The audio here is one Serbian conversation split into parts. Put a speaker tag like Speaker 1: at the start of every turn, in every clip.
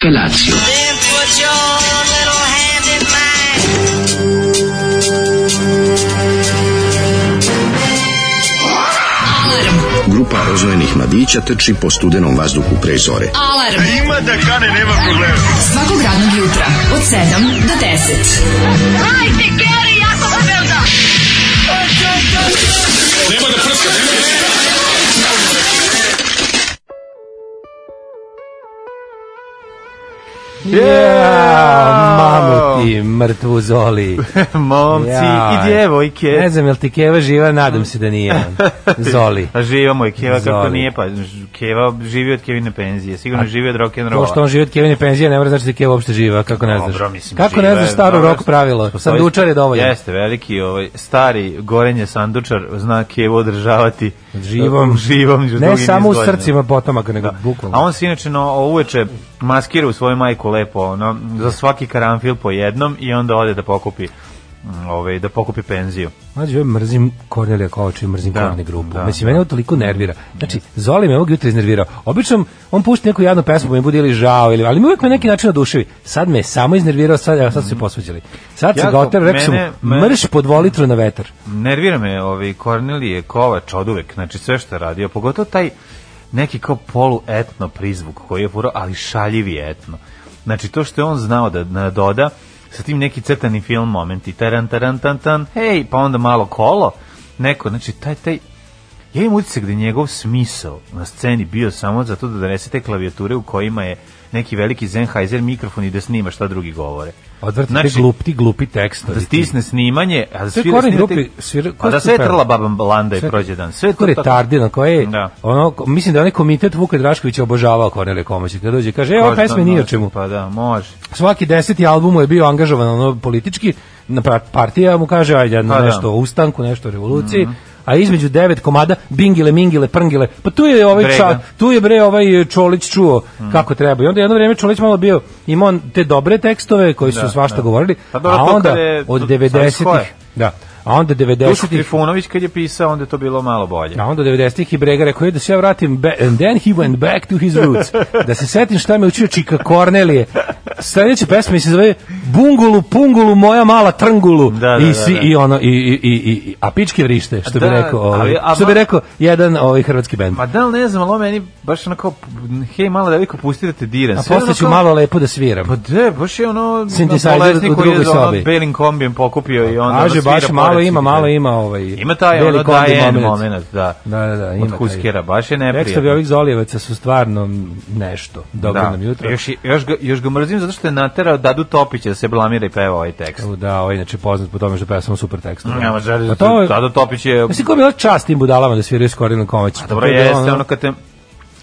Speaker 1: Felatio.
Speaker 2: Then put your little hand in mine.
Speaker 3: Grupa rozvojenih mladića teči po studenom vazduhu pre zore.
Speaker 4: Alarm. Ima da kane, nema problema. Svakog radnog jutra, od 7 do 10.
Speaker 5: Yeah,
Speaker 6: Mamu ti mrtvu zoli.
Speaker 5: Momci
Speaker 6: Ja.
Speaker 5: i djevojke.
Speaker 6: Ne znam, jel ti Keva živa? Nadam se da nije on. Zoli.
Speaker 5: A Pa živa moj Keva, kako
Speaker 6: Zoli.
Speaker 5: nije, pa Keva živi od Kevine penzije, sigurno živi od
Speaker 6: To što
Speaker 5: rock'n'rolla.
Speaker 6: on živi od Kevine penzije, ne mora znači da je Keva uopšte živa, kako ne znaš.
Speaker 5: Dobro, mislim,
Speaker 6: kako
Speaker 5: živa
Speaker 6: ne
Speaker 5: je,
Speaker 6: znaš staro
Speaker 5: dobro.
Speaker 6: rok pravilo?
Speaker 5: Postoji-
Speaker 6: Sandučar je dovoljan.
Speaker 5: Jeste, veliki ovaj, stari gorenje sandučar zna Kevu održavati
Speaker 6: Živom.
Speaker 5: živom još
Speaker 6: Ne
Speaker 5: dugi
Speaker 6: samo u
Speaker 5: niz godina.
Speaker 6: srcima potomaka, nego
Speaker 5: A
Speaker 6: bukvalno.
Speaker 5: on se inače no, uveče maskira u svoju majku lepo, ono, za svaki karanfil po jednom i onda ode da pokupi mm, ovaj, da pokupi penziju.
Speaker 6: Mlađe, ja mrzim Kornelija Kovača i mrzim
Speaker 5: Da,
Speaker 6: Korne grupu.
Speaker 5: da,
Speaker 6: Mislim, mene ovo toliko nervira. Znači, Zoli me ovog jutra iznervirao. Obično, on pušti neku jadnu pesmu, pa mi bude ili žao, ili, ali mi uvijek na neki način oduševi. Sad me je samo iznervirao, sad, evo, sad su se posvađali. Sad se
Speaker 5: Jako,
Speaker 6: ga oteram, rekao sam
Speaker 5: Mhm. mene-
Speaker 6: mu,
Speaker 5: mene-
Speaker 6: mrš pod volitru na vetar.
Speaker 5: Nervira me ovaj Kornelije Kovač oduvek, znači sve što je radio, pogotovo taj neki kao poluetno prizvuk koji je furao, ali šaljivi etno. Znači to što je on znao da nadoda sa tim neki crtani film momenti, taran taran tan tan, hej, pa onda malo kolo, neko, znači taj, taj, ja imam utisak da je njegov smisao na sceni bio samo zato da donese te klavijature u kojima je neki veliki Sennheiser mikrofon i da snima šta drugi govore.
Speaker 6: Odvrti
Speaker 5: Znači,
Speaker 6: znači, glup, Pa ti glupi tekstovi.
Speaker 5: da stisne snimanje, a da
Speaker 6: Sve
Speaker 5: svira
Speaker 6: Korn
Speaker 5: snimate-
Speaker 6: grupi svira-
Speaker 5: a
Speaker 6: ko
Speaker 5: da
Speaker 6: su
Speaker 5: sve
Speaker 6: pevali?
Speaker 5: trla baba Landa i
Speaker 6: Sve-
Speaker 5: prođe dan. Sve to
Speaker 6: Ko je
Speaker 5: tako-
Speaker 6: retardina, koja je,
Speaker 5: Da.
Speaker 6: ono, ko- mislim da je onaj komitet Vuka Draškovića obožavao Kornelija Komačić. Kada dođe, kaže, e, ova
Speaker 5: Ko zna,
Speaker 6: pesma nije o
Speaker 5: može,
Speaker 6: čemu.
Speaker 5: Pa da, može.
Speaker 6: Svaki deseti album mu je bio angažovan ono, politički, na pra- partija mu kaže, ajde,
Speaker 5: Pa da. Mhm.
Speaker 6: nešto o ustanku, nešto o revoluciji, a između devet komada bingile, mingile, prngile. Pa tu je ovaj
Speaker 5: Brega. Mhm.
Speaker 6: ča, tu je bre ovaj Čolić čuo kako treba. I onda jedno vrijeme Čolić malo bio imao on te dobre tekstove koji su
Speaker 5: Da,
Speaker 6: svašta
Speaker 5: da.
Speaker 6: govorili,
Speaker 5: Pa dobro,
Speaker 6: a
Speaker 5: to
Speaker 6: onda
Speaker 5: kad je-
Speaker 6: od
Speaker 5: to- sad
Speaker 6: 90-ih,
Speaker 5: skoje.
Speaker 6: da. A onda
Speaker 5: Duško
Speaker 6: 90-ih
Speaker 5: Trifunović kad je pisao, onda je to bilo malo bolje.
Speaker 6: a onda 90-ih i Brega rekao je da se ja vratim be, and then he went back to his roots. Da se setim šta me učio Čika Kornelije. Sledeća pesma mi se zove Bungulu, pungulu, moja mala trngulu.
Speaker 5: Da, da,
Speaker 6: I,
Speaker 5: da,
Speaker 6: svi-
Speaker 5: da.
Speaker 6: i ono, i, i, i, i, i- a pičke vrište, što bi
Speaker 5: Da,
Speaker 6: rekao, ovaj,
Speaker 5: ali- a
Speaker 6: što bi
Speaker 5: ma-
Speaker 6: rekao jedan ovaj hrvatski bend.
Speaker 5: Ma da li ne znam, ali ovo meni baš onako, hej, malo devojko, pusti da te diram.
Speaker 6: A
Speaker 5: Sve
Speaker 6: posle
Speaker 5: onako-
Speaker 6: ću malo lepo da sviram.
Speaker 5: Pa de, baš je ono...
Speaker 6: Synthesizer
Speaker 5: ono bolesnik
Speaker 6: u
Speaker 5: koji je
Speaker 6: drugoj
Speaker 5: ono
Speaker 6: sobi.
Speaker 5: Belim kombijem pokupio i onda...
Speaker 6: Kaže,
Speaker 5: ono svira
Speaker 6: baš
Speaker 5: pored
Speaker 6: malo
Speaker 5: sebe.
Speaker 6: ima, malo ima ovaj...
Speaker 5: Ima taj
Speaker 6: Beli
Speaker 5: ono
Speaker 6: kombi
Speaker 5: daje
Speaker 6: momenat.
Speaker 5: moment, da.
Speaker 6: Da, da, da, ima
Speaker 5: Od
Speaker 6: taj.
Speaker 5: Huskera, baš je
Speaker 6: Tekstovi
Speaker 5: neprijatno.
Speaker 6: ovih Zolijevaca su stvarno nešto. Dobro nam jutro.
Speaker 5: Još, je- još, ga, još ga mrzim zato što je naterao Dadu Topića da se blamira i peva ovaj tekst.
Speaker 6: U, Da, ovaj inače poznat po tome što pesama super tekst.
Speaker 5: Nema želje,
Speaker 6: Pa
Speaker 5: da
Speaker 6: to
Speaker 5: to,
Speaker 6: je-
Speaker 5: Dado Topić je...
Speaker 6: Mislim, ko je bila čast tim budalama da sviraju s Korinom Komaćem?
Speaker 5: Dobro
Speaker 6: To je bilo
Speaker 5: jeste, ono kad te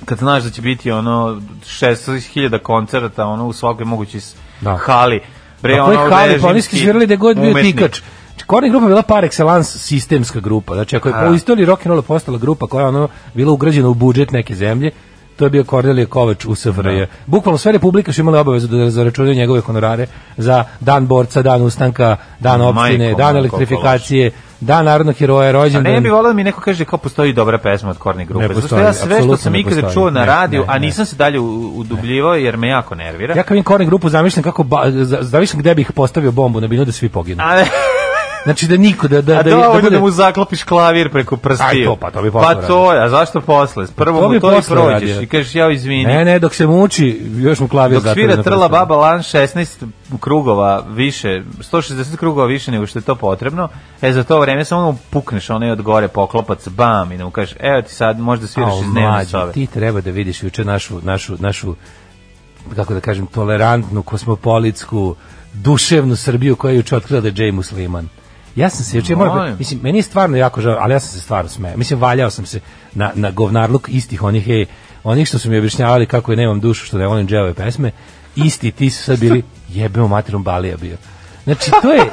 Speaker 5: kad znaš da će biti ono 16.000 koncerta ono u svakoj mogućoj s-
Speaker 6: Da.
Speaker 5: hali. Bre, ono,
Speaker 6: Na koji hali, pa oni
Speaker 5: režimski
Speaker 6: su svirali da god bio
Speaker 5: umetnik.
Speaker 6: tikač. Znači, Korni grupa je bila par excellence sistemska grupa. Znači, ako je
Speaker 5: A.
Speaker 6: po istoriji rock'n'rolla postala grupa koja je ono bila ugrađena u budžet neke zemlje, to je bio Kornelije Kovač u SFRJ. Bukvalno sve republike su imale obavezu da zaračunaju njegove honorare za dan borca, dan ustanka, dan
Speaker 5: Majko
Speaker 6: opštine,
Speaker 5: moja,
Speaker 6: dan
Speaker 5: koliko
Speaker 6: elektrifikacije, dan narodnog heroja,
Speaker 5: A
Speaker 6: rođendan.
Speaker 5: ne bih volao da mi neko kaže kao postoji dobra pesma od Korni
Speaker 6: Ne
Speaker 5: grupe. Zato što
Speaker 6: postoji,
Speaker 5: ja sve što
Speaker 6: apsolutno
Speaker 5: sam
Speaker 6: ne
Speaker 5: ikada
Speaker 6: postoji.
Speaker 5: čuo na
Speaker 6: Ne,
Speaker 5: radiju,
Speaker 6: ne,
Speaker 5: a
Speaker 6: ne.
Speaker 5: nisam se dalje u- udubljivao jer me jako nervira.
Speaker 6: Ja kad vidim Korni grupu zamišljam kako ba, za- zamišljam gde bih postavio bombu na binu da svi poginu.
Speaker 5: A ne,
Speaker 6: Znači da niko da da
Speaker 5: a
Speaker 6: da,
Speaker 5: dovoljno da,
Speaker 6: bude-
Speaker 5: mu zaklopiš klavir preko prstiju.
Speaker 6: Aj, to, pa to bi posle
Speaker 5: Pa to je, a zašto posle? Prvo
Speaker 6: to
Speaker 5: mu
Speaker 6: bi
Speaker 5: to i
Speaker 6: posle
Speaker 5: prođeš
Speaker 6: radio.
Speaker 5: i kažeš ja izvini.
Speaker 6: Ne, ne, dok se muči, još mu klavir
Speaker 5: Dok svira Trla Baba Lan 16 krugova više, 160 krugova više nego što je to potrebno, e za to vreme samo mu pukneš onaj od gore poklopac, bam, i da mu kažeš, evo ti sad možda sviraš iz dnevne sobe.
Speaker 6: Ti treba da vidiš juče našu, našu, našu kako da kažem, tolerantnu, kosmopolitsku, duševnu Srbiju koja je juče otkrila da je Jay musliman. Ja sam se juče, ja moram,
Speaker 5: Molim.
Speaker 6: da- mislim, meni je stvarno jako žao, ali ja sam se stvarno smeo. Mislim, valjao sam se na, na govnarluk istih onih, ej, onih što su mi objašnjavali kako je nemam dušu, što ne volim dževe pesme, isti ti su sad bili jebemo materom balija bio. Znači, to je,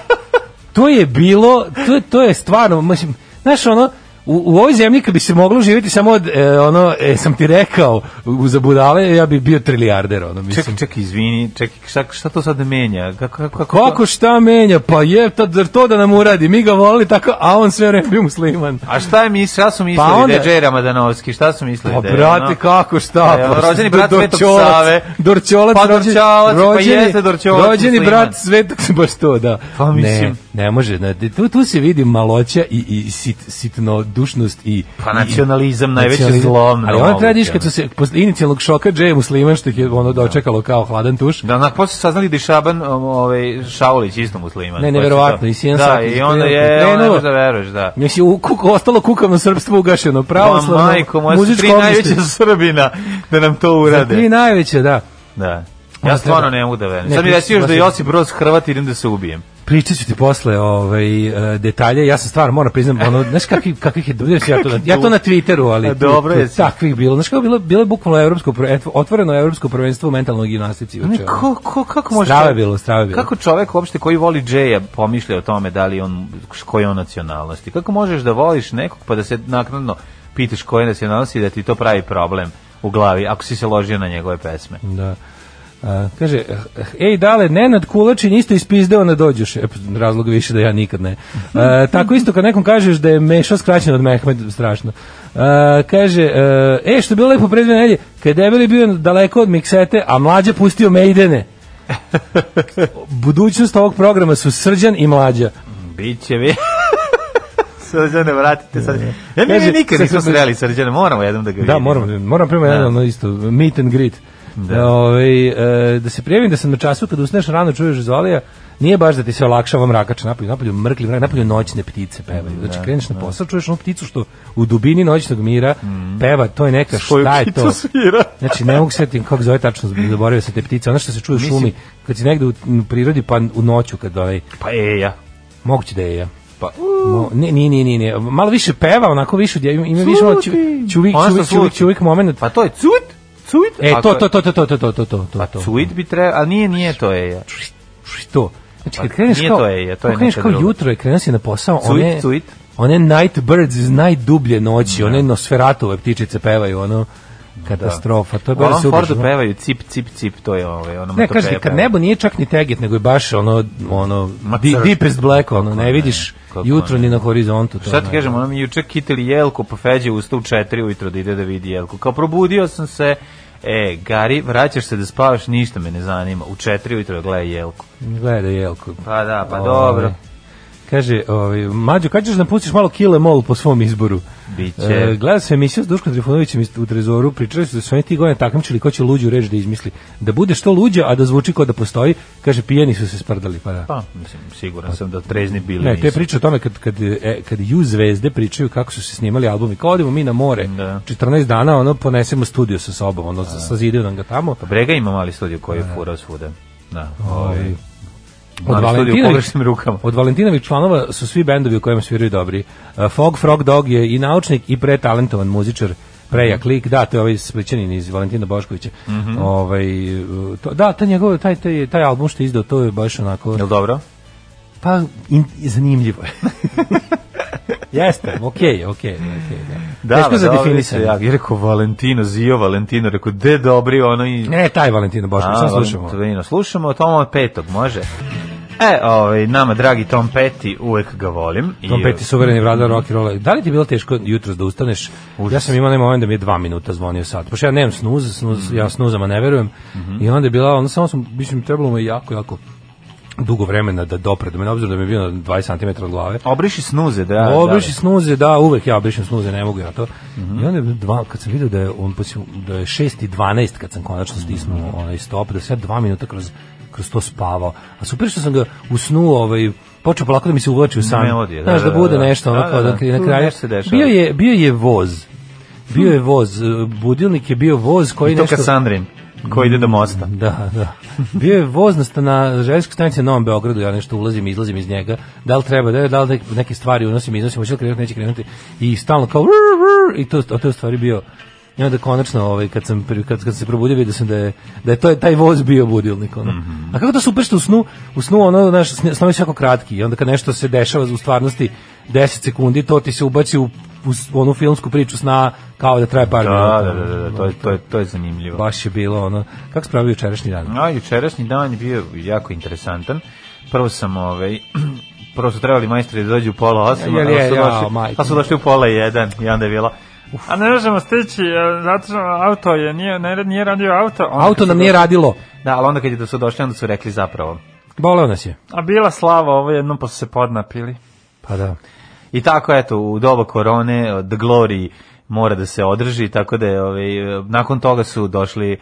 Speaker 6: to je bilo, to, je- to je stvarno, mislim, znaš ono, U, u ovoj zemlji kad bi se moglo živjeti samo od, e, ono, e, sam ti rekao, u, za budale, ja bi bio trilijarder, ono, mislim.
Speaker 5: Čekaj, čekaj, izvini, čekaj, šta, šta to sad menja? Kako, kako, kako,
Speaker 6: Kako šta menja? Pa je, to, zar to da nam uradi? Mi ga volili tako, a on sve vreme bio musliman.
Speaker 5: A šta je mis, šta su mislili
Speaker 6: Pa onda-
Speaker 5: da je Džej Ramadanovski? Šta su mislili
Speaker 6: Pa
Speaker 5: da je?
Speaker 6: brate,
Speaker 5: ono?
Speaker 6: kako šta?
Speaker 5: E,
Speaker 6: Pa,
Speaker 5: rođeni brat Svetog
Speaker 6: Dorćolac,
Speaker 5: Save.
Speaker 6: Dorćolac,
Speaker 5: Pa
Speaker 6: rođeni-
Speaker 5: Dorćolac, pa
Speaker 6: rođeni-
Speaker 5: jeste Dorćolac
Speaker 6: Rođeni
Speaker 5: musliman.
Speaker 6: brat Svetog, baš to, da.
Speaker 5: Pa, mislim.
Speaker 6: Ne, ne može, ne, tu, tu se vidi maloća i, i sit, sitnodušnost i...
Speaker 5: Pa
Speaker 6: i-
Speaker 5: nacionalizam, najveće
Speaker 6: nacionalizam.
Speaker 5: zlo na
Speaker 6: Ali ono
Speaker 5: ovom
Speaker 6: treba da vidiš
Speaker 5: svemu.
Speaker 6: kad su se, posle inicijalnog šoka, Džeje musliman, što ih je ono dočekalo kao hladan tuš,
Speaker 5: Da, na posle saznali da je Šaban, um, ovaj Šaulić isto musliman.
Speaker 6: Ne,
Speaker 5: Posle
Speaker 6: neverovatno,
Speaker 5: toga.
Speaker 6: i Sijan
Speaker 5: Da,
Speaker 6: Sakić
Speaker 5: i onda
Speaker 6: krenuo,
Speaker 5: je, ono ne
Speaker 6: krenuo.
Speaker 5: možeš da veruješ, da.
Speaker 6: Mislim, u, kuk, ostalo kukavno srpstvo ugašeno, pravoslavno,
Speaker 5: Pa, majko, moja su
Speaker 6: muzičko
Speaker 5: tri najveća Srbina da nam to urade.
Speaker 6: Tri najveće, da.
Speaker 5: Da.
Speaker 6: Ona
Speaker 5: Ja stvarno
Speaker 6: treba-
Speaker 5: ne mogu da verujem.
Speaker 6: Ne,
Speaker 5: Sad mi
Speaker 6: ti
Speaker 5: reci
Speaker 6: si
Speaker 5: još
Speaker 6: baš
Speaker 5: da je
Speaker 6: jedan.
Speaker 5: Josip Broz Hrvat, idem da se ubijem.
Speaker 6: Pričat ću ti posle ovaj, e, detalje, ja sam stvarno, moram priznam, ono, znaš kakvih, kakvih je, znaš, ja, to na, ja to na Twitteru, ali
Speaker 5: A dobro
Speaker 6: tu- tu
Speaker 5: jesi.
Speaker 6: takvih bilo, znaš kako bilo, bilo je bukvalno evropsko, pro- et- otvoreno evropsko prvenstvo u mentalnoj gimnastici.
Speaker 5: Ne,
Speaker 6: juče, ono.
Speaker 5: ko, ko, kako može...
Speaker 6: Strava je
Speaker 5: čovjek-
Speaker 6: bilo, strava je bilo.
Speaker 5: Kako čovek uopšte koji voli Džeja pomišlja o tome da li on, koje je on nacionalnosti? Kako možeš da voliš nekog pa da se naknadno pitaš koje je nacionalnosti i da ti to pravi problem u glavi ako si se ložio na njegove pesme?
Speaker 6: Da. A, kaže, eh, ej dale, Nenad Kulačin isto ispizdeo na dođuš. E, pa, razlog više da ja nikad ne. E, tako isto kad nekom kažeš da je Mešo skraćen od Mehmed, strašno. E, kaže, e, e, što je bilo lepo pre dve nedelje, kad je debeli bio daleko od miksete, a mlađa pustio Mejdene. Budućnost ovog programa su Srđan i Mlađa.
Speaker 5: Biće vi. Srđane, vratite sad. Ja mi
Speaker 6: Kaže,
Speaker 5: mi nikad
Speaker 6: sad
Speaker 5: nismo
Speaker 6: sam-
Speaker 5: sreli Srđane, moramo jednom da ga vidimo.
Speaker 6: Da, moram, moram prema jedan ono isto, meet and greet. Da. Ove, e, da se prijavim da sam na času kad usneš rano čuješ Zolija, nije baš da ti se olakšava mrakač napolju, napolju mrkli mrak, napolju noćne ptice pevaju. Znači kreneš na posao, čuješ onu pticu što u dubini noćnog mira peva, to je neka
Speaker 5: Mm. Svoju
Speaker 6: šta je
Speaker 5: pticu
Speaker 6: to.
Speaker 5: svira.
Speaker 6: Znači ne mogu se setim kako zove tačno, zaboravio sam te ptice, ono što se čuje u
Speaker 5: Mislim-
Speaker 6: šumi, kad si negde u, u prirodi pa u noću kad ovaj,
Speaker 5: Pa e, ja.
Speaker 6: moguće da je ja.
Speaker 5: Pa,
Speaker 6: Mo, ne, ne, ne, ne, ne, malo više peva, onako više, dje- ima više ono ču,
Speaker 5: Sluti.
Speaker 6: čuvik,
Speaker 5: Ono što
Speaker 6: čuvik, čuvik,
Speaker 5: sluti.
Speaker 6: čuvik moment.
Speaker 5: pa to je cuit, cuit.
Speaker 6: E,
Speaker 5: Ako
Speaker 6: to,
Speaker 5: je-
Speaker 6: to, to, to, to, to, to, to, to, to,
Speaker 5: Pa
Speaker 6: to.
Speaker 5: cuit bi trebao, ali nije, nije to e, ja.
Speaker 6: Što? Znači, kad
Speaker 5: Pa,
Speaker 6: kreneš
Speaker 5: nije
Speaker 6: kao,
Speaker 5: to je, je, to je
Speaker 6: kad kreneš
Speaker 5: neka
Speaker 6: kao
Speaker 5: druga.
Speaker 6: jutro i kreneš si na posao,
Speaker 5: Cuit,
Speaker 6: one,
Speaker 5: cuit.
Speaker 6: one night birds iz najdublje noći, one nosferatove ptičice pevaju, ono, katastrofa. To je
Speaker 5: U
Speaker 6: baš
Speaker 5: Alan
Speaker 6: se
Speaker 5: Fordu
Speaker 6: ubrzo.
Speaker 5: pevaju cip, cip, cip, to je ovaj, ono
Speaker 6: Ne,
Speaker 5: to
Speaker 6: kaži,
Speaker 5: peva,
Speaker 6: kad
Speaker 5: peva.
Speaker 6: nebo nije čak ni teget, nego je baš ono, ono,
Speaker 5: Ma,
Speaker 6: di-
Speaker 5: crno.
Speaker 6: deepest black, ono, ne
Speaker 5: ne,
Speaker 6: vidiš
Speaker 5: kako
Speaker 6: jutro
Speaker 5: ne.
Speaker 6: ni na horizontu. to
Speaker 5: Šta ti
Speaker 6: ono.
Speaker 5: kažem, ono mi juče kitili jelku, pa Feđe ustao u četiri ujutro da ide da vidi jelku. Kao probudio sam se, e, Gari, vraćaš se da spavaš, ništa me ne zanima. U četiri ujutro gledaj jelku.
Speaker 6: Gleda jelku.
Speaker 5: Pa da, pa
Speaker 6: Ovaj,
Speaker 5: dobro.
Speaker 6: Kaže, ovaj, mađo, kad ćeš da pustiš malo Kill Em All po svom izboru?
Speaker 5: Biće.
Speaker 6: E, gledao sam emisiju s Duškom Trifunovićem iz- u Trezoru, pričali su da su oni ti godine takmičili ko će luđu reč da izmisli. Da bude što luđa, a da zvuči kao da postoji, kaže, pijeni su se sprdali, pa da.
Speaker 5: Pa, mislim, siguran sam da trezni bili
Speaker 6: Ne, te
Speaker 5: nisu.
Speaker 6: priče o tome kad, kad, e, kad ju zvezde pričaju kako su se snimali albumi, kao odemo mi na more,
Speaker 5: Da.
Speaker 6: 14 dana, ono, ponesemo studio sa sobom, ono, sa sazidaju nam ga tamo.
Speaker 5: Pa Brega ima mali studio koji
Speaker 6: E.
Speaker 5: je furao svuda. Da, ovaj,
Speaker 6: Od
Speaker 5: mali studio u
Speaker 6: Valentinovih,
Speaker 5: pogrešnim rukama.
Speaker 6: od Valentinovih članova su svi bendovi u kojima sviraju dobri. Uh, Fog Frog Dog je i naučnik i pretalentovan muzičar,
Speaker 5: Mhm.
Speaker 6: prejak lik, da, to je ovaj spličanin iz Valentina Boškovića. ovaj, uh, to, da, taj, njegov, taj, taj, taj album što je izdao, to je baš onako,
Speaker 5: Jel dobro?
Speaker 6: pa in, zanimljivo je. Jeste, okej, okej, okej. Da. Teško
Speaker 5: ma,
Speaker 6: za
Speaker 5: pa dobro
Speaker 6: definisanje.
Speaker 5: se Ja, je rekao Valentino, Zio Valentino, rekao, de dobri, ono i...
Speaker 6: Ne, taj Valentina Bošković, sam slušamo.
Speaker 5: Valentino, slušamo Toma Petog, može? E, ovaj, nama dragi Tom Petty, uvek ga volim. I,
Speaker 6: Tom Petty suvereni vladar rock and rolla. Da li ti je bilo teško jutros da ustaneš? Ja sam imao onaj moment da mi je dva minuta zvonio sat. Pošto ja nemam snuz, snuz ja snuzama ne verujem. I onda je bila, onda samo sam, mislim, trebalo mu je jako, jako dugo vremena da dopre do mene, obzirom da mi je bio na 20 cm od glave.
Speaker 5: Obriši snuze, da. Mhm.
Speaker 6: Da,
Speaker 5: da.
Speaker 6: obriši snuze, da, uvek ja obrišem snuze, ne mogu ja to. I onda je dva, kad sam vidio da je, on, poslije- da je 6 i 12 kad sam konačno
Speaker 5: Mhm.
Speaker 6: stisnuo onaj stop, da sam ja dva minuta kroz, kroz to spavao. A super što sam ga u snu ovaj, počeo polako da mi se uvlači u san.
Speaker 5: Melodije, da,
Speaker 6: Znaš, da,
Speaker 5: da,
Speaker 6: bude
Speaker 5: da, da.
Speaker 6: nešto ono
Speaker 5: Da,
Speaker 6: kao
Speaker 5: da,
Speaker 6: da,
Speaker 5: da.
Speaker 6: na
Speaker 5: Tu
Speaker 6: kraju.
Speaker 5: nešto se dešava.
Speaker 6: Bio je, bio je voz. Bio je voz. eh, Budilnik je bio voz koji
Speaker 5: I to
Speaker 6: nešto...
Speaker 5: kad Sandrin, koji ide do mosta.
Speaker 6: Da, da. Bio je voz na, sta- na željezničkoj stanici na Novom Beogradu, ja nešto ulazim, izlazim iz njega. Da li treba, da, je- da li nek- neke stvari unosim, iznosim, hoće li krenuti, neće krenuti. I stalno kao "Rrr, rrr", i to, a to je u stvari bio I onda konačno, ovaj, kad, sam, pri- kad, kad sam se probudio, vidio sam da je, da je to, taj voz bio budilnik. Ono.
Speaker 5: Mhm.
Speaker 6: A kako to super što u snu, u snu ono, znaš, sn- snovi su jako kratki. I onda kad nešto se dešava u stvarnosti 10 sekundi, to ti se ubaci u uz onu filmsku priču sna kao da traje par
Speaker 5: Da,
Speaker 6: minuta.
Speaker 5: da, da, da, da, to je, to je, to je zanimljivo.
Speaker 6: Baš je bilo ono, kako se pravi jučerašnji dan?
Speaker 5: No, jučerašnji dan je bio jako interesantan. Prvo sam, ovaj, prvo su trebali majstori da dođu u pola osam,
Speaker 6: Jel
Speaker 5: ali
Speaker 6: je,
Speaker 5: su
Speaker 6: jao,
Speaker 5: došli,
Speaker 6: majko
Speaker 5: a su došli u pola jedan i onda je bila A ne možemo stići, e, zato što auto je, nije, ne, nije radio auto. Onda
Speaker 6: Auto
Speaker 5: kad
Speaker 6: nam
Speaker 5: su
Speaker 6: nije
Speaker 5: došli-
Speaker 6: radilo.
Speaker 5: Da, ali onda kad je da su došli, onda su rekli zapravo.
Speaker 6: Boleo nas je.
Speaker 5: A bila slava ovo jednom pa su se podnapili.
Speaker 6: Pa da.
Speaker 5: I tako, eto, u doba korone, The Glory mora da se održi, tako da je, ovaj, e, nakon toga su došli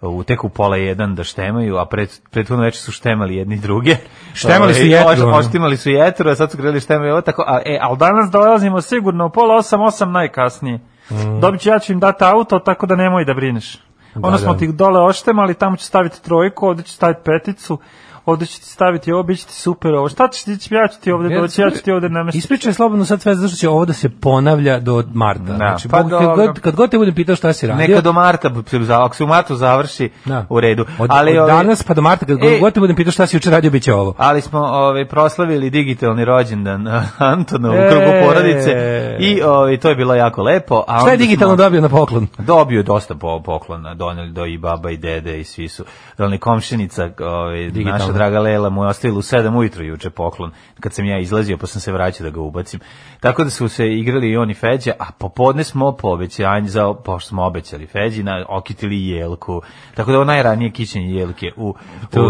Speaker 5: u tek u pola jedan da štemaju, a pred, prethodno večer su štemali jedni druge.
Speaker 6: Štemali su
Speaker 5: Ovaj,
Speaker 6: jetru,
Speaker 5: oš-
Speaker 6: ono.
Speaker 5: Oštimali su jetru, a sad su krenuli štemaju. Evo tako, a, e, ali danas dolazimo sigurno u pola osam, osam najkasnije. Mm. Dobit ću, ja ću im dati auto, tako da nemoj da brineš. Da,
Speaker 6: da.
Speaker 5: Ono smo ti dole oštemali, tamo ću staviti trojku, ovde ću staviti peticu, ovde ću ti staviti ovo, bit će ti super ovo. Šta ćeš ti, ja ću ti ovde doći, ja ću ti ovde namestiti.
Speaker 6: Ispričaj slobodno sad sve zašto će ovo da se ponavlja do marta. Da, znači,
Speaker 5: pa
Speaker 6: Bog, kad,
Speaker 5: dobro.
Speaker 6: god, kad god te budem pitao šta si radio,
Speaker 5: Neka do marta, se za- ako se u martu završi,
Speaker 6: Da.
Speaker 5: u redu.
Speaker 6: Od,
Speaker 5: ali,
Speaker 6: ali, od
Speaker 5: ovaj,
Speaker 6: danas pa do marta, kad
Speaker 5: E.
Speaker 6: e, god te budem pitao šta si juče radio, bit će ovo.
Speaker 5: Ali smo ovaj proslavili digitalni rođendan Antona u
Speaker 6: E.
Speaker 5: krugu porodice i ovaj to je bilo jako lepo, a
Speaker 6: Šta je
Speaker 5: onda
Speaker 6: digitalno
Speaker 5: smo-
Speaker 6: dobio na poklon?
Speaker 5: Dobio je dosta po poklona, doneli do i baba i dede i svi su. Doneli komšinica, ovaj,
Speaker 6: Digitalno.
Speaker 5: naša draga Lela mu je ostavila u 7 ujutru juče poklon, kad sam ja izlazio pa sam se vraćao da ga ubacim. Tako da su se igrali i oni Feđa, a popodne smo po obećanju, za, pošto smo obećali Feđi, na, okitili i jelku. Tako da ovo najranije kićenje jelke u,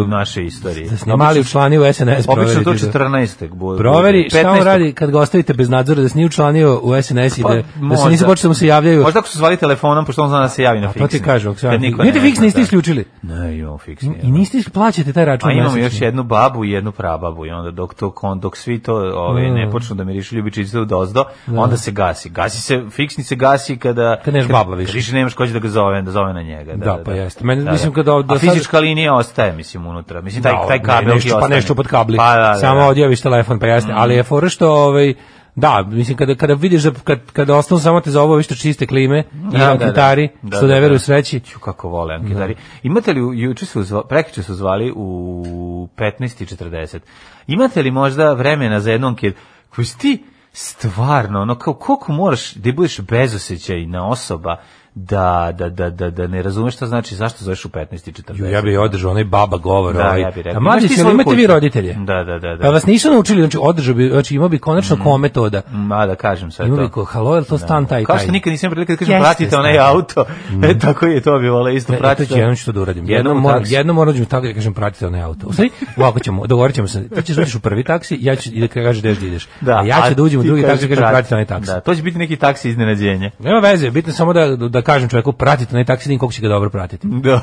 Speaker 5: u našoj istoriji.
Speaker 6: Da ste mali člani u SNS
Speaker 5: Obično
Speaker 6: proveriti.
Speaker 5: to
Speaker 6: da-
Speaker 5: 14. bude.
Speaker 6: Proveri šta on
Speaker 5: 15..
Speaker 6: radi kad ga ostavite bez nadzora, da se nije učlanio u SNS i
Speaker 5: Pa,
Speaker 6: da, da se
Speaker 5: možda.
Speaker 6: nisi počeli da mu se javljaju.
Speaker 5: Možda ako su zvali telefonom, pošto on zna da se javi na fiksni.
Speaker 6: Pa ti kažu, ako se
Speaker 5: Kad
Speaker 6: javljaju.
Speaker 5: niko
Speaker 6: Nije
Speaker 5: ne
Speaker 6: ti fiks
Speaker 5: zna,
Speaker 6: niste
Speaker 5: da.
Speaker 6: isključili.
Speaker 5: Ne, imamo fiksni.
Speaker 6: I niste is- plaćate taj račun
Speaker 5: A imamo
Speaker 6: mesečni.
Speaker 5: još jednu babu i jednu prababu i onda dok to kon- dok svi to ovaj ne
Speaker 6: Mm.
Speaker 5: počnu da mirišu ljubičicu od ozdo, onda se gasi. Gasi se fiksni se gasi kada
Speaker 6: Kad nemaš baba više.
Speaker 5: Kad više nemaš ko će da ga zove, da zove na njega.
Speaker 6: Da, pa jeste. Meni- mislim kad ovo-
Speaker 5: A
Speaker 6: do sad-
Speaker 5: fizička linija ostaje mislim unutra. Mislim taj
Speaker 6: Da,
Speaker 5: taj
Speaker 6: ne,
Speaker 5: kabel
Speaker 6: nešto,
Speaker 5: ti
Speaker 6: pa
Speaker 5: ostane.
Speaker 6: nešto pod kabli.
Speaker 5: Pa, da, da,
Speaker 6: Samo
Speaker 5: da.
Speaker 6: odjaviš telefon, pa jasno. Ali je fora što ovaj Da, mislim kada kada vidiš da kad kada ostalo samo te za ovo više čiste klime i
Speaker 5: Da,
Speaker 6: da,
Speaker 5: da, da.
Speaker 6: anketari
Speaker 5: Da,
Speaker 6: što
Speaker 5: da,
Speaker 6: ne
Speaker 5: da.
Speaker 6: veruju sreći.
Speaker 5: Ću kako vole anketari. Imate li, u- juče su zvali, prekiče su zvali u 15.40. Imate li možda vremena za jednu anketu? Koji si ti stvarno, ono, kao, koliko moraš da budeš bezosećajna osoba da, da, da, da, da ne razumeš šta znači zašto zoveš u 15.40?
Speaker 6: Ju, ja bih održao onaj baba govor,
Speaker 5: da,
Speaker 6: ovaj.
Speaker 5: ja bih
Speaker 6: A
Speaker 5: rekao.
Speaker 6: mlađi
Speaker 5: Imaš ti
Speaker 6: se
Speaker 5: svoju
Speaker 6: imate vi
Speaker 5: kuću?
Speaker 6: roditelje.
Speaker 5: Da, da, da.
Speaker 6: Pa
Speaker 5: da.
Speaker 6: vas nisu naučili, znači održao bi, znači imao bi konačno ko metoda.
Speaker 5: Ma da kažem sad
Speaker 6: Imao
Speaker 5: to.
Speaker 6: bi ko, halo, je li to stan taj i taj?
Speaker 5: Kao što nikad nisam prilike da kažem,
Speaker 6: Jeste,
Speaker 5: pratite onaj
Speaker 6: stvarno.
Speaker 5: auto. E, tako je to bilo, ali isto
Speaker 6: Ne, Pa to
Speaker 5: pratite.
Speaker 6: ću jednom ću to da uradim. Jednom,
Speaker 5: u
Speaker 6: moram,
Speaker 5: taksi.
Speaker 6: jednom moram da ću tako da kažem pratite onaj auto. U stvari, ovako ćemo, dogovorit ćemo se. Ti ćeš da uđeš u prvi taksi, ja ću i da kažeš gde ideš. a ja ću da uđem u
Speaker 5: ti
Speaker 6: drugi
Speaker 5: kaži
Speaker 6: taksi i kažem
Speaker 5: prati.
Speaker 6: pratite onaj taksi.
Speaker 5: Da, to će biti neki taksi iznenađenje.
Speaker 6: Nema veze, bitno je samo da, da kažem čoveku, pratite onaj taksi, nikog će ga dobro pratiti.
Speaker 5: Dobro.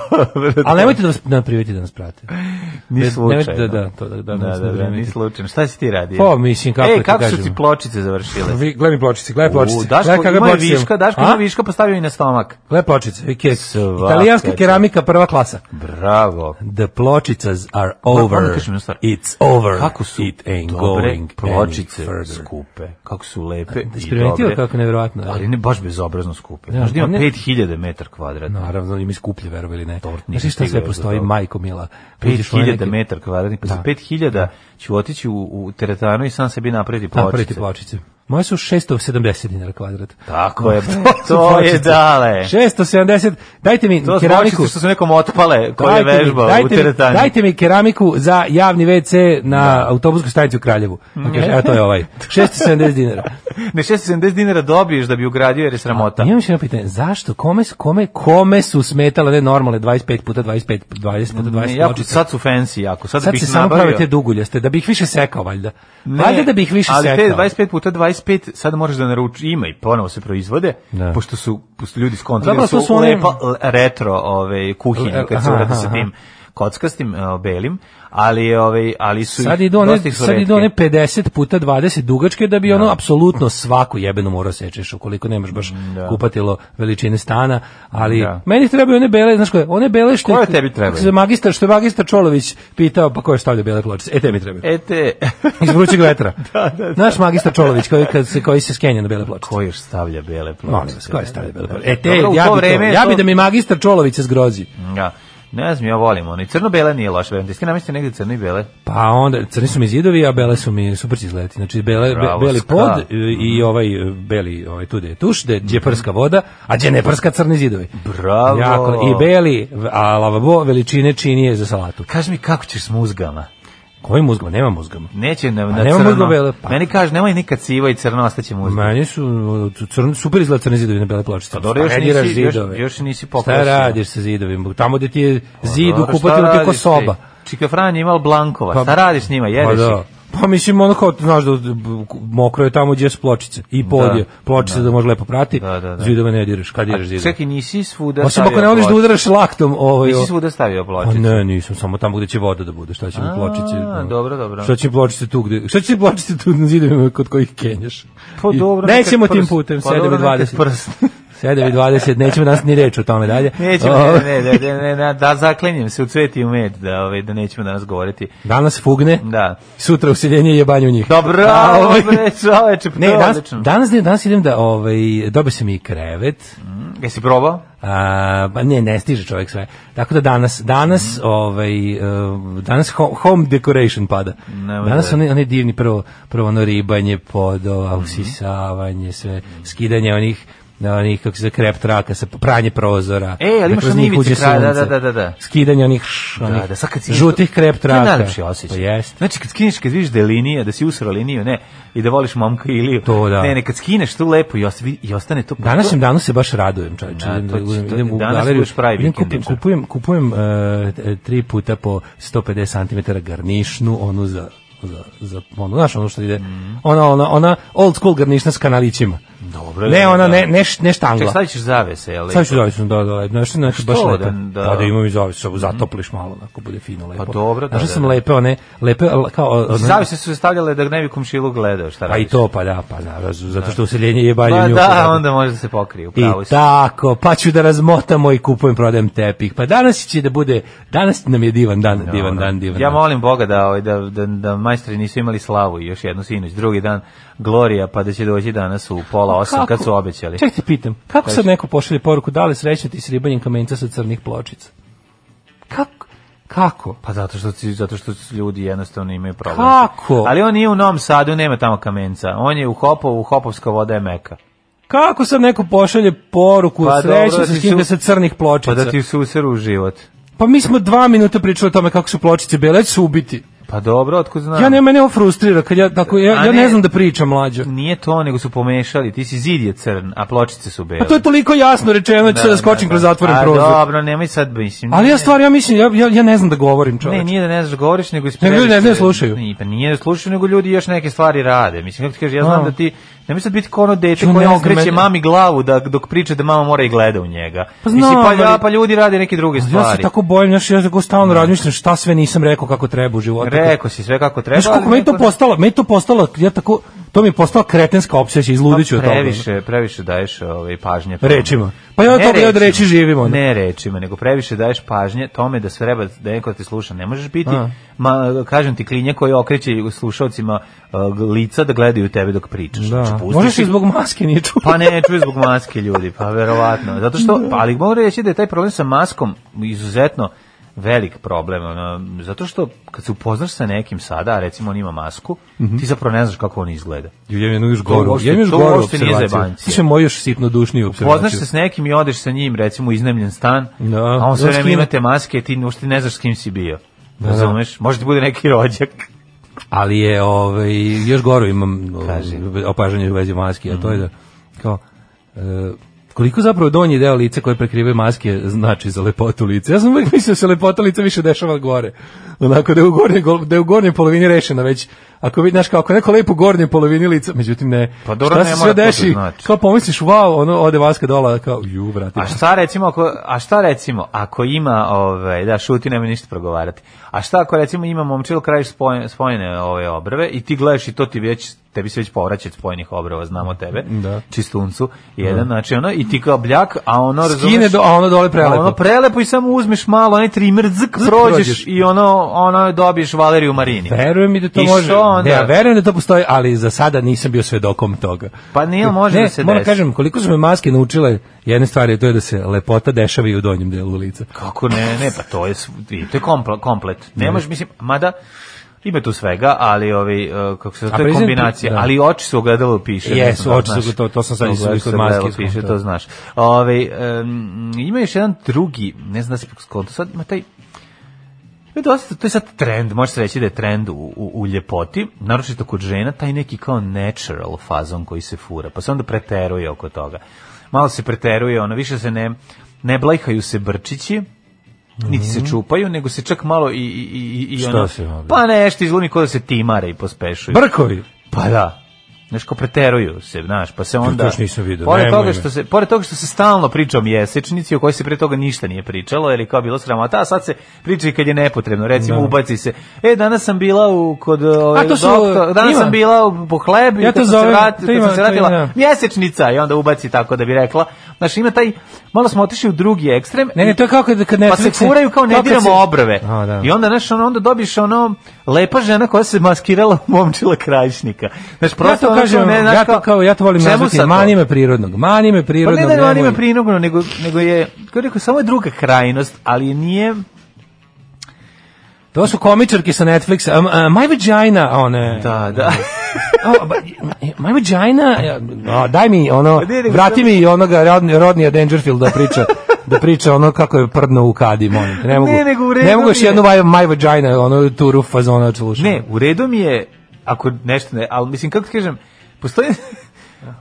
Speaker 6: Ali nemojte da vas da priveti da nas prate.
Speaker 5: ni
Speaker 6: bez-
Speaker 5: slučajno.
Speaker 6: nemojte da- da, to da- da
Speaker 5: da,
Speaker 6: nas
Speaker 5: da,
Speaker 6: ne
Speaker 5: da, ni
Speaker 6: primetite.
Speaker 5: slučajno. Šta si ti radio?
Speaker 6: Pa, mislim, kako
Speaker 5: Ej,
Speaker 6: ti
Speaker 5: kako su
Speaker 6: kažem.
Speaker 5: ti pločice završile?
Speaker 6: Vi, gledaj pločice, gledaj pločice.
Speaker 5: U, Daško
Speaker 6: kakve
Speaker 5: ima je
Speaker 6: pločice imam.
Speaker 5: viška, Daško
Speaker 6: A?
Speaker 5: ima viška, pa stavio i na stomak.
Speaker 6: Gledaj pločice, i kek.
Speaker 5: Svaka
Speaker 6: Italijanska
Speaker 5: čast.
Speaker 6: keramika prva klasa. Ono
Speaker 5: Bravo.
Speaker 6: The pločicas are
Speaker 5: Moram
Speaker 6: over.
Speaker 5: da kažem jednu stvar.
Speaker 6: It's over.
Speaker 5: Kako su
Speaker 6: It ain't
Speaker 5: dobre
Speaker 6: going
Speaker 5: pločice
Speaker 6: any further.
Speaker 5: skupe. Kako su lepe i
Speaker 6: Isprimetio
Speaker 5: dobre.
Speaker 6: kako nevjerovatno.
Speaker 5: Ali ne baš bezobrazno skupe.
Speaker 6: Ja,
Speaker 5: Znaš da ima
Speaker 6: pa ne-
Speaker 5: 5000 metara kvadratna.
Speaker 6: Naravno, ima skuplje, verovi ili ne.
Speaker 5: nisam
Speaker 6: Znaš šta sve
Speaker 5: stigao do
Speaker 6: postoji,
Speaker 5: toga.
Speaker 6: majko mila. Uđeš u onaj
Speaker 5: 5000
Speaker 6: neki-
Speaker 5: metara kvadratnih, pa za 5000 ću otići u, u teretanu i sam sebi napraviti pločice.
Speaker 6: Napraviti pločice. Moje su 670 dinara kvadrat.
Speaker 5: Tako je,
Speaker 6: su
Speaker 5: to je
Speaker 6: pločice.
Speaker 5: dale.
Speaker 6: 670, dajte mi
Speaker 5: To su
Speaker 6: keramiku.
Speaker 5: pločice što su nekom otpale koje je
Speaker 6: Dajte mi-
Speaker 5: vežbao u
Speaker 6: dajte mi-
Speaker 5: teretani.
Speaker 6: Dajte mi keramiku za javni WC na autobuskoj stanici u Kraljevu. Pa kaže, evo to je ovaj. 670 dinara.
Speaker 5: Ne 670 dinara dobiješ da bi ugradio jer je sramota.
Speaker 6: Imam još jedno pitanje, zašto, kome, su- kome, kome su smetale ne normalne 25 puta 25, 20 puta 20
Speaker 5: Ne, jako,
Speaker 6: pločice?
Speaker 5: sad su fancy jako. Sad,
Speaker 6: Sad
Speaker 5: bih
Speaker 6: se samo
Speaker 5: nabavio.
Speaker 6: prave te duguljaste, da bi ih više sekao, valjda.
Speaker 5: Ne,
Speaker 6: valjda da bi ih više
Speaker 5: ali
Speaker 6: sekao.
Speaker 5: te 25 puta 25 sad moraš da naruči ima i ponovo se proizvode
Speaker 6: Da.
Speaker 5: pošto su pošto ljudi skontali
Speaker 6: Dobro,
Speaker 5: da
Speaker 6: to
Speaker 5: su,
Speaker 6: su
Speaker 5: su
Speaker 6: one-
Speaker 5: lepa l- retro ove kuhinje
Speaker 6: L-
Speaker 5: kad se
Speaker 6: aha,
Speaker 5: urade sa
Speaker 6: aha.
Speaker 5: tim kockastim e, belim ali ove ali su
Speaker 6: Sad
Speaker 5: ih-
Speaker 6: idu one,
Speaker 5: dosta ih su
Speaker 6: sad
Speaker 5: retke.
Speaker 6: idu one 50 puta 20 dugačke da bi ono apsolutno svaku jebenu morao sečeš ukoliko nemaš baš kupatilo veličine stana, ali
Speaker 5: Mm, Da.
Speaker 6: meni trebaju one bele, znaš koje, one bele što
Speaker 5: Koje tebi trebaju?
Speaker 6: Za magistar što je magistar Čolović pitao pa ko je stavlja bele pločice? E tebi trebaju.
Speaker 5: E te,
Speaker 6: Iz vrućeg vetra. da, da, Naš magistar Čolović koji kad se koji se skenja na bele pločice.
Speaker 5: ko još stavlja bele pločice?
Speaker 6: Molim vas, ko je stavlja bele pločice? E te,
Speaker 5: Dobro, u
Speaker 6: ja
Speaker 5: to
Speaker 6: bi, to,
Speaker 5: vreme je
Speaker 6: ja
Speaker 5: to-
Speaker 6: bi da mi magistar Čolović se zgrozi.
Speaker 5: Da. Ne znam, ja volim ono. I crno-bele nije loše, verujem. Ti ste namestili negdje crno i bele?
Speaker 6: Pa onda, crni su mi zidovi, a bele su mi super izleti. Znači, bele, be,
Speaker 5: Bravo,
Speaker 6: beli
Speaker 5: ska.
Speaker 6: pod i, i ovaj e, beli, ovaj tu gde je tuš, gde gde je prska voda, a gde ne prska crni zidovi.
Speaker 5: Bravo.
Speaker 6: Jako, I beli, a lavabo veličine činije za salatu.
Speaker 5: Kaži mi kako ćeš s muzgama.
Speaker 6: Koji muzgama? Nema muzgama.
Speaker 5: Neće na, na
Speaker 6: nema
Speaker 5: crno.
Speaker 6: muzgobele, pa.
Speaker 5: Meni kaže, nemoj nikad sivo i crno, ostaće muzga.
Speaker 6: Meni su uh, crn, super izgleda crni zidovi na bele pločice. Pa
Speaker 5: dobro, još nisi- još- još nisi
Speaker 6: Šta
Speaker 5: pokrasio.
Speaker 6: radiš sa zidovima? Tamo gde ti je zid
Speaker 5: Dobro,
Speaker 6: ukupati
Speaker 5: šta
Speaker 6: ti je ko
Speaker 5: radiš ti?
Speaker 6: soba.
Speaker 5: Čika Franja je imao Blankova.
Speaker 6: Pa-
Speaker 5: šta radiš s njima? Jedeš
Speaker 6: pa,
Speaker 5: da.
Speaker 6: da. Pa mislim ono kao znaš da b- mokro je tamo gdje su pločice i pod je pločice da, može lepo prati.
Speaker 5: Da, da, da.
Speaker 6: Zidove ne diraš, kad diraš zidove.
Speaker 5: Čekaj, nisi svuda
Speaker 6: Osim ako ne voliš da
Speaker 5: pločicu.
Speaker 6: udaraš laktom ovaj
Speaker 5: Nisi
Speaker 6: o-
Speaker 5: svuda stavio
Speaker 6: Pa
Speaker 5: pločicu.
Speaker 6: ne, nisam, samo tamo gde će voda da bude, šta će mi
Speaker 5: A,
Speaker 6: pločice. no.
Speaker 5: dobro, dobro.
Speaker 6: Šta će mi pločice tu gde? Šta će mi pločice tu na zidovima kod kojih kenjaš?
Speaker 5: Pa
Speaker 6: I-
Speaker 5: dobro, neka
Speaker 6: Nećemo tim
Speaker 5: prst.
Speaker 6: putem,
Speaker 5: Pa
Speaker 6: 7 i
Speaker 5: dobro, neka
Speaker 6: 20.
Speaker 5: prst.
Speaker 6: 7 i 20, nećemo nas ni reći o tome dalje. Ovaj,
Speaker 5: Nećemo,
Speaker 6: O,
Speaker 5: ne, ne, ne, ne, ne, ne, da zaklinjem se u cvet i u med, da, ovaj, da nećemo danas govoriti.
Speaker 6: Danas fugne,
Speaker 5: Da.
Speaker 6: sutra usiljenje i jebanje u njih.
Speaker 5: Dobro,
Speaker 6: A, ovaj-
Speaker 5: bre, čoveče, pa
Speaker 6: Ne,
Speaker 5: to je
Speaker 6: danas,
Speaker 5: odlično.
Speaker 6: danas, ne, danas idem da, ovaj, dobio sam i krevet,
Speaker 5: Jesi probao?
Speaker 6: a, ba ne, ne stiže čovjek sve. Tako da danas, danas,
Speaker 5: Mhm.
Speaker 6: ovaj, e, danas ho- home decoration pada.
Speaker 5: Nema
Speaker 6: danas
Speaker 5: veze.
Speaker 6: one, one divni prvo, prvo ono ribanje, podova,
Speaker 5: Mhm.
Speaker 6: usisavanje, sve, skidanje onih onih kako se zove, krep traka sa pranje prozora.
Speaker 5: E, ali
Speaker 6: da
Speaker 5: imaš
Speaker 6: kroz
Speaker 5: one
Speaker 6: njih
Speaker 5: ivice
Speaker 6: uđe
Speaker 5: kraja, da,
Speaker 6: sunce.
Speaker 5: da, da, da.
Speaker 6: Skidanje onih, š, Pa onih
Speaker 5: da, sad kad si-
Speaker 6: žutih krep
Speaker 5: To je
Speaker 6: traka.
Speaker 5: najlepši osjećaj.
Speaker 6: Pa jeste.
Speaker 5: Znači, kad skineš, kad vidiš da je linija, da si usro liniju, ne, i da voliš momka Iliju.
Speaker 6: To da.
Speaker 5: Ne, ne, kad skineš to lepo i, osvi, i ostane to... Pa
Speaker 6: Danas im danas se baš radujem, čoveče.
Speaker 5: Da,
Speaker 6: Idem,
Speaker 5: to će-
Speaker 6: idem,
Speaker 5: to-
Speaker 6: idem u
Speaker 5: danas
Speaker 6: galeriju.
Speaker 5: budeš pravi
Speaker 6: Idem, kupim,
Speaker 5: vikendičar.
Speaker 6: kupujem, kupujem e, t- tri puta po 150 cm garnišnu, onu za za za ono znaš ono što ide
Speaker 5: Mhm.
Speaker 6: ona ona ona old school garnišna s kanalićima
Speaker 5: Dobro,
Speaker 6: ne
Speaker 5: da,
Speaker 6: ona
Speaker 5: da.
Speaker 6: ne ne š- ne štangla
Speaker 5: Ček, stavit ćeš zavese, jel?
Speaker 6: Sad ću zavisno, da, da, da, nešto nešto baš
Speaker 5: da,
Speaker 6: lepo.
Speaker 5: da. Mhm. Pa
Speaker 6: Da, da. Pa da imam i zavisno, zatopliš malo, onako bude fino, lepo.
Speaker 5: dobro, da,
Speaker 6: Znaš
Speaker 5: da,
Speaker 6: sam
Speaker 5: da.
Speaker 6: lepe, one, lepe, al- kao... one-
Speaker 5: Zavese su se stavljale da ne bi komšilu gledao, šta
Speaker 6: Pa i
Speaker 5: radiš?
Speaker 6: to, pa da, pa da, razu- zato što useljenje je balje
Speaker 5: Pa
Speaker 6: nju.
Speaker 5: da, onda može da se pokrije,
Speaker 6: I
Speaker 5: upravo si.
Speaker 6: tako, pa ću da razmotamo i kupujem, prodajem tepih. Pa danas će da bude, danas nam je divan dan, divan dan, divan
Speaker 5: Ja
Speaker 6: dan.
Speaker 5: molim Boga da, ovaj, da, da, da majstori nisu imali slavu i još jednu sinoć, drugi dan Gloria, pa da će doći danas u pola osam, kad su obećali.
Speaker 6: Ček te pitam, kako sad neko pošalje poruku, da li srećno ti s ribanjem kamenca sa crnih pločica? Kako? Kako?
Speaker 5: Pa zato što ci- zato što ljudi jednostavno imaju problem.
Speaker 6: Kako?
Speaker 5: Ali on nije u Novom Sadu, nema tamo kamenca. On je u Hopovu, Hopovska voda je meka.
Speaker 6: Kako sad neko pošalje poruku,
Speaker 5: Pa
Speaker 6: pa,
Speaker 5: dobro,
Speaker 6: srećno
Speaker 5: da
Speaker 6: se
Speaker 5: ti
Speaker 6: skine
Speaker 5: su-
Speaker 6: sa crnih
Speaker 5: Pa
Speaker 6: pločica? Pa,
Speaker 5: da ti se useru u život.
Speaker 6: mi smo dva minuta pričali o tome kako su pločice bele, ja ću se ubiti.
Speaker 5: Pa dobro, otkud znam.
Speaker 6: Ja ne, mene ovo frustrira, kad ja, tako, ja,
Speaker 5: A
Speaker 6: ja ne,
Speaker 5: ne.
Speaker 6: znam da pričam, mlađo.
Speaker 5: Nije to, nego su pomešali. Ti si zid je crn, a pločice su bele.
Speaker 6: Pa to je toliko jasno rečeno, da ću sad da skočim kroz zatvoren
Speaker 5: A
Speaker 6: prozor.
Speaker 5: dobro, nemoj sad, mislim.
Speaker 6: Ali ja stvar, ja mislim, ja, ja, ja ne znam da govorim čoveče.
Speaker 5: Ne, nije da ne znaš da govoriš, nego
Speaker 6: Nego ljudi ne znaju, slušaju.
Speaker 5: Nije, pa nije da slušaju, nego ljudi još neke stvari rade. Mislim, kako ti kažeš, ja znam
Speaker 6: A.
Speaker 5: da ti... Ne mislim biti kao ono dete
Speaker 6: Ču,
Speaker 5: koje
Speaker 6: ne znam,
Speaker 5: okreće
Speaker 6: meni-
Speaker 5: mami glavu da, dok priča da mama mora i gleda u njega.
Speaker 6: Pa
Speaker 5: Mislim,
Speaker 6: znam,
Speaker 5: pa, ja,
Speaker 6: ali-
Speaker 5: pa ljudi rade neke druge stvari.
Speaker 6: Ja se tako bojim, znaš, ja tako stalno razmišljam šta sve nisam rekao kako treba u životu.
Speaker 5: Rekao si sve kako treba.
Speaker 6: Znaš kako
Speaker 5: ali
Speaker 6: meni to
Speaker 5: neko-
Speaker 6: postalo, meni to postalo, ja tako, to mi je postala kretenska opsesija, izludiću od toga.
Speaker 5: Pa Previše, previše daješ ovaj, pažnje. tome.
Speaker 6: Rečima. Pa ja od
Speaker 5: Ne
Speaker 6: toga, ja od
Speaker 5: rečima.
Speaker 6: reči živim, ono. onda.
Speaker 5: Ne rečima, nego previše daješ pažnje tome da sve treba da neko te sluša. Ne možeš biti,
Speaker 6: A.
Speaker 5: ma, kažem ti, klinje koji okreće slušalcima uh, lica da gledaju tebe dok pričaš. Znači,
Speaker 6: Da.
Speaker 5: pustiš
Speaker 6: Možeš
Speaker 5: ih-
Speaker 6: i zbog maske nije čuo.
Speaker 5: Pa ne, čuje zbog maske ljudi, pa verovatno. Zato što, pa, ali mogu reći da je taj problem sa maskom izuzetno velik problem. Ono, zato što kad se upoznaš sa nekim sada, a recimo on ima masku,
Speaker 6: Mhm.
Speaker 5: ti zapravo ne znaš kako on izgleda.
Speaker 6: Ja imam još
Speaker 5: To
Speaker 6: goru,
Speaker 5: uopšte-
Speaker 6: ja imam još
Speaker 5: to
Speaker 6: goru
Speaker 5: uopšte nije
Speaker 6: observaciju.
Speaker 5: zajebancija.
Speaker 6: Slušaj, moju još sitnodušniju observaciju.
Speaker 5: Poznaš se s nekim i odeš sa njim, recimo, u iznajmljen stan,
Speaker 6: Da.
Speaker 5: a on sve
Speaker 6: Znaš
Speaker 5: vreme
Speaker 6: kim-
Speaker 5: imate maske i ti uopšte ne znaš s kim si bio. Razumeš? Može ti bude neki rođak.
Speaker 6: ali je ovaj još goru imam
Speaker 5: Kaži. Mhm.
Speaker 6: ovaj, opažanje u vezi maski, a to je da kao e, koliko zapravo donji deo lica koje prekrivaju maske znači za lepotu lica. Ja sam uvijek mislio da se lepota lica više dešava gore. Onako da je u gornjoj, gol- da je u gornjoj polovini rešena već. Ako vidiš kao ako je neko lepo u gornjoj polovini lica, međutim ne.
Speaker 5: Pa dobro,
Speaker 6: Šta
Speaker 5: ne
Speaker 6: se
Speaker 5: mora
Speaker 6: sve
Speaker 5: to da
Speaker 6: deši?
Speaker 5: znači.
Speaker 6: Kao pomisliš, wow, ono ode maska dola, kao ju, vrati.
Speaker 5: A šta recimo ako a šta recimo ako ima ovaj da šuti nema ništa progovarati. A šta ako recimo ima momčilo kraj spojene, spojene ove obrve i ti gledaš i to ti već tebi se već povraća od spojenih obrova, znamo tebe.
Speaker 6: Da.
Speaker 5: Čistuncu. Jedan znači ono i ti kao bljak, a ono razumeš.
Speaker 6: Skine do, a ono dole prelepo.
Speaker 5: Ono prelepo i samo uzmeš malo onaj trimer zk prođeš
Speaker 6: prođeš.
Speaker 5: i ono ono dobiješ Valeriju Marini.
Speaker 6: Verujem mi da to
Speaker 5: I
Speaker 6: može.
Speaker 5: što onda?
Speaker 6: Ne, ja verujem da to postoji, ali za sada nisam bio svedokom toga.
Speaker 5: Pa nije, može
Speaker 6: ne,
Speaker 5: da se
Speaker 6: moram
Speaker 5: desi.
Speaker 6: kažem, koliko su me maske naučile jedne stvari, to je da se lepota dešava i u donjem delu lica.
Speaker 5: Kako ne, ne, pa to je, sv- to je kompl- komplet.
Speaker 6: Mhm.
Speaker 5: Ne možeš, mislim, mada, ima tu svega, ali ovi, eh, kako se zove,
Speaker 6: A
Speaker 5: to je
Speaker 6: priznam ti-
Speaker 5: kombinacija,
Speaker 6: da.
Speaker 5: ali oči su ogledalo piše. ne
Speaker 6: Jesu,
Speaker 5: znam da li
Speaker 6: oči su
Speaker 5: znaš.
Speaker 6: to- to sam sad isto
Speaker 5: Ogledalo
Speaker 6: kod maske
Speaker 5: se piše,
Speaker 6: skontao.
Speaker 5: to znaš. Ove, em, ima još jedan drugi, ne znam da se skonto, sad ima taj, Ima dosta, to je sad trend, može se reći da je trend u, u, u ljepoti, naročito kod žena, taj neki kao natural fazon koji se fura, pa se onda preteruje oko toga. Malo se preteruje, ono, više se ne, ne blajhaju se brčići, niti se čupaju, nego se čak malo i, i, i, i
Speaker 6: Šta
Speaker 5: ono,
Speaker 6: se malo?
Speaker 5: pa nešto izglumi kao da se timare i pospešuju.
Speaker 6: Brkovi!
Speaker 5: Pa da. Znaš, kao preteruju se, znaš, pa se onda...
Speaker 6: to još nisam vidio,
Speaker 5: Pored
Speaker 6: nemoj
Speaker 5: toga,
Speaker 6: me.
Speaker 5: što se, pored toga što se stalno priča o mjesečnici, o kojoj se pre toga ništa nije pričalo, jer je kao bilo sramota, a sad se priča i kad je nepotrebno. Recimo,
Speaker 6: Da.
Speaker 5: ubaci se, e, danas sam bila u, kod ove,
Speaker 6: to su-
Speaker 5: doktora, danas
Speaker 6: ima.
Speaker 5: sam bila u, po hlebi,
Speaker 6: Ja to
Speaker 5: kad sam se
Speaker 6: zovem,
Speaker 5: vrat-
Speaker 6: to
Speaker 5: kad
Speaker 6: ima,
Speaker 5: sam se
Speaker 6: to
Speaker 5: vratila,
Speaker 6: ima.
Speaker 5: mjesečnica, i onda ubaci tako da bi rekla. Znaš, ima taj, malo smo otišli u drugi ekstrem.
Speaker 6: Ne, ne, to je kao kad, kad ne...
Speaker 5: pa se furaju kao ne diramo obrve.
Speaker 6: A, da.
Speaker 5: I onda znaš, ono, onda dobiš ono lepa žena koja se maskirala u momčila krajišnika. Znaš, prosto
Speaker 6: ja to
Speaker 5: ono,
Speaker 6: kažem,
Speaker 5: ne, znaš
Speaker 6: ja to kao, ja to volim
Speaker 5: čemu
Speaker 6: nazvati,
Speaker 5: sad to?
Speaker 6: manime prirodnog, manime
Speaker 5: Pa
Speaker 6: prirodnog.
Speaker 5: ne da je
Speaker 6: nemoj.
Speaker 5: ima prinugno, nego, nego je, kako rekao, samo je druga krajnost, ali nije...
Speaker 6: To su komičarke sa Netflixa. Um, uh, my vagina, a one...
Speaker 5: Da, da.
Speaker 6: Oh, but, my vagina, no, daj mi ono,
Speaker 5: Pa Ne, nego
Speaker 6: vrati
Speaker 5: sam-
Speaker 6: mi onoga rodni, rodnija Dangerfield da priča, da priča ono kako je prdno u kadi, molim te, ne mogu,
Speaker 5: Ne, nego u redu
Speaker 6: ne mogu još
Speaker 5: mi je.
Speaker 6: jednu my, my vagina, ono turu fazona od slušanja.
Speaker 5: Ne, u redu mi je, ako nešto ne, ali mislim, kako ti kažem, postoji...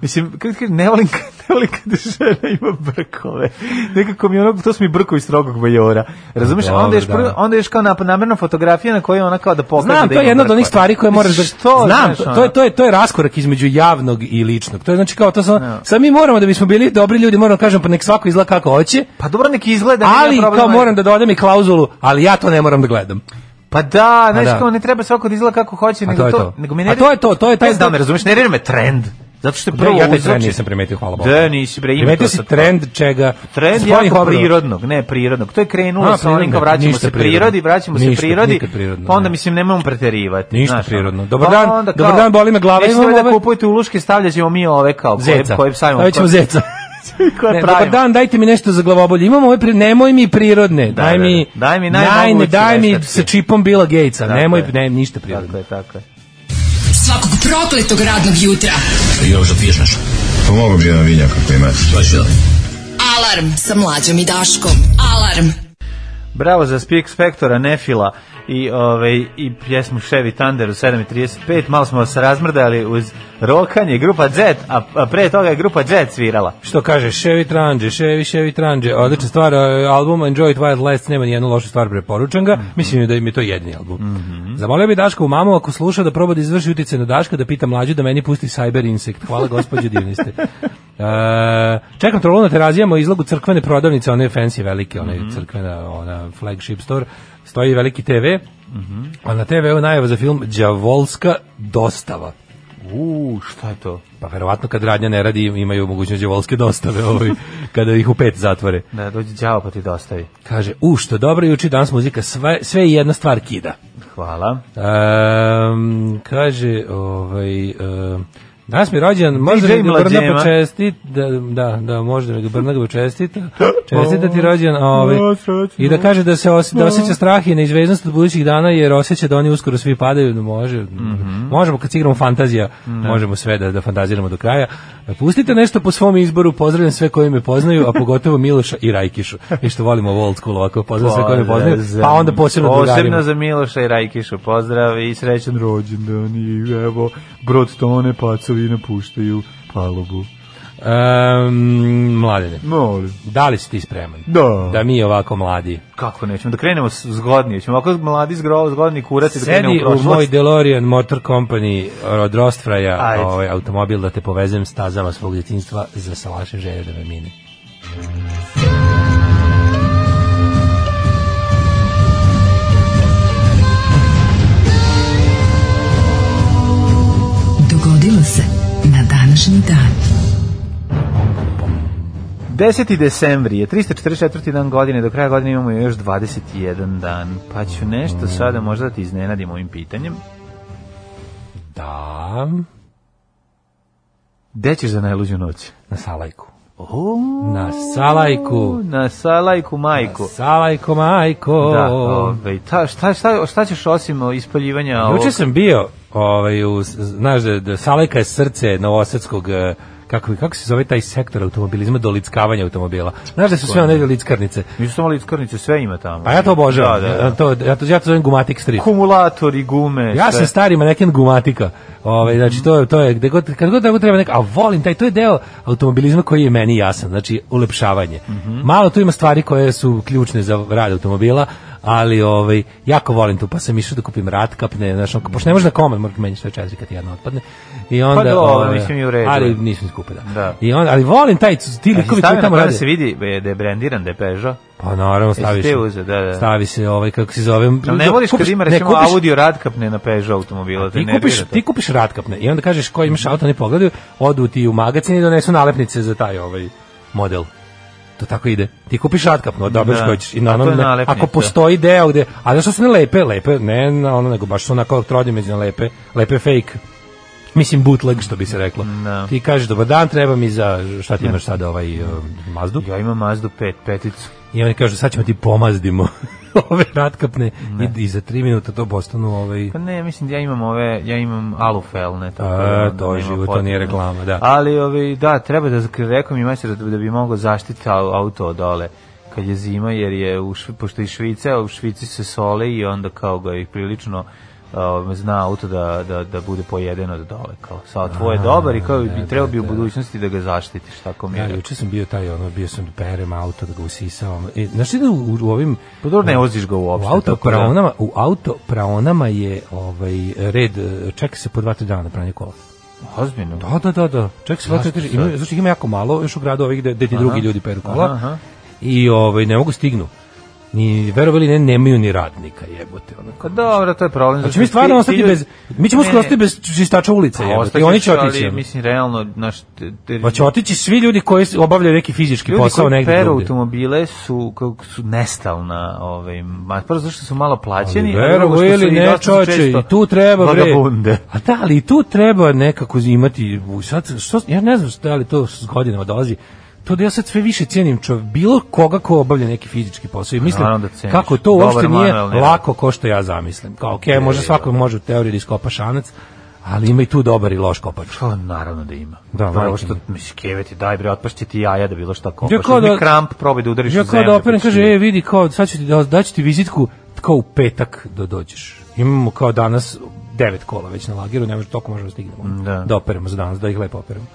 Speaker 5: Mislim, kako ti kažem, ne volim, kad- ne volim kada žena ima brkove. Nekako mi je ono, to su mi brkovi strogog majora. Razumeš? A onda
Speaker 6: Dobro,
Speaker 5: još,
Speaker 6: da.
Speaker 5: prvo- onda još kao nap- namerna fotografija na kojoj ona kao da pokaže
Speaker 6: Znam,
Speaker 5: da
Speaker 6: to je
Speaker 5: ima
Speaker 6: jedna od
Speaker 5: brkove.
Speaker 6: onih stvari koje moraš da
Speaker 5: Što?
Speaker 6: Znam,
Speaker 5: znaš,
Speaker 6: to
Speaker 5: ono?
Speaker 6: je to je to je raskorak između javnog i ličnog. To je znači kao to samo sad mi moramo da bismo bili dobri ljudi, moramo kažem pa nek svako izgleda kako hoće.
Speaker 5: Pa dobro, neki izgleda. nije
Speaker 6: ali
Speaker 5: problem,
Speaker 6: kao moram da dodam i klauzulu, ali ja to ne moram da gledam.
Speaker 5: Pa da, znaš
Speaker 6: da.
Speaker 5: kao ne treba svako da izgleda kako hoće,
Speaker 6: A
Speaker 5: nego
Speaker 6: to
Speaker 5: to,
Speaker 6: je to.
Speaker 5: nego mi
Speaker 6: A
Speaker 5: nervira-
Speaker 6: to je to, to je taj-
Speaker 5: Ne znam da me razumeš, ne nervira me trend. Zato što je
Speaker 6: Prvo,
Speaker 5: prvo
Speaker 6: ja taj trend
Speaker 5: uzročen-
Speaker 6: nisam primetio, hvala Bogu.
Speaker 5: Da, nisi bre, ima
Speaker 6: primetio
Speaker 5: to
Speaker 6: si
Speaker 5: sad.
Speaker 6: trend čega?
Speaker 5: Trend je
Speaker 6: Spolnih
Speaker 5: jako
Speaker 6: obrada.
Speaker 5: prirodnog, ne prirodnog. To je krenulo
Speaker 6: A,
Speaker 5: sa onim kao
Speaker 6: prirodno,
Speaker 5: vraćamo
Speaker 6: ništa
Speaker 5: se
Speaker 6: prirodno.
Speaker 5: prirodi, vraćamo se
Speaker 6: Ništa,
Speaker 5: prirodi,
Speaker 6: nikad prirodno,
Speaker 5: pa onda
Speaker 6: ne.
Speaker 5: mislim nemojmo preterivati.
Speaker 6: Ništa
Speaker 5: znaš, ono.
Speaker 6: prirodno. Dobar
Speaker 5: Pa
Speaker 6: dan,
Speaker 5: onda
Speaker 6: dobar
Speaker 5: kao,
Speaker 6: dan, boli me glava,
Speaker 5: nećete
Speaker 6: imam
Speaker 5: da
Speaker 6: ove-
Speaker 5: kupujete uluške, stavljaćemo mi ove kao koje,
Speaker 6: Zeca.
Speaker 5: koje savimo.
Speaker 6: Stavit ćemo zeca. Ne, dobar dan, dajte mi nešto za glavobolje. Imamo ove pri... nemoj mi prirodne.
Speaker 5: Da,
Speaker 6: daj
Speaker 5: da,
Speaker 6: mi
Speaker 5: da. Daj mi
Speaker 6: naj, ne,
Speaker 5: najmogući
Speaker 6: daj mi
Speaker 5: veštački.
Speaker 6: sa čipom Bila Gatesa.
Speaker 5: Tako
Speaker 6: nemoj
Speaker 5: je.
Speaker 6: ne, ništa prirodno.
Speaker 5: Tako je, tako je.
Speaker 4: Svakog prokletog radnog jutra.
Speaker 1: Pomogu Pa bi jedan vinjak ako imate.
Speaker 4: Alarm sa mlađom i Daškom. Alarm.
Speaker 5: Bravo za Speak Spectora Nefila i ovaj i pjesmu Chevy Thunder u 7:35. Malo smo se razmrdali uz rokanje grupa Jet, a, a pre toga je grupa Jet svirala.
Speaker 6: Što kaže, Chevy Tranđe, Chevy, Chevy Tranđe, odlična stvar, e, album Enjoy It While Last, nema nijednu lošu stvar, preporučam ga, mislim da im je to jedini album. Zamolio bi Daška u mamu, ako sluša, da proba da izvrši utice na Daška, da pita mlađu da meni pusti Cyber Insect. Hvala gospođo, divni ste. E, čekam trolu na terazijama u izlogu crkvene prodavnice, one fancy velike, one crkvena, ona flagship store, stoji veliki TV, a na TV-u najava za film Đavolska dostava.
Speaker 5: U, šta je to?
Speaker 6: Pa verovatno kad radnja ne radi imaju mogućnost đevolske dostave ovaj, kada ih u pet zatvore.
Speaker 5: Da dođe đavo pa ti dostavi.
Speaker 6: Kaže, u što dobro juči danas muzika, sve, sve i jedna stvar kida.
Speaker 5: Hvala.
Speaker 6: Ehm, kaže, ovaj, ehm, danas mi je rođen, možda
Speaker 5: DJ
Speaker 6: mi ga Brna
Speaker 5: Mlađema.
Speaker 6: počestit, da, da, da, možda mi ga Brna ga počestita, čestita ti rođen, ovaj,
Speaker 5: Da, srećno.
Speaker 6: i da kaže da se osje, da osjeća strah i neizveznost od budućih dana, jer osjeća da oni uskoro svi padaju, da može, možemo kad se igramo fantazija, možemo sve Mhm. da, da fantaziramo do kraja. Pustite nešto po svom izboru, pozdravljam sve koji me poznaju, a pogotovo Miloša i Rajkišu, i što volimo old school ovako, pozdravljam sve koji me poznaju,
Speaker 5: Pozdrav
Speaker 6: pa
Speaker 5: za-
Speaker 6: onda posebno drugarima.
Speaker 5: Posebno za Miloša i Rajkišu. Pozdrav i srećan rođendan i evo, brod tone, pacovi napuštaju palubu.
Speaker 6: Um, mladene,
Speaker 5: Molim.
Speaker 6: da li si ti spreman?
Speaker 5: Da.
Speaker 6: Da mi ovako mladi.
Speaker 5: Kako nećemo, da krenemo s- zgodni, ćemo ovako mladi zgro, zgodni kurac i da krenemo u
Speaker 6: Sedi u
Speaker 5: prošlost.
Speaker 6: moj DeLorean Motor Company od Rostfraja,
Speaker 5: Ajde.
Speaker 6: ovaj automobil da te povezem stazama svog djetinjstva za salaše želje da me mine.
Speaker 4: Dogodilo se na današnji dan.
Speaker 5: 10. decembri je 344. dan godine, do kraja godine imamo još 21 dan, pa ću nešto
Speaker 6: Mm.
Speaker 5: sada možda da ti iznenadim ovim pitanjem.
Speaker 6: Da,
Speaker 5: Gde ćeš za najluđu noć?
Speaker 6: na Salajku.
Speaker 5: O,
Speaker 6: Na Salajku.
Speaker 5: Oh, Na salajku majku.
Speaker 6: Salajko, majko.
Speaker 5: Da, ovaj, ta, šta, šta, šta ćeš osim o, ispaljivanja ovog-
Speaker 6: Oh. Juče sam bio, ovaj, u, znaš da, da Salajka je srce novosadskog eh, kako, kako se zove taj sektor automobilizma do lickavanja automobila. Znaš da su sve one lickarnice.
Speaker 5: Nisu samo lickarnice, sve ima tamo.
Speaker 6: Pa ja to obožavam.
Speaker 5: Da, da,
Speaker 6: Ja,
Speaker 5: da.
Speaker 6: to, ja, to, ja to zovem gumatik strip.
Speaker 5: Kumulatori, gume,
Speaker 6: Ja
Speaker 5: sve.
Speaker 6: sam stari maneken gumatika. Ovaj znači to je to je gde god kad god da treba neka, a volim taj to je deo automobilizma koji je meni jasan, znači ulepšavanje. Malo tu ima stvari koje su ključne za rad automobila, ali ovaj jako volim tu, pa sam išao da kupim ratkapne, znači pošto ne može na komad, moraš menjati sve četiri kad jedna otpadne. I onda
Speaker 5: Pa dobro,
Speaker 6: ovaj,
Speaker 5: mislim i u redu.
Speaker 6: Ali nisam skupe da.
Speaker 5: Da.
Speaker 6: I onda ali volim taj ti
Speaker 5: A si
Speaker 6: likovi koji
Speaker 5: stavio
Speaker 6: tamo
Speaker 5: na
Speaker 6: rade.
Speaker 5: da se vidi be, da je brendiran, da je Peugeot.
Speaker 6: Pa naravno staviš.
Speaker 5: te uzeo, da, da.
Speaker 6: Stavi se ovaj kako se zove.
Speaker 5: Jel ne voliš kad ima
Speaker 6: ne,
Speaker 5: recimo
Speaker 6: kupiš-
Speaker 5: Audi ratkapne na Peugeot automobila? Te
Speaker 6: Ti
Speaker 5: nervira
Speaker 6: kupiš,
Speaker 5: to. Mhm.
Speaker 6: ti kupiš ratkapne i onda kažeš koji imaš auto, ne pogledaju, odu ti u magacin i donesu nalepnice za taj ovaj model. To tako ide. Ti kupiš ratkapno, odabereš
Speaker 5: Da.
Speaker 6: koji ćeš. I
Speaker 5: A to je
Speaker 6: naravno, ne-
Speaker 5: nalepnica.
Speaker 6: ako postoji deo gde... A zašto su ne lepe? Lepe, ne na ono, nego baš su onako elektrodimeđene lepe. Lepe fake. Mislim bootleg, što bi se reklo.
Speaker 5: Da.
Speaker 6: Ti kažeš, dobar dan, treba mi za... Šta ti imaš sada, ovaj um, Mazdu?
Speaker 5: Ja imam Mazdu 5, peticu.
Speaker 6: I oni kažu, sad ćemo ti pomazdimo ove ratkapne i, i za tri minuta to postanu ovaj...
Speaker 5: Pa ne, mislim da ja imam ove, ja imam alufelne. Tako, ono,
Speaker 6: A,
Speaker 5: da onda
Speaker 6: to je
Speaker 5: nema
Speaker 6: život, to
Speaker 5: potrebe.
Speaker 6: nije reklama, da.
Speaker 5: Ali, ove, da, treba da, rekao mi majster da, da bi mogao zaštiti au- auto od dole kad je zima, jer je, u Švi, pošto je iz Švice, a u Švici se sole i onda kao ga i prilično um, zna auto da, da, da bude pojeden od dole. Kao, sa tvoje dobar i kao bi trebao bi u budućnosti da ga zaštitiš, tako mi
Speaker 6: Ja,
Speaker 5: je.
Speaker 6: juče sam bio taj, ono, bio sam da perem auto, da ga usisavam. E, znaš ti da u, u ovim...
Speaker 5: Pa dobro, ne voziš ga
Speaker 6: U
Speaker 5: uopšte.
Speaker 6: auto pa
Speaker 5: tako da-
Speaker 6: praonama, u auto praonama je ovaj red e, čeka se po 2-3 dana na pranje kola.
Speaker 5: Ozbiljno.
Speaker 6: Pa, Da, da, da, da. Čeka se 2-3
Speaker 5: Zašto
Speaker 6: dana. Ima, znači ih ima jako malo još u gradu ovih gde, gde ti drugi ljudi peru kola.
Speaker 5: Aha, aha.
Speaker 6: I ovaj ne mogu stignu. Ni verovali ne nemaju ni radnika, jebote, ono,
Speaker 5: Pa
Speaker 6: onako.
Speaker 5: dobro, to je problem.
Speaker 6: Znači
Speaker 5: zato
Speaker 6: mi
Speaker 5: što
Speaker 6: stvarno
Speaker 5: ti- ti
Speaker 6: ostati
Speaker 5: ljudi-
Speaker 6: bez mi ćemo
Speaker 5: Ne,
Speaker 6: uskoro
Speaker 5: ne.
Speaker 6: ostati bez čistača ulice,
Speaker 5: Pa,
Speaker 6: jebote. I
Speaker 5: ostaćeš,
Speaker 6: oni će
Speaker 5: ali,
Speaker 6: otići.
Speaker 5: Mislim, realno, naš... te- te-
Speaker 6: Pa će otići svi ljudi koji s- obavljaju neki fizički
Speaker 5: Ljudi
Speaker 6: posao
Speaker 5: koji
Speaker 6: negde
Speaker 5: peru
Speaker 6: drugde.
Speaker 5: automobile su kako su nestalna, ovaj, ma prvo zašto su malo plaćeni, a drugo
Speaker 6: Verovo
Speaker 5: što
Speaker 6: ili
Speaker 5: su i
Speaker 6: ne,
Speaker 5: dosta su
Speaker 6: čoče,
Speaker 5: često
Speaker 6: i tu treba bre.
Speaker 5: vagabunde.
Speaker 6: A da, ali i tu treba nekako imati, u- sad, što, ja ne znam šta li to s godinama dolazi, to da ja sad sve više cijenim čov, bilo koga ko obavlja neki fizički posao i mislim
Speaker 5: naravno da ceniš.
Speaker 6: kako to
Speaker 5: Dobar
Speaker 6: uopšte nije
Speaker 5: manuelni rad.
Speaker 6: lako ko što ja zamislim. Kao, okej, može svako može u teoriji da iskopa šanac, ali ima i tu dobar i loš kopač.
Speaker 5: Pa naravno da ima.
Speaker 6: Da,
Speaker 5: Da, Prvo
Speaker 6: majke
Speaker 5: što
Speaker 6: mi.
Speaker 5: misliš keveti, daj bre, otpašće ti jaja da bilo šta kopaš.
Speaker 6: Ja kao
Speaker 5: Uzmi
Speaker 6: da-
Speaker 5: kramp, probaj da udariš
Speaker 6: Ja
Speaker 5: u
Speaker 6: kao
Speaker 5: zemlju.
Speaker 6: da operem,
Speaker 5: pa ćeš
Speaker 6: kaže,
Speaker 5: vidjeti.
Speaker 6: e, vidi, kao, sad ću ti, da, daću ti vizitku, kao u petak da dođeš. Imamo kao danas devet kola već na lageru, ne može, toliko možemo stignemo.
Speaker 5: Da.
Speaker 6: operemo za danas, da ih lepo operemo.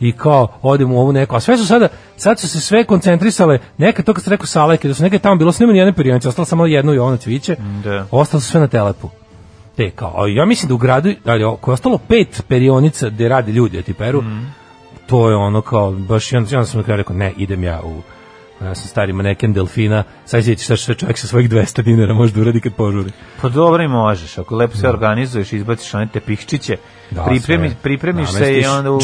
Speaker 6: I kao, odemo u ovu neku, a sve su sada, sad su se sve koncentrisale, neka to kad ste rekao salajke, da su neka tamo bilo snimanje jedne perionice, ostalo samo jedno i ono cviće,
Speaker 5: da.
Speaker 6: ostalo su sve na telepu. Te kao, a ja mislim da u gradu, ali ako je ostalo pet perionica gde radi ljudi, ti peru,
Speaker 5: Mhm.
Speaker 6: to je ono kao baš i onda, i onda sam na kraju rekao ne idem ja u ja sam stari maneken delfina sad sjeći šta sve čovjek sa svojih 200 dinara može da uradi kad požuri
Speaker 5: Pa dobro i možeš, ako lepo se organizuješ, izbaciš one tepihčiće,
Speaker 6: Da,
Speaker 5: pripremi,
Speaker 6: sve.
Speaker 5: pripremiš se
Speaker 6: Namestiš.
Speaker 5: i onda u,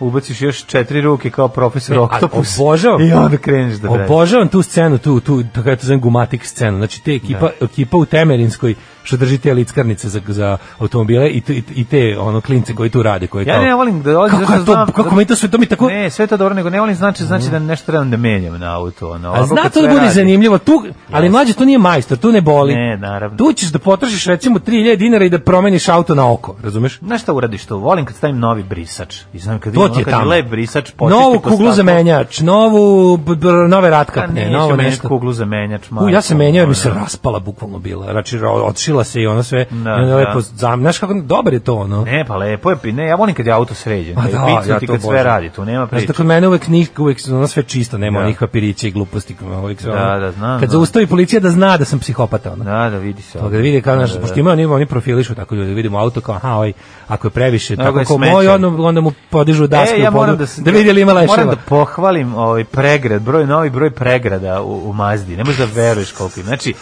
Speaker 5: ubaciš još četiri ruke kao profesor
Speaker 6: E, a
Speaker 5: Oktopus.
Speaker 6: obožavam.
Speaker 5: I onda kreneš da breš.
Speaker 6: obožavam tu scenu tu tu to kako ja to zovem gumatik scenu znači te ekipa ekipa u Temerinskoj što drži te lickarnice za, za automobile i, te- i te ono klince koji tu rade koji
Speaker 5: Ja
Speaker 6: kao,
Speaker 5: ne volim da dolazim,
Speaker 6: kako,
Speaker 5: zato
Speaker 6: je
Speaker 5: što
Speaker 6: to,
Speaker 5: znam-
Speaker 6: kako mi to sve to mi tako Mhm.
Speaker 5: Ne, sve to dobro, nego ne volim znači, znači da nešto trebam da menjam na auto. Ono,
Speaker 6: A
Speaker 5: ovako
Speaker 6: zna
Speaker 5: kad
Speaker 6: to da
Speaker 5: sve
Speaker 6: bude
Speaker 5: radi.
Speaker 6: zanimljivo, tu, ali mlađe to nije majstor, tu ne boli.
Speaker 5: Ne, naravno.
Speaker 6: Tu ćeš da potrošiš recimo 3000 dinara i da promeniš auto na oko, razumeš?
Speaker 5: Znaš šta uradiš to? Volim kad stavim novi brisač. I znam kad
Speaker 6: To
Speaker 5: vidim
Speaker 6: ti je
Speaker 5: ono, kad je
Speaker 6: tamo.
Speaker 5: lep brisač, početi
Speaker 6: Novu kuglu za menjač, novu b- b- nove
Speaker 5: Pa
Speaker 6: ratkapne,
Speaker 5: ne,
Speaker 6: novo
Speaker 5: novo
Speaker 6: nešto.
Speaker 5: kuglu za menjač.
Speaker 6: U, ja sam menjao jer mi se
Speaker 5: ono.
Speaker 6: raspala bukvalno bila. Znači, ro- odšila se i ono sve.
Speaker 5: Da,
Speaker 6: i onda
Speaker 5: da.
Speaker 6: lepo, zam... Znaš kako, dobar je to ono.
Speaker 5: Ne, pa lepo je, pi- ne, ja volim kad je auto sređen.
Speaker 6: Pa
Speaker 5: kad je
Speaker 6: da,
Speaker 5: picnuti,
Speaker 6: ja to
Speaker 5: kad sve
Speaker 6: obožavam.
Speaker 5: radi, tu nema
Speaker 6: Znaš
Speaker 5: priče.
Speaker 6: da kod mene uvek, nik, uvek su ono sve čisto, nema
Speaker 5: Da.
Speaker 6: onih papirića i gluposti. Uvek sve,
Speaker 5: Da,
Speaker 6: ono-
Speaker 5: da, znam,
Speaker 6: Kad
Speaker 5: da.
Speaker 6: zaustavi policija da zna da sam psihopata. Ono.
Speaker 5: Da, da, vidi se.
Speaker 6: To da vide kao naš, pošto imaju oni, oni profilišu tako ljudi, vidimo auto kao, aha, ovaj, ako je previše,
Speaker 5: Mnogo je
Speaker 6: tako kao
Speaker 5: smeća.
Speaker 6: moj, onda, onda mu podižu dasku,
Speaker 5: E, ja moram da,
Speaker 6: da,
Speaker 5: se-
Speaker 6: da vidi li ima leševa.
Speaker 5: Moram da pohvalim ovaj pregrad, broj novi broj pregrada u, u Mazdi. Ne možeš da veruješ koliko ima. Znači,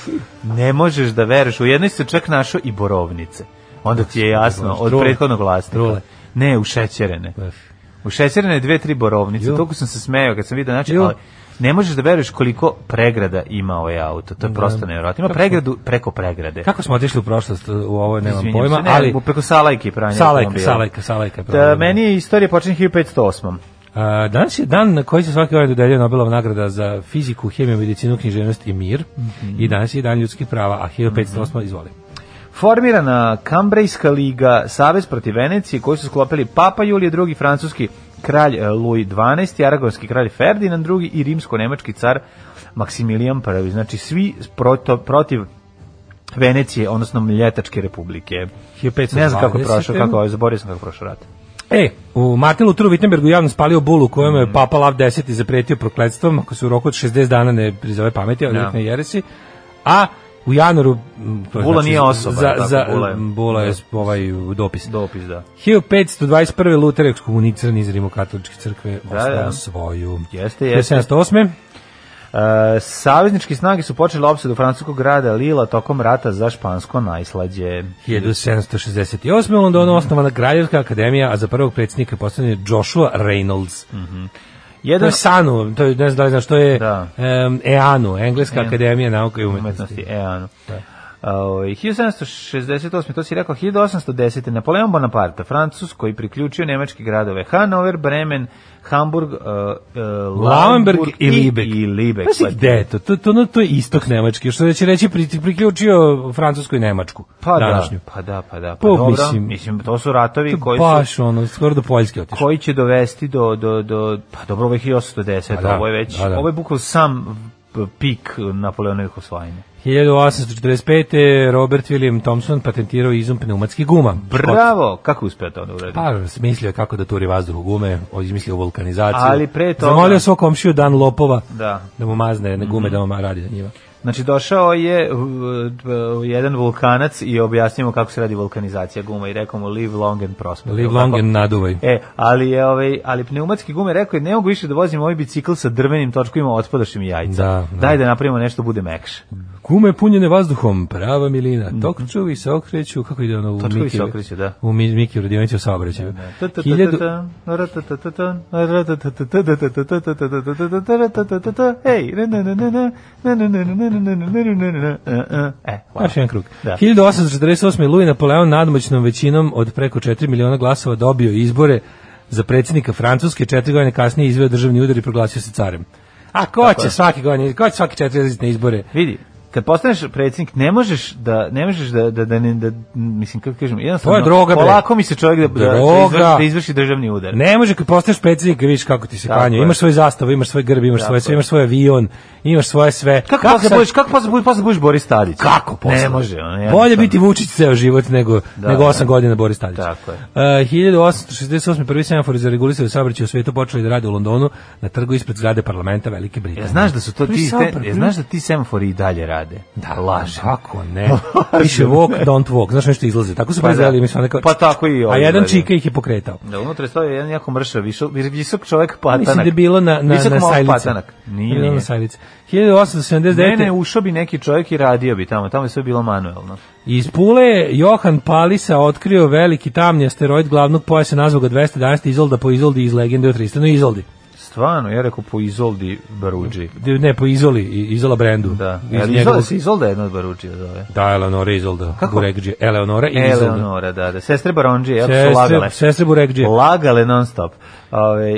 Speaker 5: ne možeš da veruješ. U jednoj se čak našao i borovnice. Onda ti je jasno od
Speaker 6: Trule.
Speaker 5: prethodnog vlasnika.
Speaker 6: Trule.
Speaker 5: Ne, u šećerene. U šećerne dve, tri borovnice.
Speaker 6: Jo.
Speaker 5: Toliko sam se smejao kad sam vidio. Znači,
Speaker 6: Jo.
Speaker 5: ali ne možeš da veruješ koliko pregrada ima ovaj auto. To je prosto nevjerojatno. Ima
Speaker 6: Kako
Speaker 5: pregradu preko pregrade.
Speaker 6: Kako smo otišli u prošlost, u ovo nemam
Speaker 5: Izvinjam
Speaker 6: pojma,
Speaker 5: se, ne,
Speaker 6: ali...
Speaker 5: preko Salajke i pranja
Speaker 6: Salajka,
Speaker 5: automobila.
Speaker 6: Salajka, Salajka.
Speaker 5: Da, meni je istorija počinje 1508.
Speaker 6: A, danas je dan na koji se svake godine dodeljuje Nobelova nagrada za fiziku, hemiju, medicinu, književnost i mir.
Speaker 5: Mhm.
Speaker 6: I danas je dan ljudskih prava, a 1508, izvoli.
Speaker 5: Formirana Kambrejska liga, Savez protiv Venecije, koji su sklopili Papa Julije II, francuski kralj e, Louis XII, aragonski kralj Ferdinand II i rimsko-nemački car Maksimilijan I. Znači, svi proto, protiv Venecije, odnosno Mljetačke republike.
Speaker 6: 1520.
Speaker 5: Ne znam kako je prošao, kako je, zaboravio sam kako je prošao rat.
Speaker 6: E, u Martin Lutheru Wittenbergu javno spalio bulu u kojem
Speaker 5: Mm.
Speaker 6: je Papa Lav X i zapretio prokledstvom ako se u roku od 60 dana ne prizove pameti, ali
Speaker 5: Da.
Speaker 6: ne jeresi. A u januaru... m, to je znači
Speaker 5: Bula nije osoba,
Speaker 6: Za,
Speaker 5: tako,
Speaker 6: za,
Speaker 5: bula je-
Speaker 6: bula je ovaj dopis.
Speaker 5: Dopis, da.
Speaker 6: 1521. Luter je ekskomuniciran iz Rimokatoličke crkve,
Speaker 5: Da,
Speaker 6: osnovao
Speaker 5: da.
Speaker 6: svoju.
Speaker 5: Jeste, jeste.
Speaker 6: 1708.
Speaker 5: E, saveznički snage su počele opsadu francuskog grada Lila tokom rata za špansko najslađe.
Speaker 6: 1768. u Londonu osnovana Kraljevska akademija, a za prvog predsjednika je postavljen Joshua Reynolds. To
Speaker 5: Jedan
Speaker 6: je SANU, to je, ne znam da li znaš, to je
Speaker 5: Da.
Speaker 6: em, EANU, Engleska
Speaker 5: E.
Speaker 6: akademija nauka i umetnosti.
Speaker 5: umetnosti, e, ano. Ovaj, 1768, to si rekao, 1810. Napoleon Bonaparte, Francus, koji priključio nemačke gradove Hanover, Bremen, Hamburg, uh, uh,
Speaker 6: Lauenberg i Libek.
Speaker 5: I Libek.
Speaker 6: Pa si
Speaker 5: Pa,
Speaker 6: gde je to? To, to, no, to je istok Nemački, što će reći pri, priključio Francusku i Nemačku.
Speaker 5: pa da,
Speaker 6: današnju.
Speaker 5: pa da, pa da. Pa,
Speaker 6: Pa,
Speaker 5: dobro, mislim,
Speaker 6: mislim-
Speaker 5: to su ratovi
Speaker 6: To je
Speaker 5: koji su
Speaker 6: baš ono, skoro do Poljske otišao.
Speaker 5: koji će dovesti do, do, do pa dobro, ovo je 1810,
Speaker 6: Pa da,
Speaker 5: ovo je već,
Speaker 6: da, da.
Speaker 5: ovo je bukvalo sam v- pik Napoleonovih osvajanja.
Speaker 6: 1845. Robert William Thompson patentirao izum pneumatskih guma.
Speaker 5: Bravo! Kako uspeo to onda uraditi?
Speaker 6: Pa, smislio je kako da turi vazduh u gume, on je izmislio vulkanizaciju.
Speaker 5: Ali pre toga-
Speaker 6: Zamolio svog komšiju Dan Lopova
Speaker 5: Da.
Speaker 6: da mu mazne na gume, da mu ma- radi na njima.
Speaker 5: Znači, došao je uh, uh, jedan vulkanac i objasnio mu kako se radi vulkanizacija guma i rekao mu live long and prosper.
Speaker 6: Live
Speaker 5: Jel'
Speaker 6: long
Speaker 5: tako?
Speaker 6: and naduvaj.
Speaker 5: E, ali je ovaj, ali pneumatski gume rekao je ne mogu više da vozim ovaj bicikl sa drvenim točkovima, otpadašim jajca.
Speaker 6: Da, da.
Speaker 5: Daj da napravimo nešto da bude mekše.
Speaker 6: Gume punjene vazduhom, prava milina. Tokčovi se okreću, kako ide ono u
Speaker 5: Točkovi Mhm. se
Speaker 6: Miki-
Speaker 5: okreću, da.
Speaker 6: U Mi- Miki u radionici u saobraćaju. Hiljadu- Još
Speaker 5: Ej,
Speaker 6: jedan krug.
Speaker 5: Da.
Speaker 6: 1848. Louis Napoleon nadmoćnom većinom od preko 4 miliona glasova dobio izbore za predsjednika Francuske, četiri godine kasnije izveo državni udar i proglasio se carem. A ko će svake godine, ko će svake četiri godine na izbore?
Speaker 5: Vidi, kad postaneš predsjednik, ne možeš da ne možeš da da da, ne, da mislim kako kažem, jednostavno
Speaker 6: To je droga, bre.
Speaker 5: polako mi se čovjek da da, da, izvrši,
Speaker 6: Droga.
Speaker 5: da izvrši državni udar.
Speaker 6: Ne može kad postaneš predsjednik, da vidiš kako ti se
Speaker 5: Tako
Speaker 6: klanja.
Speaker 5: je.
Speaker 6: Imaš svoj zastav, imaš svoj grb, imaš
Speaker 5: Tako
Speaker 6: svoje sve,
Speaker 5: je.
Speaker 6: imaš svoj avion, imaš svoje sve.
Speaker 5: Kako, posle
Speaker 6: sad-
Speaker 5: budeš, kako posle budeš, posle budeš Boris Tadić?
Speaker 6: Kako posle?
Speaker 5: Ne može. ono,
Speaker 6: Bolje
Speaker 5: jednostavno.
Speaker 6: biti Vučić ceo život nego,
Speaker 5: Da,
Speaker 6: nego 8
Speaker 5: da.
Speaker 6: godina Boris Tadić.
Speaker 5: Tako je.
Speaker 6: Uh, 1868. prvi semafor za regulisanje saobraćaja u svetu počeli da rade u Londonu na trgu ispred zgrade parlamenta Velike Britanije.
Speaker 5: Ja znaš da su to
Speaker 6: Prvi
Speaker 5: ti,
Speaker 6: semafor,
Speaker 5: te,
Speaker 6: prvi-
Speaker 5: ja znaš da ti semafori i dalje rade.
Speaker 6: Da,
Speaker 5: laže.
Speaker 6: Kako ne? Piše walk, don't walk. Znaš nešto izlaze. Tako su
Speaker 5: Pa
Speaker 6: pa
Speaker 5: da.
Speaker 6: izgledali. mi smo onda kao-
Speaker 5: Pa tako i
Speaker 6: A
Speaker 5: ovi
Speaker 6: jedan
Speaker 5: izgledaju.
Speaker 6: čika ih je pokretao.
Speaker 5: Da unutra stoji jedan jako mršav, visok, visok čovjek patanak.
Speaker 6: Mislim da je bilo na, na,
Speaker 5: visok
Speaker 6: na
Speaker 5: malo
Speaker 6: sajlici.
Speaker 5: patanak. Nije,
Speaker 6: Bilo
Speaker 5: nije.
Speaker 6: na sajlici. 1879.
Speaker 5: Ne, ne, ušao bi neki čovjek i radio bi tamo, tamo je sve bilo manuelno.
Speaker 6: Iz Pule je Johan Palisa otkrio veliki tamni asteroid glavnog pojasa nazvao ga 211 Izolda po Izoldi iz legende o Tristanu i Izoldi.
Speaker 5: Stvarno, ja rekao po Izoldi Baruđi.
Speaker 6: Ne, po Izoli, i- Izola brendu.
Speaker 5: Da,
Speaker 6: Iz
Speaker 5: Iz
Speaker 6: njegovog-
Speaker 5: Izolda se Izolda jedna od Baruđija zove.
Speaker 6: Da, Eleonora i Izolda.
Speaker 5: Kako?
Speaker 6: Burekđe. Eleonora i E, Izolda.
Speaker 5: Eleonora, da, da. Sestre Baronđije, jako su lagale.
Speaker 6: Sestre, sestre Burekđe.
Speaker 5: Lagale non stop. Ove,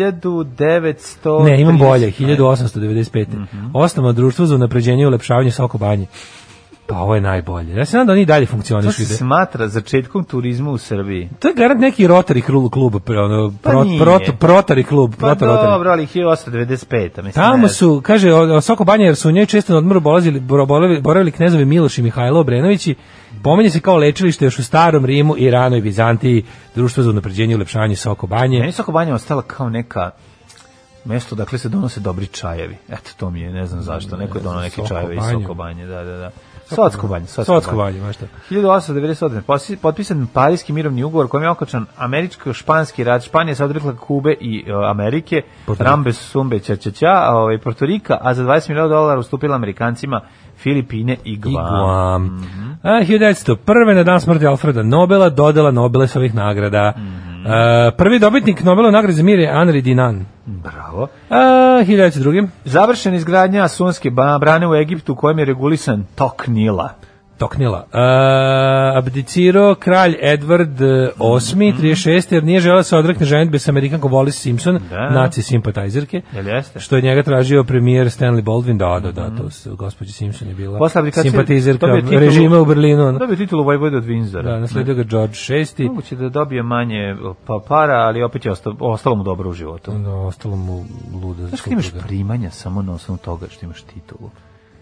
Speaker 5: 1900...
Speaker 6: Ne, imam bolje, 1895.
Speaker 5: Mhm.
Speaker 6: Osnovno društvo za unapređenje i ulepšavanje Soko banje. Pa ovo je najbolje. Ja se nadam da oni i dalje
Speaker 5: To
Speaker 6: funkcionišu.
Speaker 5: se smatra začetkom turizma u Srbiji.
Speaker 6: To je garant neki Rotary klub, klub pre- ono,
Speaker 5: Pa
Speaker 6: pro,
Speaker 5: nije.
Speaker 6: proto, protari klub,
Speaker 5: Pa
Speaker 6: proto Rotary.
Speaker 5: dobro, ali 1895. Mislim, ne
Speaker 6: Tamo
Speaker 5: znam.
Speaker 6: su, kaže, o- o Soko Banja, jer su u njoj često na odmoru bolazili, bro- boravili, boravili knezovi Miloš i Mihajlo Obrenovići, pomenje se kao lečilište još u starom Rimu, Iranu i Bizantiji, društvo za unapređenje i ulepšavanje Soko Banje.
Speaker 5: Meni Soko Banja ostala kao neka mesto dakle se donose dobri čajevi. Eto, to mi je, ne znam zašto, neko je donao neke
Speaker 6: Soko
Speaker 5: čajeve iz
Speaker 6: Banju.
Speaker 5: Soko Banje, da, da, da. Socko Banje,
Speaker 6: Socko Banje, baš to.
Speaker 5: 1898. posi- Potpisan Parijski mirovni ugovor kojim je okačan američko-španski rat. Španija se odrekla Kube i e, Amerike,
Speaker 6: Porto Riko.
Speaker 5: Rambe, Sumbe, Ča, Ča, Ča, a ovaj, Portorika, a za 20 miliona dolara ustupila Amerikancima Filipine i Guam.
Speaker 6: I Guam. A, 1901. na dan smrti Alfreda Nobela dodela Nobelesovih nagrada. E, prvi dobitnik Nobelove nagrade za mir je Henri Dinan.
Speaker 5: Bravo.
Speaker 6: A, 1902.
Speaker 5: Završena izgradnja Asunske ba- brane u Egiptu u kojem je regulisan tok Nila.
Speaker 6: Toknila. E, abdicirao kralj Edward e, VIII,
Speaker 5: Mhm.
Speaker 6: 36. jer nije želeo da se odrekne ženitbe sa Amerikankom Wallis Simpson,
Speaker 5: Da.
Speaker 6: naci simpatizerke.
Speaker 5: Jel jeste? Mhm.
Speaker 6: Što je njega tražio premijer Stanley Baldwin, da, da, da, to se, gospođa Simpson je bila
Speaker 5: Posle abdikacije
Speaker 6: simpatizerka
Speaker 5: dobio titulu-
Speaker 6: režima u Berlinu. ono.
Speaker 5: Dobio titulu Mhm. Vojvode od Windsora.
Speaker 6: Da, nasledio ga George VI.
Speaker 5: Moguće da dobije manje pa, para, ali opet je ostalo, ostalo mu dobro u životu.
Speaker 6: Ono, ostalo mu luda.
Speaker 5: Znaš kad imaš primanja samo na osnovu toga što imaš titulu?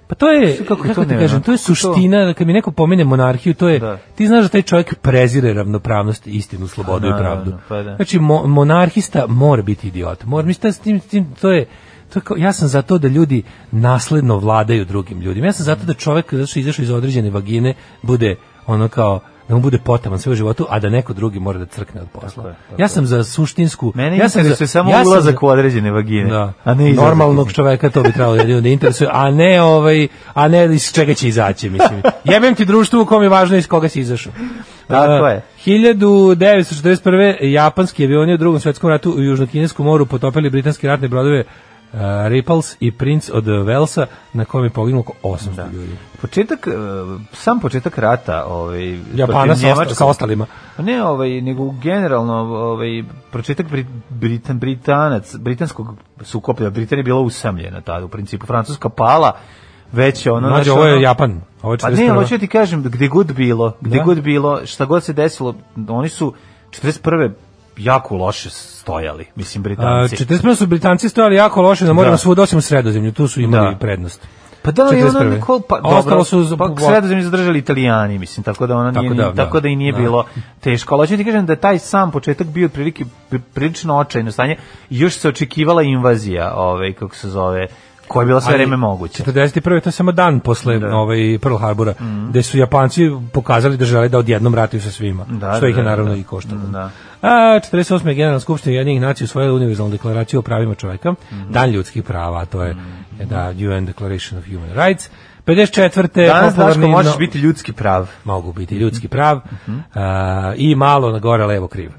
Speaker 6: Pa to je,
Speaker 5: Znaš
Speaker 6: kako,
Speaker 5: kako je to
Speaker 6: ti kažem,
Speaker 5: nevjerojatno?
Speaker 6: to je
Speaker 5: Kako to-
Speaker 6: suština, da kad mi neko pomene monarhiju, to je,
Speaker 5: Da.
Speaker 6: ti znaš da taj čovjek prezire ravnopravnost, istinu, slobodu
Speaker 5: Da,
Speaker 6: i pravdu.
Speaker 5: da, da, pa da.
Speaker 6: Znači, mo- monarhista mora biti idiot. Mora, mislim, da s tim, s tim, to je, to je kao, ja sam za to da ljudi nasledno vladaju drugim ljudima. Ja sam za to da čovjek, zato što je izašao iz određene vagine, bude ono kao, da mu bude potaman sve u životu, a da neko drugi mora da crkne od posla.
Speaker 5: Tako je, tako
Speaker 6: ja sam za suštinsku...
Speaker 5: Mene
Speaker 6: ja sam
Speaker 5: interesuje
Speaker 6: za-
Speaker 5: samo
Speaker 6: ja sam za-
Speaker 5: ulazak u određene vagine,
Speaker 6: da.
Speaker 5: a ne izlazak.
Speaker 6: normalnog čoveka to bi trebalo jedino da interesuje, a ne ovaj, a ne iz čega će izaći, mislim. Jebem ti društvo u kom je važno iz koga si izašao.
Speaker 5: Tako
Speaker 6: A,
Speaker 5: je.
Speaker 6: 1941. japanski avioni u drugom svetskom ratu u južnokineskom moru potopili britanske ratne brodove Uh, Ripples i Prince od Velsa na kojem je poginulo oko 800 ljudi.
Speaker 5: Početak, e, sam početak rata ovaj,
Speaker 6: Japana
Speaker 5: protiv
Speaker 6: sa, osta,
Speaker 5: Njemačke-
Speaker 6: sa ostalima.
Speaker 5: Pa Ne, ovaj, nego generalno ovaj, pročetak Brit, Britan, Britanac, britanskog sukoplja, Britanija je bila usamljena tada, u principu, Francuska pala, već je ono...
Speaker 6: Mlađe,
Speaker 5: znaš,
Speaker 6: ovo je
Speaker 5: ono-
Speaker 6: Japan. Ovo je
Speaker 5: Pa ne,
Speaker 6: 41..
Speaker 5: hoću ti kažem, gde god bilo, gde
Speaker 6: Da.
Speaker 5: god bilo, šta god se desilo, oni su 41. jako loše stojali,
Speaker 6: A,
Speaker 5: mislim, Britanci.
Speaker 6: 41. su Britanci stojali jako loše na moru,
Speaker 5: Da.
Speaker 6: da. svuda osim u sredozemlju, tu su imali
Speaker 5: Da.
Speaker 6: prednost.
Speaker 5: Pa da, i ono
Speaker 6: 41..
Speaker 5: Nikol, pa
Speaker 6: A
Speaker 5: dobro,
Speaker 6: ostalo su za-
Speaker 5: pa sredozemlje zadržali italijani, mislim, tako da ona
Speaker 6: Tako
Speaker 5: nije,
Speaker 6: da,
Speaker 5: ni-
Speaker 6: da.
Speaker 5: tako da i nije
Speaker 6: Da.
Speaker 5: bilo teško. Ali hoću ti kažem da je taj sam početak bio otprilike pri- prilično očajno stanje i još se očekivala invazija, ovaj, kako se zove, koja je bila sve
Speaker 6: Ali
Speaker 5: vreme moguća.
Speaker 6: 41. to je samo dan posle
Speaker 5: Da. Mhm.
Speaker 6: ovaj Pearl Harbora, gde su Japanci pokazali da žele da odjednom ratuju sa svima,
Speaker 5: Da,
Speaker 6: što ih je
Speaker 5: da,
Speaker 6: naravno
Speaker 5: da. Mhm.
Speaker 6: i koštalo.
Speaker 5: Da.
Speaker 6: A 48. je Generalna skupština Jedinih nacija usvojila univerzalnu deklaraciju o pravima čoveka,
Speaker 5: Mhm.
Speaker 6: dan ljudskih prava, a to je da UN Declaration of Human Rights. 54.
Speaker 5: Danas, Daško,
Speaker 6: popularni
Speaker 5: možeš
Speaker 6: no-
Speaker 5: biti ljudski prav.
Speaker 6: mogu biti ljudski prav
Speaker 5: Mhm.
Speaker 6: a, i malo na gore levo kriv.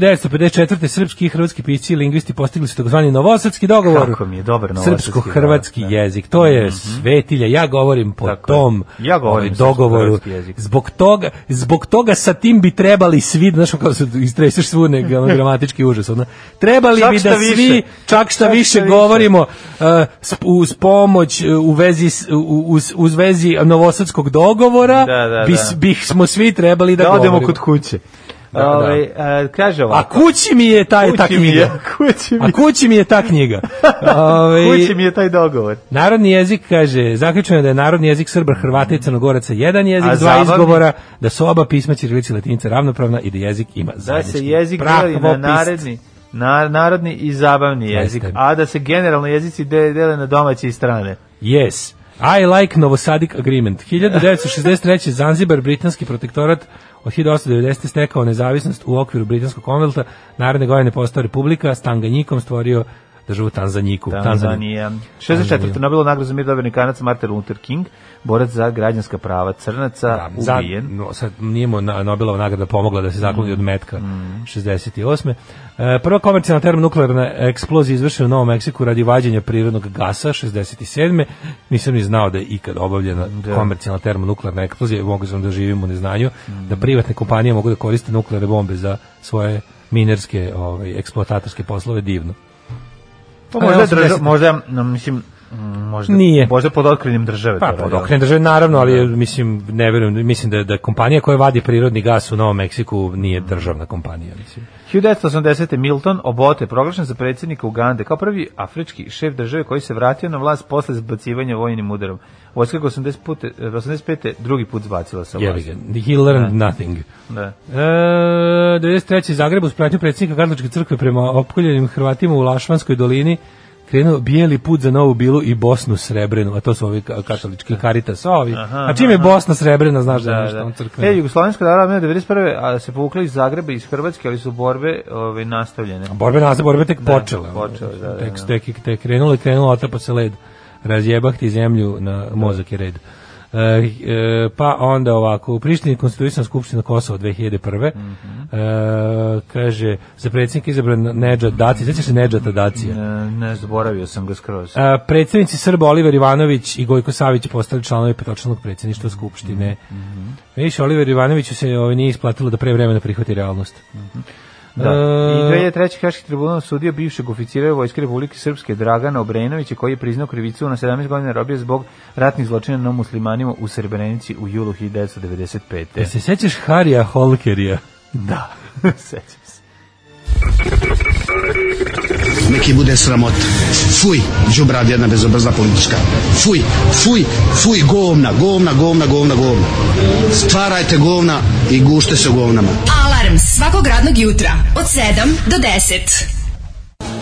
Speaker 6: 1954. srpski i hrvatski pisci i lingvisti postigli su takozvani novosadski dogovor.
Speaker 5: Kako mi je dobar novosadski
Speaker 6: Srpsko-hrvatski
Speaker 5: dogovor, da. Mhm.
Speaker 6: jezik. To je svetilja. Ja govorim po
Speaker 5: Tako je.
Speaker 6: tom
Speaker 5: Ja govorim
Speaker 6: ovaj, dogovoru.
Speaker 5: srpsko-hrvatski jezik.
Speaker 6: Zbog toga, zbog toga sa tim bi trebali svi, znaš ono kao se istreseš svu neg- ono, gramatički užas. Ono. Trebali
Speaker 5: Čak
Speaker 6: bi
Speaker 5: šta
Speaker 6: da
Speaker 5: više.
Speaker 6: svi, čak šta
Speaker 5: Čak šta
Speaker 6: više
Speaker 5: više.
Speaker 6: govorimo uh, sp- uz pomoć uh, u vezi s- u- uz, uz vezi novosadskog dogovora
Speaker 5: Da, da,
Speaker 6: bi,
Speaker 5: da.
Speaker 6: s- bih smo svi trebali da,
Speaker 5: Da odemo
Speaker 6: govorimo.
Speaker 5: kod kuće.
Speaker 6: da.
Speaker 5: Ovaj, e, kaže
Speaker 6: A
Speaker 5: ovako.
Speaker 6: kući mi je taj ta
Speaker 5: kući mi je,
Speaker 6: knjiga.
Speaker 5: kući mi
Speaker 6: A
Speaker 5: je,
Speaker 6: kući mi je ta knjiga. Ovaj,
Speaker 5: kući mi je taj dogovor.
Speaker 6: Narodni jezik kaže, zaključeno je da je narodni jezik Srba, Hrvata i Crnogoraca jedan jezik,
Speaker 5: A
Speaker 6: dva
Speaker 5: zabavni?
Speaker 6: izgovora, da su oba pisma ćirilica i latinica ravnopravna i da jezik ima
Speaker 5: da
Speaker 6: zajednički
Speaker 5: se jezik deli na
Speaker 6: pravopisc.
Speaker 5: naredni, na, narodni i zabavni jezik,
Speaker 6: Jeste.
Speaker 5: a da se generalno jezici de- dele na domaće i strane.
Speaker 6: Yes. I like Novosadik Agreement. 1963. Zanzibar, britanski protektorat, od 1890. stekao nezavisnost u okviru britanskog konvelta, naredne godine postao republika, s Tanganjikom stvorio državu Tanzanjiku. Tanzaniju.
Speaker 5: Tanzanija. 64.
Speaker 6: Tanzanija.
Speaker 5: Nobelu nagradu za mir dobio Amerikanac Martin Luther King, borac za građanska prava crnaca,
Speaker 6: Za-
Speaker 5: ubijen.
Speaker 6: no, sad nije mu na, Nobelova nagrada pomogla da se zakloni od metka 68. E, prva komercijalna termonuklearna eksplozija izvršena u Novom Meksiku radi vađenja prirodnog gasa 67. Nisam ni znao da je ikad obavljena komercijalna termonuklearna eksplozija, mogu sam da živim u neznanju, da privatne kompanije mogu da koriste nuklearne bombe za svoje minerske, ovaj, eksploatatorske poslove, divno.
Speaker 5: Pa
Speaker 6: A,
Speaker 5: možda, je
Speaker 6: 80.
Speaker 5: drža, možda, no, mislim, mm, možda,
Speaker 6: Nije.
Speaker 5: možda pod otkrenjem države.
Speaker 6: Pa
Speaker 5: to
Speaker 6: pod
Speaker 5: radilo.
Speaker 6: okrenjem države naravno, ali je, mislim ne verujem, mislim da da kompanija koja vadi prirodni gas u Novom Meksiku nije državna kompanija, mislim.
Speaker 5: 1980. Milton Obote proglašen za predsjednika Ugande kao prvi afrički šef države koji se vratio na vlast posle zbacivanja vojnim udarom. Vojska ga 80 pute- 85. drugi put zbacila sa
Speaker 6: Jebi ga.
Speaker 5: vlasti.
Speaker 6: He learned nothing.
Speaker 5: Da.
Speaker 6: E, 93. Zagreb uz pratnju predsjednika Katoličke crkve prema opkoljenim Hrvatima u Lašvanskoj dolini krenuo bijeli put za Novu Bilu i Bosnu Srebrenu, a to su ovi ka- katolički Caritas, ovi. a čim je Bosna Srebrena, znaš da, je nešto on crkveno.
Speaker 5: E, Jugoslovenska narodna armija 91. a se povukla iz Zagreba i iz Hrvatske, ali su borbe ove, nastavljene.
Speaker 6: Borbe nazad, borbe tek počele.
Speaker 5: počele, da, da,
Speaker 6: tek, tek, tek krenulo i krenulo, otapa se led. Razjebah ti zemlju na mozak i red. E, e, pa onda ovako, u Prištini je konstituisana skupština Kosova 2001.
Speaker 5: Mhm.
Speaker 6: Mm -hmm. e, kaže, za predsjednik izabran Nedžad Daci, znači se Nedžata Dacija.
Speaker 5: Ne, E, ne zaboravio sam ga skroz.
Speaker 6: E, predsednici Srba Oliver Ivanović i Gojko Savić postali članovi petočlanog predsjedništva
Speaker 5: Mhm,
Speaker 6: Skupštine. Mm -hmm. Viš, Oliver Ivanoviću se ovaj, nije isplatilo da pre vremena prihvati realnost. E,
Speaker 5: Da. I 2003. Haški tribunal sudio bivšeg oficira Vojske Republike Srpske Dragana Obrenovića koji je priznao krivicu na 17 godina robije zbog ratnih zločina na muslimanima u Srebrenici u julu
Speaker 6: Jel
Speaker 5: 1995.
Speaker 6: se sećaš Harija Holkerija?
Speaker 5: Da, sećam se.
Speaker 3: Neki bude sramot. Fuj, džubrad jedna bezobrzna politička. Fuj, fuj, fuj, govna, govna, govna, govna, govna. Stvarajte govna i gušte se u govnama.
Speaker 4: Alarm svakog radnog jutra od 7 do 10.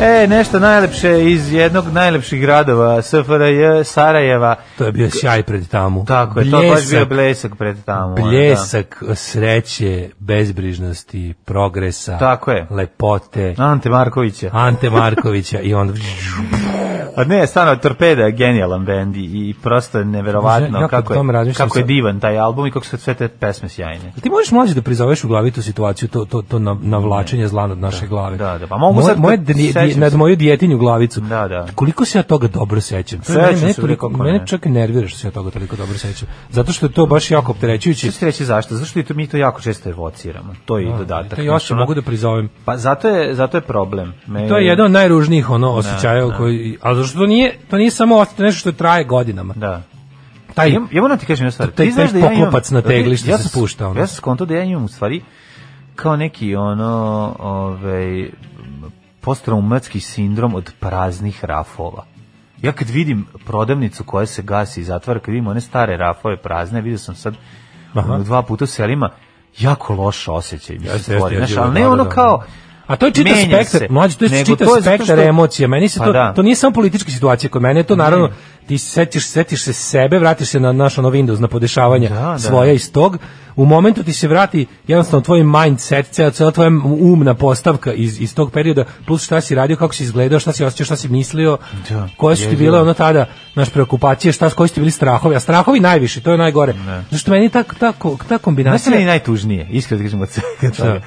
Speaker 5: E, nešto najlepše iz jednog najlepših gradova SFRJ Sarajeva.
Speaker 6: To je bio sjaj pred tamu.
Speaker 5: Tako je, to je baš bio blesak pred tamo. ono,
Speaker 6: Bljesak sreće, bezbrižnosti, progresa,
Speaker 5: Tako je.
Speaker 6: lepote,
Speaker 5: Da. Ante Markovića.
Speaker 6: Ante Markovića i onda...
Speaker 5: A ne, stano, Torpeda je genijalan bend i, i prosto
Speaker 6: Ja-
Speaker 5: neverovatno
Speaker 6: jako
Speaker 5: kako
Speaker 6: o tome
Speaker 5: je,
Speaker 6: razmišljam
Speaker 5: kako je
Speaker 6: sad.
Speaker 5: divan taj album i kako su sve te pesme sjajne.
Speaker 6: Ti možeš mlađe da prizoveš u glavi tu situaciju, to, to, to na- navlačenje zla nad naše glave.
Speaker 5: da, da, pa mogu
Speaker 6: moje,
Speaker 5: sad
Speaker 6: moje
Speaker 5: kad
Speaker 6: dri-
Speaker 5: sećam
Speaker 6: di- nad
Speaker 5: se.
Speaker 6: moju djetinju glavicu.
Speaker 5: Da, da.
Speaker 6: Koliko se ja toga dobro sećam. To je
Speaker 5: Sećam
Speaker 6: mene- mene,
Speaker 5: se
Speaker 6: toliko-
Speaker 5: uvijek, kako
Speaker 6: mene
Speaker 5: ne.
Speaker 6: čak i nervira što se ja toga toliko dobro sećam. Zato što je to baš jako opterećujući.
Speaker 5: Što se reći zašto? Zašto i to, mi to jako često evociramo? To je i dodatak.
Speaker 6: To još
Speaker 5: Znači, ono-
Speaker 6: mogu da prizovem.
Speaker 5: Pa zato je, zato je problem. Me,
Speaker 6: To je jedan od najružnijih ono osjećaja koji al zašto to nije to nije samo osjećaj, to je nešto što traje godinama.
Speaker 5: Da.
Speaker 6: Taj
Speaker 5: Ja, ja moram ti kažem jednu stvar.
Speaker 6: Taj-
Speaker 5: Ti znaš
Speaker 6: taj
Speaker 5: da ja imam-
Speaker 6: poklopac na tegli što se
Speaker 5: sam-
Speaker 6: spušta, ono.
Speaker 5: Ja sam skonto da ja imam u stvari kao neki ono ovaj posttraumatski sindrom od praznih rafova. Ja kad vidim prodavnicu koja se gasi i zatvara, kad vidim one stare rafove prazne, vidio sam sad
Speaker 6: Aha.
Speaker 5: ono, dva puta u selima, jako loš osjećaj mi se
Speaker 6: Jeste,
Speaker 5: stvori,
Speaker 6: jeste,
Speaker 5: znaš,
Speaker 6: ja
Speaker 5: ali ne
Speaker 6: živim, da,
Speaker 5: ono
Speaker 6: da,
Speaker 5: kao
Speaker 6: A to je čitav
Speaker 5: menja
Speaker 6: spektar,
Speaker 5: se,
Speaker 6: mlađe, to je
Speaker 5: nego
Speaker 6: čitav
Speaker 5: to je zato
Speaker 6: spektar
Speaker 5: što-
Speaker 6: emocija. Meni se
Speaker 5: Pa
Speaker 6: to,
Speaker 5: da.
Speaker 6: to nije samo politička situacija kod mene, je to naravno
Speaker 5: Ne.
Speaker 6: ti se setiš, setiš se sebe, vratiš se na naš ono Windows, na podešavanja
Speaker 5: Da, da.
Speaker 6: svoja iz tog. U momentu ti se vrati jednostavno tvoj mindset, cela, cela tvoja umna postavka iz, iz tog perioda, plus šta si radio, kako si izgledao, šta si osjećao, šta si mislio,
Speaker 5: Da,
Speaker 6: koje su ti
Speaker 5: jezivo.
Speaker 6: bile ono tada, naš preokupacije, šta, koji su ti bili strahovi, a strahovi najviše, to je najgore. Zašto meni ta, ta, ko- ta
Speaker 5: Znaš
Speaker 6: kombinacija...
Speaker 5: li najtužnije, iskreno ti kažem od svega toga.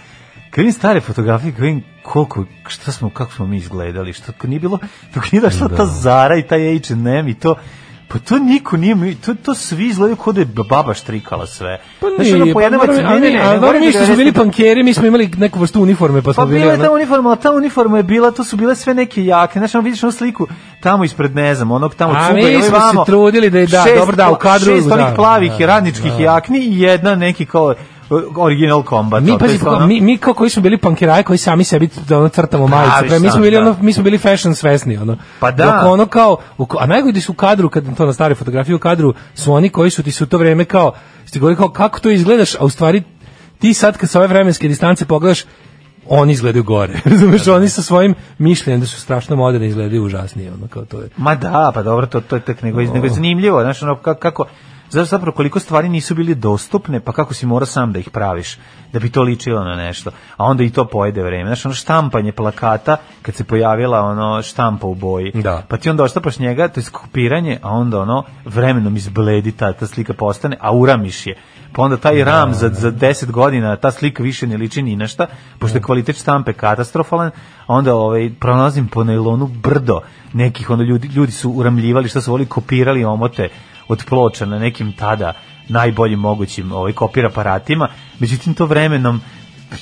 Speaker 5: Kad vidim stare fotografije, kad vidim koliko, šta smo, kako smo mi izgledali, što kad nije bilo, dok nije došla ta Zara i taj H&M i to, pa to niko nije, mi- to, to svi izgledaju kao da je baba štrikala sve.
Speaker 6: Pa
Speaker 5: Znaš,
Speaker 6: nije,
Speaker 5: ono, po
Speaker 6: pa
Speaker 5: jedan
Speaker 6: dobro,
Speaker 5: vac-
Speaker 6: ali- ali dobro,
Speaker 5: moram
Speaker 6: mi
Speaker 5: da
Speaker 6: što smo bili
Speaker 5: restim-
Speaker 6: pankeri, mi smo imali neku vrstu uniforme, pa smo
Speaker 5: Pa
Speaker 6: bili...
Speaker 5: bila je
Speaker 6: ono-
Speaker 5: ta uniforma, ali ta uniforma je bila, to su bile sve neke jake, znaš, ono vidiš onu sliku tamo ispred, ne znam, onog tamo
Speaker 6: A
Speaker 5: cuga,
Speaker 6: mi
Speaker 5: i ovaj
Speaker 6: smo se
Speaker 5: vamo,
Speaker 6: trudili da je- da,
Speaker 5: šest
Speaker 6: dobro, da, u
Speaker 5: pla-
Speaker 6: kadru,
Speaker 5: Šest onih
Speaker 6: da,
Speaker 5: plavih
Speaker 6: da,
Speaker 5: radničkih jakni i jedna neki kao e, original kombat.
Speaker 6: Mi, pazi,
Speaker 5: ono.
Speaker 6: mi, mi kao koji smo bili pankiraje koji sami sebi ono, crtamo
Speaker 5: Pravi
Speaker 6: majice, pre, mi smo
Speaker 5: sam,
Speaker 6: bili,
Speaker 5: Pa, da.
Speaker 6: ono, mi smo bili fashion svesni, ono.
Speaker 5: Pa da.
Speaker 6: Dok ono kao, u ko- a najgodi su u kadru, kad to na stare fotografije u kadru, su oni koji su ti su u to vreme kao, ste govorili kao kako to izgledaš, a u stvari ti sad kad sa ove vremenske distance pogledaš, oni izgledaju gore. Razumeš, oni sa svojim mišljenjem da su strašno moderni izgledaju užasnije, ono kao to je.
Speaker 5: Ma da, pa dobro, to, to je tek nego, nego je zanimljivo, znaš, ono, kako, kako znaš zapravo koliko stvari nisu bili dostupne, pa kako si morao sam da ih praviš, da bi to ličilo na nešto, a onda i to pojede vreme, znaš, ono štampanje plakata, kad se pojavila ono štampa u boji,
Speaker 6: Da.
Speaker 5: pa ti onda oštapaš njega, to je kopiranje, a onda ono vremenom izbledi ta, ta slika postane, a uramiš je, pa onda taj ram za, za 10 godina, ta slika više ne liči ni na šta, pošto je kvalitet štampe katastrofalan, a onda ovaj, pronalazim po nailonu brdo nekih, ono ljudi, ljudi su uramljivali, šta su voli, kopirali omote od ploča na nekim tada najboljim mogućim ovaj, kopir aparatima, međutim to vremenom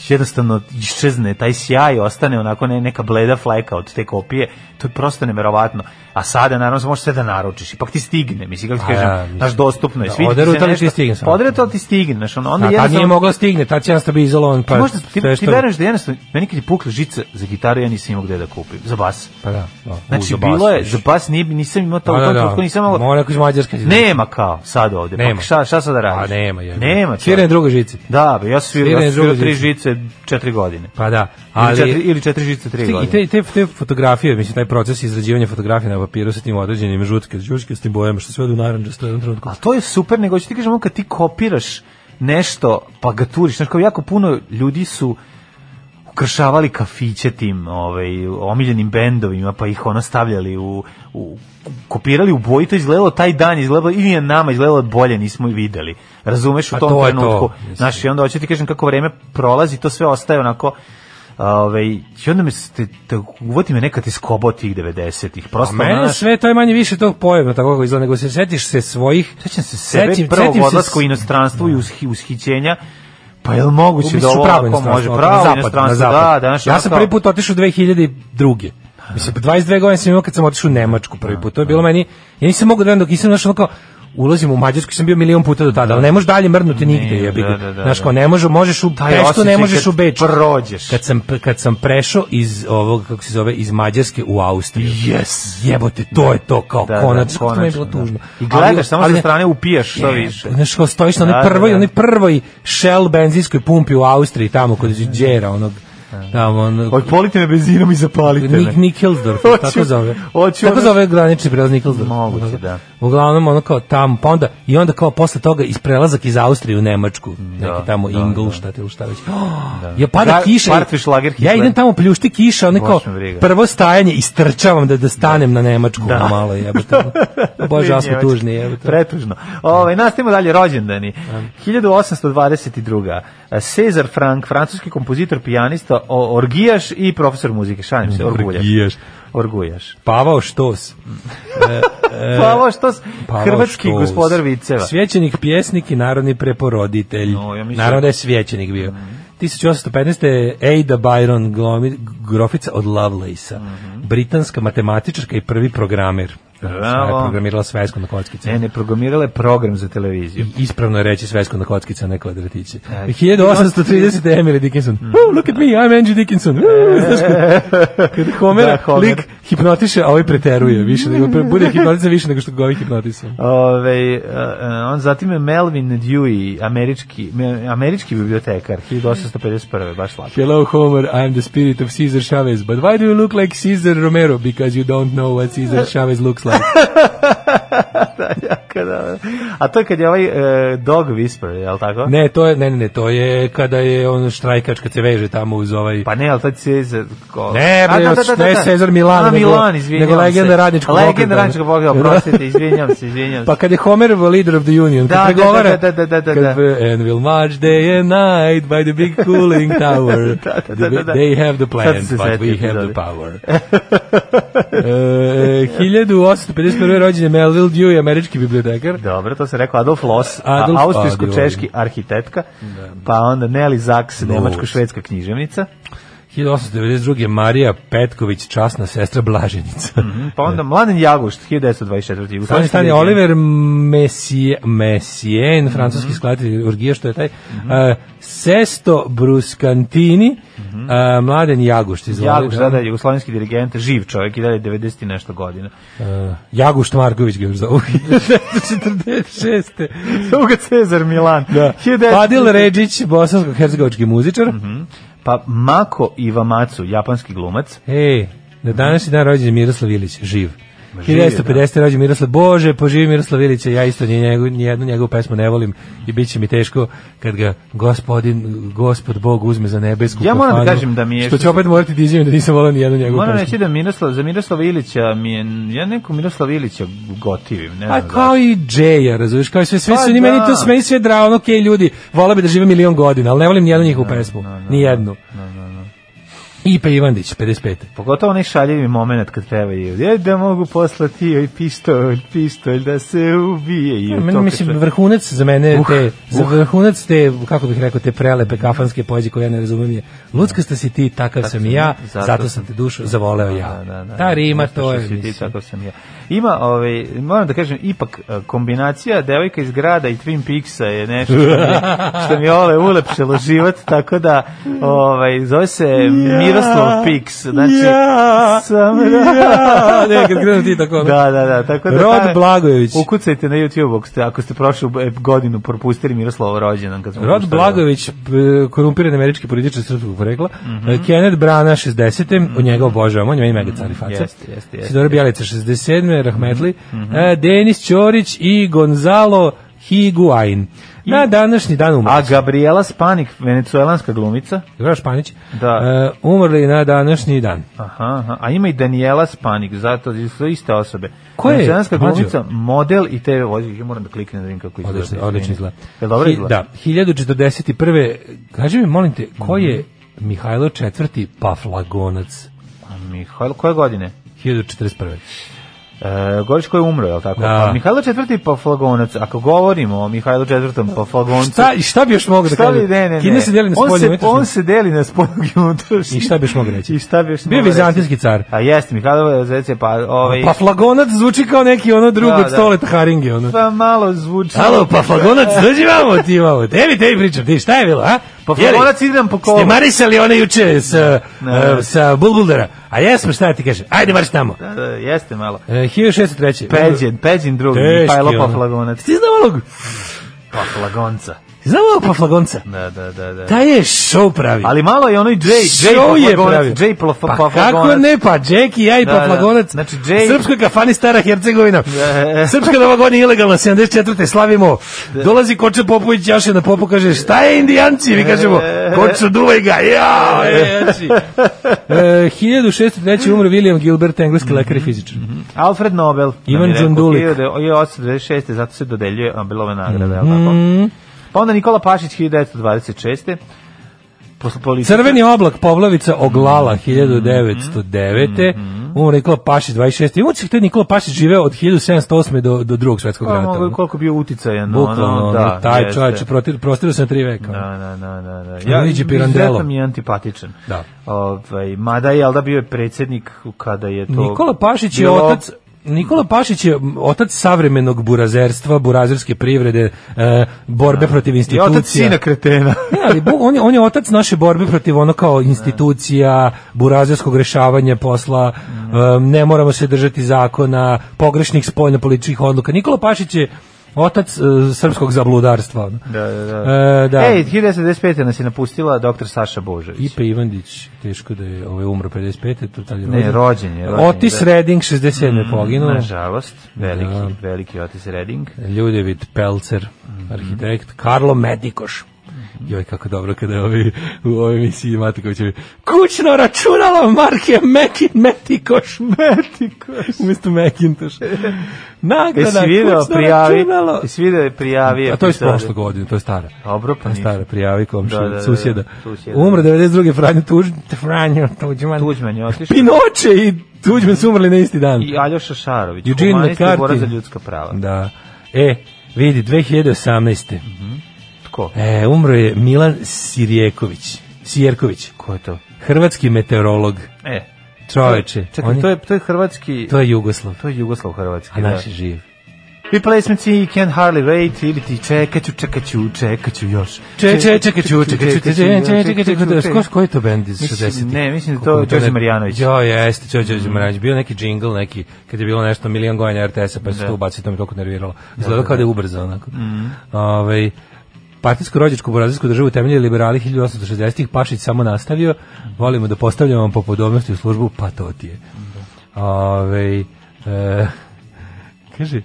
Speaker 5: jednostavno iščezne taj sjaj, ostane onako ne, neka bleda fleka od te kopije, to je prosto neverovatno. A sada naravno se može sve da naručiš, ipak ti stigne, mislim kako ti
Speaker 6: A,
Speaker 5: kažem,
Speaker 6: Pa da, mislim.
Speaker 5: znaš dostupno je.
Speaker 6: Da,
Speaker 5: svi ti se
Speaker 6: oderutali
Speaker 5: nešto-
Speaker 6: ti stigne samo.
Speaker 5: Oderutali ti stigne, znaš, ono,
Speaker 6: A
Speaker 5: onda
Speaker 6: tad nije
Speaker 5: jednostavno-
Speaker 6: mogla stigne, tad će jednostavno bi izolovan, pa...
Speaker 5: ti, možda, ti, ti
Speaker 6: teško-
Speaker 5: veruješ da jednostavno, meni kad je pukla žica za gitaru, ja nisam imao gde da kupim, za bas.
Speaker 6: Pa da, da.
Speaker 5: Znači,
Speaker 6: U, za bas,
Speaker 5: bilo je,
Speaker 6: viš.
Speaker 5: za bas nije, nisam imao to, u
Speaker 6: Pa Da, da,
Speaker 5: tom
Speaker 6: da.
Speaker 5: trenutku nisam imao...
Speaker 6: Mora neko iz Mađarske.
Speaker 5: Nema kao sad ovde.
Speaker 6: Nema.
Speaker 5: Pa šta, šta sad da radiš?
Speaker 6: A nema je.
Speaker 5: Nema.
Speaker 6: Svira na drugoj žici.
Speaker 5: Da, be, ja sam svirao, ja
Speaker 6: Sviranje
Speaker 5: sam svirao
Speaker 6: druge
Speaker 5: tri
Speaker 6: žice.
Speaker 5: žice četiri godine.
Speaker 6: Pa da,
Speaker 5: Ali, ili, četiri,
Speaker 6: ali...
Speaker 5: ili četiri žice tri
Speaker 6: I
Speaker 5: godine.
Speaker 6: te, te, te fotografije, mislim, taj proces izrađivanja fotografija na papiru sa tim određenim žutke, žutke s tim bojama, što sve odu naranđasto u jednom trenutku.
Speaker 5: A to je super, nego ću ti kažem, ono kad ti kopiraš nešto, pa ga turiš, znaš, kao jako puno ljudi su kršavali kafiće tim ovaj, omiljenim bendovima, pa ih ono stavljali u, u kopirali u boji, to izgledalo taj dan, izgledalo ili je nama izgledalo bolje, nismo i videli. Razumeš u
Speaker 6: Pa
Speaker 5: tom
Speaker 6: to je
Speaker 5: trenutku.
Speaker 6: to, mislim.
Speaker 5: Znaš, i onda hoću ti kažem kako vreme prolazi, to sve ostaje onako Ove, I onda me ste, te, uvoti me nekad iz skobo tih 90-ih. Prosto,
Speaker 6: A mene
Speaker 5: Pa znaš,
Speaker 6: sve to je manje više tog pojma tako kako izgleda, nego se setiš se svojih...
Speaker 5: Sećam se sebe setim, prvog
Speaker 6: setim se
Speaker 5: odlaska u inostranstvo i ushi, ushićenja. Pa je li moguće da
Speaker 6: Mislim,
Speaker 5: ovo
Speaker 6: pravo
Speaker 5: ako može?
Speaker 6: inostranstvo,
Speaker 5: Pravo
Speaker 6: na zapad, na
Speaker 5: inostranstvo,
Speaker 6: zapad.
Speaker 5: da, da. znaš,
Speaker 6: ja
Speaker 5: ono
Speaker 6: sam
Speaker 5: kao-
Speaker 6: prvi put otišao 2002. Mislim, 22 godine sam imao kad sam otišao u Nemačku prvi put. To je bilo meni, ja nisam mogao da verujem dok nisam našao ono kao, ulazim u Mađarsku, sam bio milion puta do tada, ali ne možeš dalje mrnuti nigde,
Speaker 5: Ne,
Speaker 6: jebi ga.
Speaker 5: da, da, da,
Speaker 6: Znaš, kao,
Speaker 5: da.
Speaker 6: ne možeš, možeš u
Speaker 5: Taj
Speaker 6: Peštu,
Speaker 5: osjećaj
Speaker 6: ne možeš
Speaker 5: e, kad
Speaker 6: u Beču.
Speaker 5: prođeš.
Speaker 6: Kad sam, kad sam prešao iz ovog, kako se zove, iz Mađarske u Austriju.
Speaker 5: Yes.
Speaker 6: Jebote, to je to, kao
Speaker 5: Da, da,
Speaker 6: konačno, kako to mi je
Speaker 5: konačno,
Speaker 6: bilo
Speaker 5: da.
Speaker 6: tužno.
Speaker 5: I gledaš,
Speaker 6: Ali-
Speaker 5: samo
Speaker 6: ali
Speaker 5: sa
Speaker 6: ne,
Speaker 5: strane upijaš što
Speaker 6: Jebe,
Speaker 5: više.
Speaker 6: Znaš, kao stojiš na onoj
Speaker 5: Da, da,
Speaker 6: prvoj,
Speaker 5: da.
Speaker 6: onoj prvoj Shell benzinskoj pumpi u Austriji, tamo kod Đera, onog, tamo, ono, onog,
Speaker 5: Otpolite me benzinom i zapalite
Speaker 6: Nik,
Speaker 5: me.
Speaker 6: Nik Hillsdorf,
Speaker 5: Hoću-
Speaker 6: tako zove.
Speaker 5: hoću
Speaker 6: tako
Speaker 5: ono-
Speaker 6: zove granični prelaz Nik Hillsdorf.
Speaker 5: Moguće, da.
Speaker 6: Uglavnom, ono kao tamo, pa onda, i onda kao posle toga iz prelazak iz Austrije u Nemačku, neki tamo
Speaker 5: da,
Speaker 6: Ingolstadt ili šta već. Ja pada
Speaker 5: Gar-
Speaker 6: kiša.
Speaker 5: Partviš lager
Speaker 6: ja
Speaker 5: Hitler.
Speaker 6: idem tamo pljušti kiša, ono kao
Speaker 5: me briga.
Speaker 6: prvo stajanje istrčavam da da stanem na Nemačku ono malo jebote. Bože, ja smo
Speaker 5: Njemačka.
Speaker 6: tužni jebote.
Speaker 5: Pretužno. Ovaj nastavimo dalje rođendani. 1822. Cezar Frank, francuski kompozitor, pijanista, o- orgijaš i profesor muzike. Šalim se, orguljaš.
Speaker 6: Orgijaš.
Speaker 5: Orgujaš.
Speaker 6: Pavao Štos. E,
Speaker 5: Pavao Pa što
Speaker 6: Pavao
Speaker 5: hrvatski
Speaker 6: Štos.
Speaker 5: gospodar viceva.
Speaker 6: Svjećenik, pjesnik i narodni preporoditelj.
Speaker 5: No, ja mislim- Mhm.
Speaker 6: Naravno da je svjećenik bio. 1815. Ada Byron glomi- grofica od Lovelace-a.
Speaker 5: Mhm.
Speaker 6: Britanska matematičarka i prvi programer. Ona je programirala svesku na kockice.
Speaker 5: Ne, ne, programirala je program za televiziju.
Speaker 6: Ispravno je reći svesku na kockice, a ne kvadratiće.
Speaker 5: E.
Speaker 6: 1830. Emily Dickinson.
Speaker 5: Mhm.
Speaker 6: Oh, look at me, I'm Angie Dickinson. Uh, Znaš kad, kad Homer,
Speaker 5: E. Da, Homer.
Speaker 6: lik hipnotiše, a ovaj preteruje. Više nego, bude hipnotisan više nego što ga ovaj hipnotisan.
Speaker 5: Ove, e, e, on zatim je Melvin Dewey, američki, me- američki bibliotekar, 1851. Baš slabo.
Speaker 6: Hello Homer, I'm the spirit of Cesar Chavez, but why do you look like Cesar Romero? Because you don't know what Cesar Chavez looks like.
Speaker 5: Kada- e, A to je kad je ovaj e, Dog Whisperer, je li tako?
Speaker 6: ne, to je, ne, ne, ne, to je kada je on štrajkač kad se veže tamo uz ovaj...
Speaker 5: Pa ne, ali to je Cezar... Ko...
Speaker 6: Ne, bre,
Speaker 5: A,
Speaker 6: ne Cezar Milan,
Speaker 5: A,
Speaker 6: nego-
Speaker 5: Milan, izvinjam
Speaker 6: nego legenda
Speaker 5: se.
Speaker 6: radničkog pokreta.
Speaker 5: Legenda radničkog pokreta, oprostite, izvinjam se, izvinjam se.
Speaker 6: Pa kad je Homer leader of the union,
Speaker 5: Da,
Speaker 6: kad pregovara...
Speaker 5: da, da, da, da, da.
Speaker 6: kad, uh, and we'll march day and night by the big cooling tower.
Speaker 5: Da, da, da, da, da.
Speaker 6: They have the plan,
Speaker 5: Sad se
Speaker 6: but we
Speaker 5: setio
Speaker 6: have the
Speaker 5: epizode.
Speaker 6: power. e, 1851. rođen je Melville Dewey, američki bibliotekar.
Speaker 5: Dobro, to se rekao Adolf Loss,
Speaker 6: Adolf-
Speaker 5: a austrijsko-češki
Speaker 6: Adolf.
Speaker 5: arhitektka, pa onda Nelly Zaks, nemačko-švedska književnica,
Speaker 6: 1892. Marija Petković, časna sestra Blaženica.
Speaker 5: pa onda Mladen Jagušt, 1924.
Speaker 6: Stani,
Speaker 5: Jugoslovenski
Speaker 6: stani,
Speaker 5: dirigent.
Speaker 6: Oliver Messier, Messier francuski skladatelj orgije, što je taj, uh, Sesto Bruscantini, uh, Mladen Jagušt, izvoli.
Speaker 5: Jagušt, da, da, jugoslovenski dirigent, živ čovjek i dalje 90 i nešto godina.
Speaker 6: Uh, Jagušt Marković ga još zovu. 1946.
Speaker 5: Uga Cezar Milan.
Speaker 6: Da. Pa-
Speaker 5: 1900
Speaker 6: Padil Ređić, bosansko-hercegovački muzičar.
Speaker 5: Pa Mako Iwamatsu, japanski glumac.
Speaker 6: Ej, na današnji dan rođen je Miroslav Ilić, živ.
Speaker 5: živ je,
Speaker 6: 1950. rođen Miroslav, bože, poživi Miroslav Ilića, ja isto ni njegu, nijednu njegovu pesmu ne volim i bit će mi teško kad ga gospodin, gospod Bog uzme za nebesku
Speaker 5: Ja moram da
Speaker 6: kafanu,
Speaker 5: kažem da mi je-
Speaker 6: Što će opet morati da izjavim da nisam volao nijednu njegovu
Speaker 5: Moram
Speaker 6: pesmu.
Speaker 5: reći da Miroslav, za Miroslava Ilića mi je, ja neko Miroslava Ilića gotivim, ne znam.
Speaker 6: A kao i Džeja, razumiješ, kao i sve, sve
Speaker 5: Pa
Speaker 6: su, ni meni
Speaker 5: da.
Speaker 6: to sme i sve dravo, okej ljudi, vola bi da žive milion godina, ali ne volim nijednu njihovu pesmu, nijednu. Ipe Ivandić, 55.
Speaker 5: Pogotovo onaj šaljivi moment kad peva i je da mogu poslati joj pištolj, pištolj da se ubije. I
Speaker 6: Meni,
Speaker 5: to
Speaker 6: mislim,
Speaker 5: kad-
Speaker 6: vrhunac za mene,
Speaker 5: Uh,
Speaker 6: te, za
Speaker 5: uh.
Speaker 6: vrhunac te, kako bih rekao, te prelepe kafanske poeđe koje ja ne razumem je, lucka ste si ti, takav sam i ja,
Speaker 5: zato
Speaker 6: zato
Speaker 5: sam-
Speaker 6: sam te dušu zavoleo ja.
Speaker 5: Da, da, da.
Speaker 6: Ta rima,
Speaker 5: Nešto
Speaker 6: to
Speaker 5: što
Speaker 6: je,
Speaker 5: si ti,
Speaker 6: mislim.
Speaker 5: Tako sam ja. Ima, ovaj, moram da kažem, ipak eh, kombinacija devojka iz grada i Twin Peaksa je nešto što mi, što mi je ole ulepšalo život, tako da ovaj, zove se Miroslav Peaks. Znači,
Speaker 6: ja,
Speaker 5: sam,
Speaker 6: ja, ne, kad krenu ti tako.
Speaker 5: Da, da, da. Tako da,
Speaker 6: Rod
Speaker 5: taj-
Speaker 6: Blagojević.
Speaker 5: Ukucajte na YouTube ako ste, ako ste prošlu godinu propustili Miroslava rođendan. Kad smo
Speaker 6: Rod
Speaker 5: puštali.
Speaker 6: Blagojević, p- korumpiran američki političar srpskog porekla,
Speaker 5: Mhm.
Speaker 6: e, Kenneth Brana 60. u njega obožavam, on je meni mega cari faca.
Speaker 5: Jeste, jeste, Mhm. jeste.
Speaker 6: Sidora Bjelica 67. Rahmetli, e, Denis Ćorić i Gonzalo Higuain. Na današnji dan
Speaker 5: A
Speaker 6: umrli. su-
Speaker 5: Gabriela Spanik, venecuelanska glumica.
Speaker 6: Dobro, Španić.
Speaker 5: Da.
Speaker 6: E, umrli na današnji dan.
Speaker 5: Aha, aha. A ima i Daniela Spanik, zato su iste osobe.
Speaker 6: Ko je?
Speaker 5: Venecuelanska
Speaker 6: Mlađo?
Speaker 5: glumica, model i TV vođe. Ja moram da kliknem da vidim kako izgleda.
Speaker 6: Odlično, odlično izgleda.
Speaker 5: Je dobro
Speaker 6: Hi-
Speaker 5: izgleda?
Speaker 6: Da, 1041. Kaži mi, molim te, ko je
Speaker 5: Mhm.
Speaker 6: Mihajlo IV. Paflagonac?
Speaker 5: Da. Mihajlo, koje godine?
Speaker 6: 1041.
Speaker 5: E, Goriš koji je umro, je li tako?
Speaker 6: Da.
Speaker 5: Pa Mihajlo IV. pa Flagonac. Ako govorimo o Mihajlo IV. pa Flagoncu...
Speaker 6: Šta, i šta bi još mogao da
Speaker 5: Šta
Speaker 6: kažem?
Speaker 5: li, ne, ne, ne.
Speaker 6: Kina se deli na
Speaker 5: on
Speaker 6: spolje i
Speaker 5: se,
Speaker 6: unutrašnje.
Speaker 5: on se deli na spolju i unutrašnje.
Speaker 6: I šta bi još mogao reći?
Speaker 5: I šta bi još
Speaker 6: Bio je
Speaker 5: mogao
Speaker 6: vizantijski
Speaker 5: reći?
Speaker 6: car.
Speaker 5: A jeste, Mihajlo Zece, pa ovaj...
Speaker 6: Paflagonac zvuči kao neki ono drugo
Speaker 5: Da,
Speaker 6: od
Speaker 5: da.
Speaker 6: stoleta haringe, ono.
Speaker 5: Pa malo zvuči.
Speaker 6: Alo, Paflagonac, dođi vamo ti vamo. Tebi, tebi pričam, ti, šta je bilo, a?
Speaker 5: Paflagonac Pa igram po kolu.
Speaker 6: Ste marisali one juče sa,
Speaker 5: Ne.
Speaker 6: e, sa Bulbuldara? A jesmo, šta ti kaže? Ajde, marš tamo.
Speaker 5: Da, da, jeste malo.
Speaker 6: E, 1603.
Speaker 5: Peđin, Peđin drugi,
Speaker 6: Teški
Speaker 5: Mihajlo
Speaker 6: ono.
Speaker 5: Paflagonac.
Speaker 6: Ti znao ovog,
Speaker 5: Paflagonca.
Speaker 6: ti znao ovog Paflagonca?
Speaker 5: Da, da, da, da.
Speaker 6: Taj je show pravi.
Speaker 5: Ali malo je ono i Jay, Jay
Speaker 6: Show je
Speaker 5: Paflagonac,
Speaker 6: pravi.
Speaker 5: Jay Plaf-
Speaker 6: pa
Speaker 5: Paflagonac.
Speaker 6: kako ne, pa Jackie, ja i
Speaker 5: Da,
Speaker 6: Paflagonac.
Speaker 5: da. Znači, Jay-
Speaker 6: Srpskoj kafani Stara Hercegovina.
Speaker 5: Da.
Speaker 6: Srpska nova godina ilegalna, 74. slavimo. Dolazi Koče Popović, Jaše na popu, kaže, šta je indijanci? Mi kažemo,
Speaker 5: E.
Speaker 6: Koču, duvaj ga. Ja, e, jači. E, 1603. umre William Gilbert, engleski lekar i fizičar.
Speaker 5: Alfred Nobel. nam
Speaker 6: Ivan
Speaker 5: je rekao,
Speaker 6: Đundulik.
Speaker 5: 1826. Zato se dodeljuje Nobelove nagrade. jel
Speaker 6: Mhm.
Speaker 5: tako? Pa onda Nikola Pašić 1926. Posle politika-
Speaker 6: Crveni oblak Povlavica oglala
Speaker 5: Mm-hmm.
Speaker 6: 1909. Umro Nikola Pašić 26. I uopće taj Nikola Pašić živeo od 1708. do, do drugog svetskog
Speaker 5: Pa,
Speaker 6: rata.
Speaker 5: mogu je
Speaker 6: ono.
Speaker 5: koliko bio uticajan.
Speaker 6: Bukvalno,
Speaker 5: ono,
Speaker 6: ono,
Speaker 5: da,
Speaker 6: taj
Speaker 5: jeste.
Speaker 6: čovječ, protir- prostirao se na tri veka. ono.
Speaker 5: Da, da, da, da, da. Ja,
Speaker 6: Luigi Pirandello.
Speaker 5: izuzetno mi je antipatičan.
Speaker 6: Da.
Speaker 5: Ovaj, mada je, ali da bio je predsjednik kada je to...
Speaker 6: Nikola Pašić je
Speaker 5: bilo-
Speaker 6: otac Nikola Pašić je otac savremenog burazerstva, burazerske privrede, e, borbe protiv
Speaker 5: I
Speaker 6: institucija.
Speaker 5: otac sina kretena.
Speaker 6: Ne, ali bu- on je, on je otac naše borbe protiv ono kao institucija, burazerskog rešavanja posla, em, ne moramo se držati zakona, pogrešnih spoljnopolitičkih odluka. Nikola Pašić je otac e, srpskog zabludarstva. ono.
Speaker 5: da, da, da.
Speaker 6: E, da.
Speaker 5: Ej, 1995. nas je napustila doktor Saša Božović.
Speaker 6: Ipe Ivandić, teško da je ovaj umro 55. To tad je
Speaker 5: Ne, rođen je. Rođen, je,
Speaker 6: Otis
Speaker 5: da. Mm,
Speaker 6: Redding, 67. poginuo.
Speaker 5: Nažalost, veliki,
Speaker 6: Da.
Speaker 5: veliki Otis Redding.
Speaker 6: Ljudevit Pelcer,
Speaker 5: Mhm.
Speaker 6: arhitekt, Karlo Medikoš. Joj, kako dobro kada ovi u ovoj emisiji Matikovićevi kućno računalo marke Mekin Metikoš. Metikoš. Umesto Mekintoš. Naknada
Speaker 5: Jesi video
Speaker 6: kućno
Speaker 5: prijavi?
Speaker 6: računalo.
Speaker 5: Jesi video je prijavi?
Speaker 6: A to je iz
Speaker 5: epizode?
Speaker 6: prošle godine, to je stara.
Speaker 5: Dobro,
Speaker 6: To
Speaker 5: pa
Speaker 6: je
Speaker 5: ništa.
Speaker 6: stara, prijavi komšu,
Speaker 5: Da, da, da, da,
Speaker 6: susjeda.
Speaker 5: susjeda.
Speaker 6: Umro 92. Franjo Tuđ, Franjo Tuđman.
Speaker 5: Tuđman je otišao.
Speaker 6: Pinoče i Tuđman su umrli na isti dan.
Speaker 5: I Aljoša Šarović,
Speaker 6: Eugene
Speaker 5: humanist i borac
Speaker 6: McCarthy.
Speaker 5: za ljudska prava.
Speaker 6: Da. E, vidi, 2018.
Speaker 5: Tko?
Speaker 6: E, umro je Milan Sirjeković. Sijerković.
Speaker 5: Ko je to?
Speaker 6: Hrvatski meteorolog.
Speaker 5: E,
Speaker 6: Čoveče. on
Speaker 5: čekaj, to je, to je hrvatski...
Speaker 6: to je Jugoslav.
Speaker 5: To je Jugoslav hrvatski.
Speaker 6: A naš je živ.
Speaker 5: Replacements i Can Hardly Wait ili ti čekat ću, čekat ću, čekat ću još.
Speaker 6: Če, če, čekaj, ću, čekaj, ću, čekaj, ću, čekaj, čekaj, čekaj,
Speaker 5: čekat ću,
Speaker 6: čekaj,
Speaker 5: čekat
Speaker 6: čekaj,
Speaker 5: ću.
Speaker 6: koji je to bend iz
Speaker 5: Mislim,
Speaker 6: 60
Speaker 5: ne, mislim da to je Đorđe Marjanović.
Speaker 6: Jo, jeste, Đorđe Đorđe Marjanović. Bio neki džingl, neki, kad je bilo nešto milion gojena RTS-a, pa se to ubacili, to me toliko nerviralo. Izgledao kao da je ubrzo, onako.
Speaker 5: Mhm.
Speaker 6: Ovaj, Partijsko rođačko burazijsku državu temelje liberali 1860-ih, Pašić samo nastavio, volimo da postavljamo vam po podobnosti u službu, pa to ti je. Ove, e, Kaže,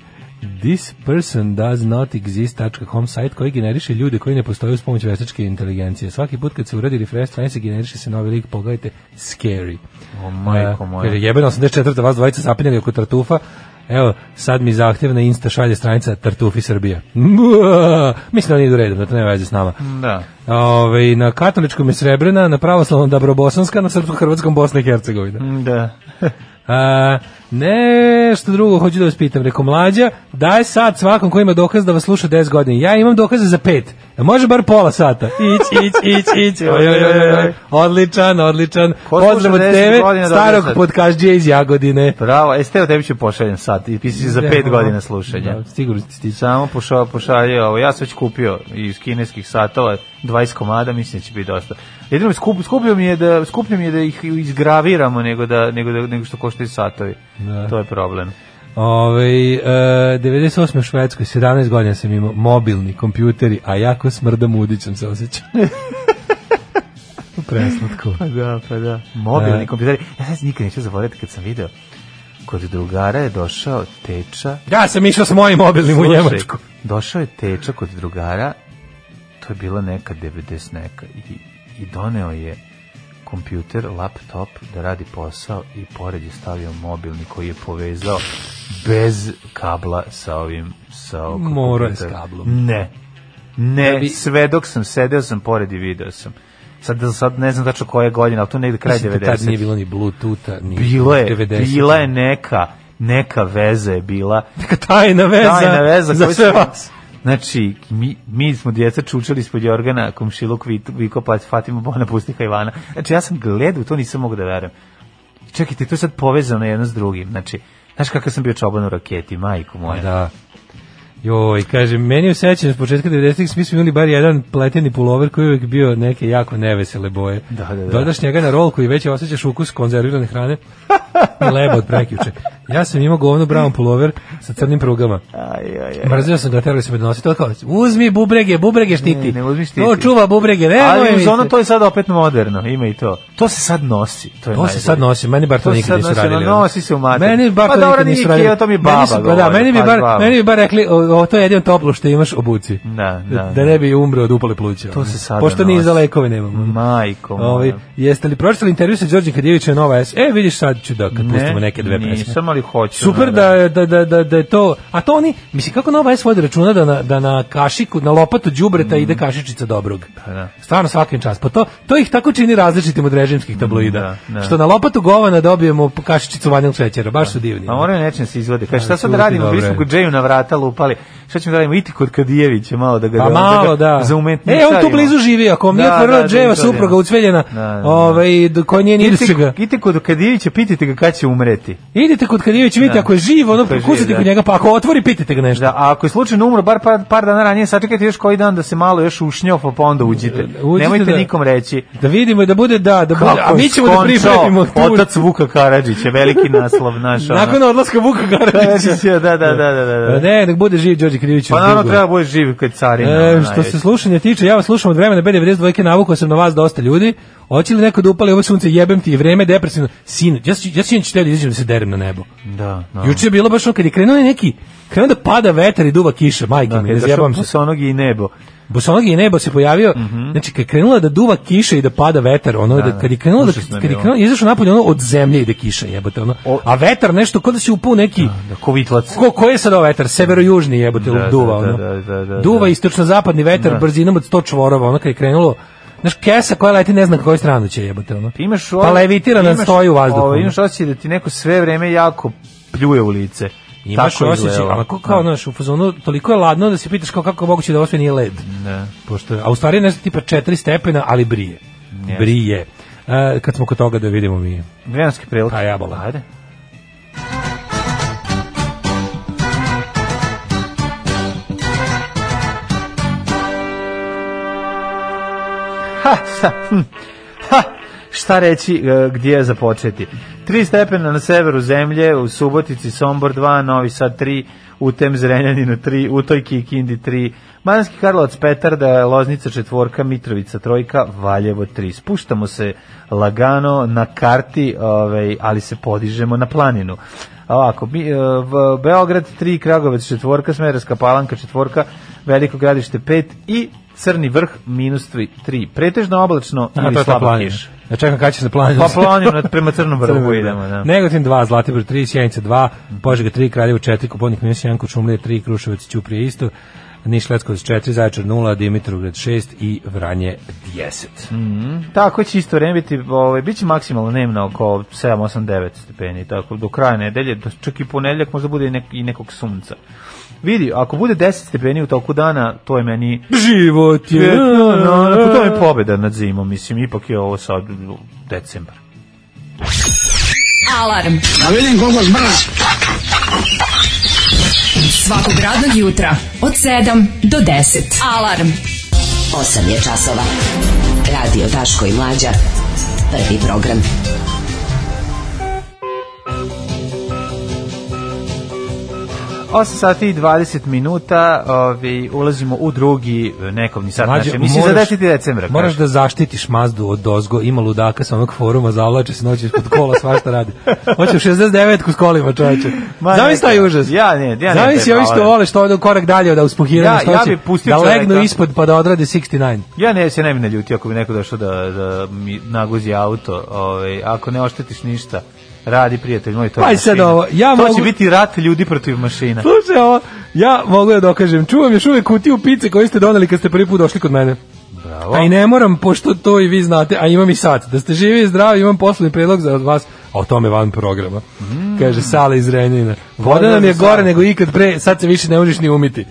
Speaker 6: this person does not exist .com sajt koji generiše ljude koji ne postoje uz pomoć veštačke inteligencije. Svaki put kad se uradi refresh stranice generiše se novi lik, pogledajte, scary.
Speaker 5: O, majko moja.
Speaker 6: Kaže, jebeno 84. vas dvojica zapinjali oko tartufa, Evo, sad mi zahtjev na Insta šalje stranica Tartufi Srbija. Mua! Mislim da nije do redom, da to nema veze s nama.
Speaker 5: Da.
Speaker 6: Ove, na katoličkom je Srebrena, na pravoslavnom Dabrobosanska, na srpsko-hrvatskom Bosna i Hercegovina.
Speaker 5: Mm, Da.
Speaker 6: A, nešto drugo hoću da vas pitam. Reko, mlađa, daj sad svakom ko ima dokaz da vas sluša 10 godina. Ja imam dokaze za pet. Jel Može bar pola sata. Ić, ić, ić, ić. Oj, oj, oj, oj, oj. Odličan, odličan.
Speaker 5: Ko sluša
Speaker 6: Pozdrav od
Speaker 5: 10
Speaker 6: tebe,
Speaker 5: godina, dobro
Speaker 6: starog
Speaker 5: sad.
Speaker 6: podkažđe iz Jagodine. ono.
Speaker 5: Bravo, jeste evo tebi ću pošaljem sad i pisi za pet godina slušanja.
Speaker 6: Da, sigurno ti stići.
Speaker 5: Samo pošao, pošalje ovo. Ja sam već kupio iz kineskih satova 20 komada, mislim da će biti dosta. Jedino skup, skupio mi je da skuplje mi je da ih izgraviramo nego da nego da nego što koštaju satovi.
Speaker 6: Da.
Speaker 5: To je problem.
Speaker 6: Ove, e, 98. u Švedskoj, 17 godina sam imao mobilni kompjuteri, a jako smrdam udićem se osjećam. Preslatko.
Speaker 5: Pa da, pa da. Mobilni
Speaker 6: E.
Speaker 5: kompjuteri. Ja sad nikad neću zaboraviti kad sam video. Kod drugara je došao teča.
Speaker 6: Ja sam išao s mojim mobilnim u
Speaker 5: Slušaj,
Speaker 6: Njemačku.
Speaker 5: Došao je teča kod drugara to je bila neka 90 neka i, i doneo je kompjuter, laptop da radi posao i pored je stavio mobilni koji je povezao bez kabla sa ovim sa ovim
Speaker 6: Morao je s kablom.
Speaker 5: Ne. Ne,
Speaker 6: Da bi-
Speaker 5: sve dok sam sedeo sam pored i video sam. Sad, sad ne znam tačno koja je godina, ali to negde kraj
Speaker 6: Mislim, da
Speaker 5: 90.
Speaker 6: Tad nije bilo ni Bluetootha, ni
Speaker 5: Bilo je,
Speaker 6: 90.
Speaker 5: bila je neka, neka veza je bila.
Speaker 6: neka tajna veza,
Speaker 5: Tajna veza
Speaker 6: za
Speaker 5: koju
Speaker 6: sve
Speaker 5: smo-
Speaker 6: vas.
Speaker 5: Znači, mi, mi smo djeca čučali ispod Jorgana, komšiluk Vit- Viko, pa Fatima Bona, pusti Hajvana. Znači, ja sam gledao, to nisam mogu da verujem. I Čekajte, to je sad povezano jedno s drugim. Znači, znaš kakav sam bio čoban u raketi, majko moja.
Speaker 6: Da. Joj, kaže, meni je sećanje s početka 90-ih, mi smo imali bar jedan pleteni pulover koji je uvek bio neke jako nevesele boje.
Speaker 5: Da, da, da.
Speaker 6: Dodaš njega na rolku i već osjećaš ukus konzervirane hrane i leba od prekjuče. Ja sam imao govno brown pulover sa crnim prugama.
Speaker 5: Aj, aj, aj.
Speaker 6: Mrzio sam ga, terali su me donositi. To je kao, uzmi bubrege, bubrege štiti.
Speaker 5: Ne, ne uzmi štiti.
Speaker 6: To čuva bubrege, ne,
Speaker 5: Ali uz ono to je sad opet moderno, ima i to. To se sad nosi. To, je
Speaker 6: To se
Speaker 5: najbolje.
Speaker 6: sad nosi, meni bar to,
Speaker 5: To se
Speaker 6: nikad
Speaker 5: sad
Speaker 6: nisu
Speaker 5: nosi,
Speaker 6: radili.
Speaker 5: ono, nosi se u mater.
Speaker 6: Meni bar
Speaker 5: Pa
Speaker 6: to
Speaker 5: dobro,
Speaker 6: nikad nisu
Speaker 5: Niki,
Speaker 6: radili.
Speaker 5: evo to mi je
Speaker 6: Meni
Speaker 5: baba
Speaker 6: su- pa Da,
Speaker 5: govorila,
Speaker 6: meni bi
Speaker 5: pa
Speaker 6: bar,
Speaker 5: baba.
Speaker 6: meni bi bar rekli, o, o, to je jedino toplo što imaš u buci.
Speaker 5: Da, da,
Speaker 6: da ne bi umro od upale pluća. ono.
Speaker 5: To se sada
Speaker 6: Pošto ni
Speaker 5: nosi.
Speaker 6: za lekove nemamo.
Speaker 5: Majko moja.
Speaker 6: Ovi, jeste li pročitali intervju sa Đorđem Kadijevićem Nova S? E, vidiš sad ću da kad
Speaker 5: Ne,
Speaker 6: pustimo neke dve pesme.
Speaker 5: nisam, ali hoću,
Speaker 6: Super da, je- da, da, da, da je to... A to oni, misli, kako Nova S vodi računa da na, da na kašiku, na lopatu đubreta ide kašičica dobrog?
Speaker 5: Mm. Pa da.
Speaker 6: Stvarno svakim čas. Pa to, to ih tako čini različitim od režimskih tabloida.
Speaker 5: Da, da.
Speaker 6: Što na lopatu govana dobijemo po kašičicu vanilnog šećera. Baš su divni.
Speaker 5: Pa moraju nečim da se izvode. Kaže, šta
Speaker 6: A,
Speaker 5: sad
Speaker 6: čuti,
Speaker 5: da radimo? Bili
Speaker 6: dobro
Speaker 5: smo
Speaker 6: je.
Speaker 5: kod Džeju na vrata lupali. Šta ćemo da radimo? Iti kod Kadijevića malo da ga...
Speaker 6: Pa
Speaker 5: da-
Speaker 6: malo,
Speaker 5: ga
Speaker 6: da.
Speaker 5: Za umetni
Speaker 6: E, on tu blizu živi, ako vam nije otvorila dževa supruga ucveljena, ovaj, do- koja nije ni do čega.
Speaker 5: Idite kod Kadijevića, pitajte ga kad će umreti.
Speaker 6: Idite kod Kadijević, vidite,
Speaker 5: Da.
Speaker 6: ako je živ, ono
Speaker 5: Ako je živ,
Speaker 6: kucate
Speaker 5: da.
Speaker 6: kod njega, pa ako otvori, pitajte ga nešto.
Speaker 5: Da, a ako je slučajno umro bar par, par dana ranije, sačekajte još koji dan da se malo još ušnjofa, pa onda uđite.
Speaker 6: E, Uđite,
Speaker 5: Nemojte
Speaker 6: da.
Speaker 5: nikom reći.
Speaker 6: Da vidimo i da bude, da, da bude, a
Speaker 5: Kako
Speaker 6: mi
Speaker 5: je
Speaker 6: ćemo da
Speaker 5: skončao
Speaker 6: pripremimo tu.
Speaker 5: Otac Vuka Karadžića, veliki naslov naš. ono.
Speaker 6: Nakon odlaska Vuka Karadžića. Pa
Speaker 5: Karadžića, da, da, da, da, da, da.
Speaker 6: Ne, nek bude živ Đorđe Kadijević.
Speaker 5: Pa naravno treba bude živ kad carina.
Speaker 6: E,
Speaker 5: ono,
Speaker 6: što
Speaker 5: najveća.
Speaker 6: se slušanja tiče, ja vas slušam od vremena B92, navukao sam na vas dosta ljudi. Hoće li neko da upali ovo sunce, jebem ti, vreme je depresivno. Sinu, ja, si- ja sinoć htio da izađem da se derem na nebo.
Speaker 5: Da, da.
Speaker 6: Juče je bilo baš ono kad je krenuo neki, krenuo da pada vetar i duva kiša, majke
Speaker 5: Da,
Speaker 6: mi,
Speaker 5: kad
Speaker 6: ne
Speaker 5: je
Speaker 6: zjebam
Speaker 5: došao
Speaker 6: se.
Speaker 5: Bosonog i nebo.
Speaker 6: Bosonogi i nebo se pojavio, znači kad je krenula da duva kiša i da pada vetar, ono, da,
Speaker 5: Mhm. da,
Speaker 6: kad je krenulo da,
Speaker 5: užasno je
Speaker 6: kad je
Speaker 5: bilo.
Speaker 6: krenulo, izašao napolje, ono, od zemlje ide kiša, jebote, ono,
Speaker 5: O-
Speaker 6: a vetar nešto, kao da si upao u neki,
Speaker 5: Da, ko vitlac.
Speaker 6: Ko, ko je sad ovo vetar? Severo-južni jebote
Speaker 5: Da,
Speaker 6: duva.
Speaker 5: da,
Speaker 6: ono.
Speaker 5: da, da, da, da.
Speaker 6: duva istočno-zapadni vetar brzinom od 100 čvorova. Ono kad je krenulo, znaš, kesa koja leti ne zna na koju stranu će jebote. Ono.
Speaker 5: Ti imaš
Speaker 6: pa levitira nam
Speaker 5: imaš-
Speaker 6: stoji u vazduhu.
Speaker 5: Ovo,
Speaker 6: ono.
Speaker 5: imaš osjećaj da ti neko sve vreme jako pljuje u lice. ono
Speaker 6: Imaš
Speaker 5: Tako
Speaker 6: osjećaj,
Speaker 5: izgleda.
Speaker 6: ali ako kao, znaš, u fazonu, toliko je ladno da se pitaš kao kako je moguće da ovo sve nije led.
Speaker 5: Da.
Speaker 6: Pošto, je- a u stvari je nešto tipa 4 stepena, ali brije. Brije. E, kad smo kod toga da vidimo mi.
Speaker 5: Vremenski prelog.
Speaker 6: Pa jabola.
Speaker 5: Ajde. Ha, šta, hm, ha, šta reći e, gdje je započeti? Tri stepena na severu zemlje, u Subotici, Sombor 2, Novi Sad 3, u Tem Zrenjaninu 3, u Toj Kikindi 3, Manski Karlovac Petarda, Loznica četvorka, Mitrovica trojka, Valjevo 3. Spuštamo se lagano na karti, ovaj, ali se podižemo na planinu. Ovako, mi, e, v- Beograd 3, Kragovec četvorka, Smereska palanka četvorka, Veliko gradište 5 i Crni vrh minus 3. Pretežno oblačno
Speaker 6: A, to
Speaker 5: ili
Speaker 6: je ta
Speaker 5: slaba
Speaker 6: planina.
Speaker 5: kiša.
Speaker 6: Ja čekam kada će se planina.
Speaker 5: Pa planinu nad- prema Crnom vrhu idemo, da.
Speaker 6: Negotin 2, Zlatibor 3, Sjenica 2, Požega 3, Kraljevo 4, Koponik minus 1, Kočumlije 3, Kruševac Ćuprije isto, Niš Leskovac 4, Zaječar 0, Dimitrovgrad 6 i Vranje 10.
Speaker 5: Mm. Tako će isto vreme biti, ovaj, bit će maksimalno dnevno oko 7, 8, 9 stepeni, tako do kraja nedelje, do, čak i ponedjeljak možda bude i, nek, i nekog sunca. Vidi, ako bude 10 stepeni u toku dana, to je meni...
Speaker 6: Život je...
Speaker 5: No, no, no, pa to je pobeda nad zimom, mislim, ipak je ovo sad decembar.
Speaker 4: Alarm.
Speaker 3: Da vidim koliko zbrz.
Speaker 4: Svakog radnog jutra od 7 do 10. Alarm.
Speaker 7: 8 je časova. Radio Daško i Mlađa. Prvi program.
Speaker 5: 8 sati i 20 minuta, ovi, ulazimo u drugi e, nekovni sat
Speaker 6: Mlađe,
Speaker 5: naše. Mislim, za
Speaker 6: moraš-
Speaker 5: 10. decembra.
Speaker 6: Moraš
Speaker 5: kažeš.
Speaker 6: da zaštitiš Mazdu od dozgo, ima ludaka sa onog foruma, zavlače se noći ispod kola, svašta rade. Hoće u 69 s kolima, čovječe.
Speaker 5: Ma,
Speaker 6: Zavis taj
Speaker 5: neka.
Speaker 6: užas.
Speaker 5: Ja ne, ja ne,
Speaker 6: Zavis
Speaker 5: taj
Speaker 6: je ovi što
Speaker 5: problem.
Speaker 6: vole, što ode korak dalje od
Speaker 5: Ja-
Speaker 6: uspuhiranja, što
Speaker 5: ja
Speaker 6: hoće
Speaker 5: bi pustio
Speaker 6: da
Speaker 5: čoveka.
Speaker 6: legnu ispod pa da odrade 69.
Speaker 5: Ja ne, se ne bi naljutio ako bi neko došao da, da mi naguzi auto. Ovaj, ako ne oštetiš ništa, radi prijatelj moj, to je
Speaker 6: Aj Pa sad
Speaker 5: mašina.
Speaker 6: ovo, ja
Speaker 5: to
Speaker 6: mogu-
Speaker 5: će biti rat ljudi protiv mašina.
Speaker 6: Slušaj, ovo, ja mogu da dokažem, čuvam još uvek kutiju pice koju ste doneli kad ste prvi put došli kod mene.
Speaker 5: Bravo.
Speaker 6: A i ne moram, pošto to i vi znate, a imam i sad. Da ste živi i zdravi, imam poslovni predlog za od vas, a o tome van programa. Kaže, sale iz Renjina. Voda
Speaker 5: Mm. Voda
Speaker 6: nam je
Speaker 5: za
Speaker 6: gore
Speaker 5: sale.
Speaker 6: nego ikad pre, sad se više ne možeš ni umiti.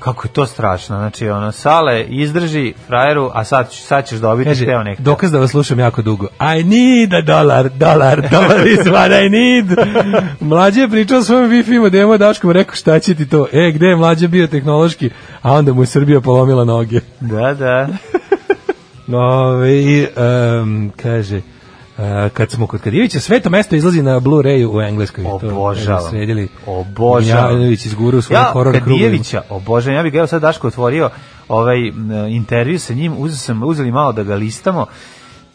Speaker 5: Kako je to strašno. Znači, ono, sale, izdrži frajeru, a sad, ću- sad ćeš dobiti
Speaker 6: Kaže,
Speaker 5: šteo nekada.
Speaker 6: dokaz da vas slušam jako dugo. I need a dollar, dollar, dollar is what I need. Mlađe je pričao o svojom Wi-Fi modemu, Daško mu rekao šta će ti to. E, gde je mlađe bio tehnološki? A onda mu je Srbija polomila noge.
Speaker 5: Da, da.
Speaker 6: Ove, i, em, kaže, e, kad smo kod Kadijevića, sve to mesto izlazi na Blu-rayu u Engleskoj. To,
Speaker 5: Obožavam.
Speaker 6: evo, Sredili.
Speaker 5: Obožavam.
Speaker 6: Gnjavanović iz Guru u svojom
Speaker 5: Ja
Speaker 6: horor krugovima.
Speaker 5: Kadijevića obožavam. Ja bih ga evo sad Daško otvorio ovaj m, intervju sa njim, uzeo sam uzeli malo da ga listamo.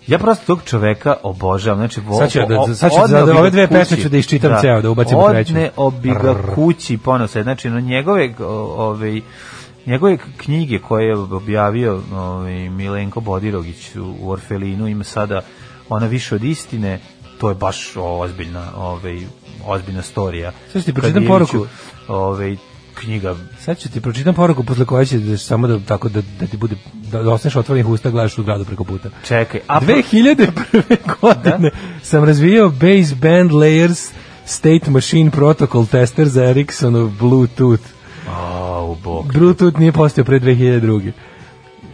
Speaker 5: Ja prosto tog čoveka obožavam. Znači, vo,
Speaker 6: Sad ću ja da-
Speaker 5: o-
Speaker 6: sad ću
Speaker 5: odneo
Speaker 6: za-
Speaker 5: bi ga
Speaker 6: ove dve
Speaker 5: kući.
Speaker 6: pesme ću da iščitam ceo, da ubacim u treću.
Speaker 5: Odneo bi ga
Speaker 6: Rrr.
Speaker 5: kući ponose. Znači, no, njegove, o, ovaj, njegove knjige koje je objavio ovaj, Milenko Bodirogić u, u Orfelinu ima sada ona više od istine to je baš ozbiljna ovaj ozbiljna storija.
Speaker 6: Sad ću ti pročitam
Speaker 5: Kadijeviću,
Speaker 6: poruku.
Speaker 5: Ovaj knjiga
Speaker 6: Sad ću ti pročitam poruku posle koje će da- samo da, tako da, da ti bude, da, da ostaneš otvorenih usta, gledaš u gradu preko puta.
Speaker 5: čekaj.
Speaker 6: A
Speaker 5: A
Speaker 6: 2001. godine sam razvijao Base Band Layers State Machine Protocol tester za Ericssonov Bluetooth.
Speaker 5: Au, bog.
Speaker 6: Bluetooth nije postao pre 2002.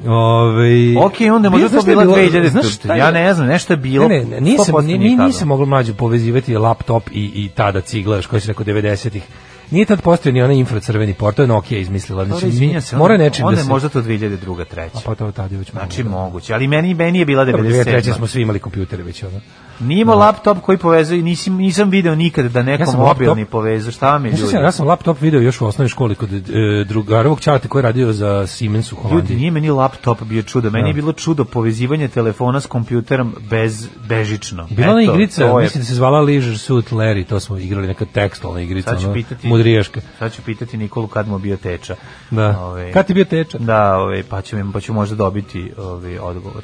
Speaker 6: Ove,
Speaker 5: Ok, onda možda to bila 2000. Ja ne znam, nešto je bilo.
Speaker 6: Ne, ne, nisam,
Speaker 5: 100%
Speaker 6: ni, ni,
Speaker 5: nikada.
Speaker 6: nisam mogao mlađe povezivati laptop i, i tada cigla, još koji se rekao 90-ih. Nije tad postojao ni onaj infracrveni port, to je Nokia izmislila.
Speaker 5: Dobro,
Speaker 6: Znači,
Speaker 5: izvinjam se,
Speaker 6: mora
Speaker 5: onda-
Speaker 6: nečim
Speaker 5: onda
Speaker 6: da
Speaker 5: je
Speaker 6: se...
Speaker 5: možda to 2002.
Speaker 6: A
Speaker 5: 3.
Speaker 6: pa to tad je već moglo.
Speaker 5: Znači moguće, ali meni meni je bila
Speaker 6: Dobro, 2003.
Speaker 5: 97.
Speaker 6: smo svi imali kompjutere već, ono.
Speaker 5: Nije imao laptop koji povezuje, nisam, nisam video nikada da neko
Speaker 6: Ja sam
Speaker 5: mobilni
Speaker 6: laptop-
Speaker 5: povezuje, šta vam je
Speaker 6: Ja sam,
Speaker 5: ljudi?
Speaker 6: ja sam laptop video još u osnovnoj školi kod e, drugarovog čalata koji je radio za Siemens u
Speaker 5: Ljudi,
Speaker 6: Holandiji.
Speaker 5: Pa nije meni laptop bio čudo, meni
Speaker 6: Da.
Speaker 5: je bilo čudo povezivanje telefona s kompjuterom bez, bežično.
Speaker 6: Bila ona
Speaker 5: Eto,
Speaker 6: igrica,
Speaker 5: to je-
Speaker 6: mislim da se zvala Leisure Suit Larry, to smo igrali neka tekstualna igrica,
Speaker 5: Sad ću
Speaker 6: ono,
Speaker 5: pitati-
Speaker 6: mudrijaška.
Speaker 5: Sad ću pitati Nikolu kad mu je bio teča.
Speaker 6: Da.
Speaker 5: Ove-
Speaker 6: Kad ti bio teča?
Speaker 5: Da, ovaj, pa, ću, pa ću možda dobiti ovaj, odgovor.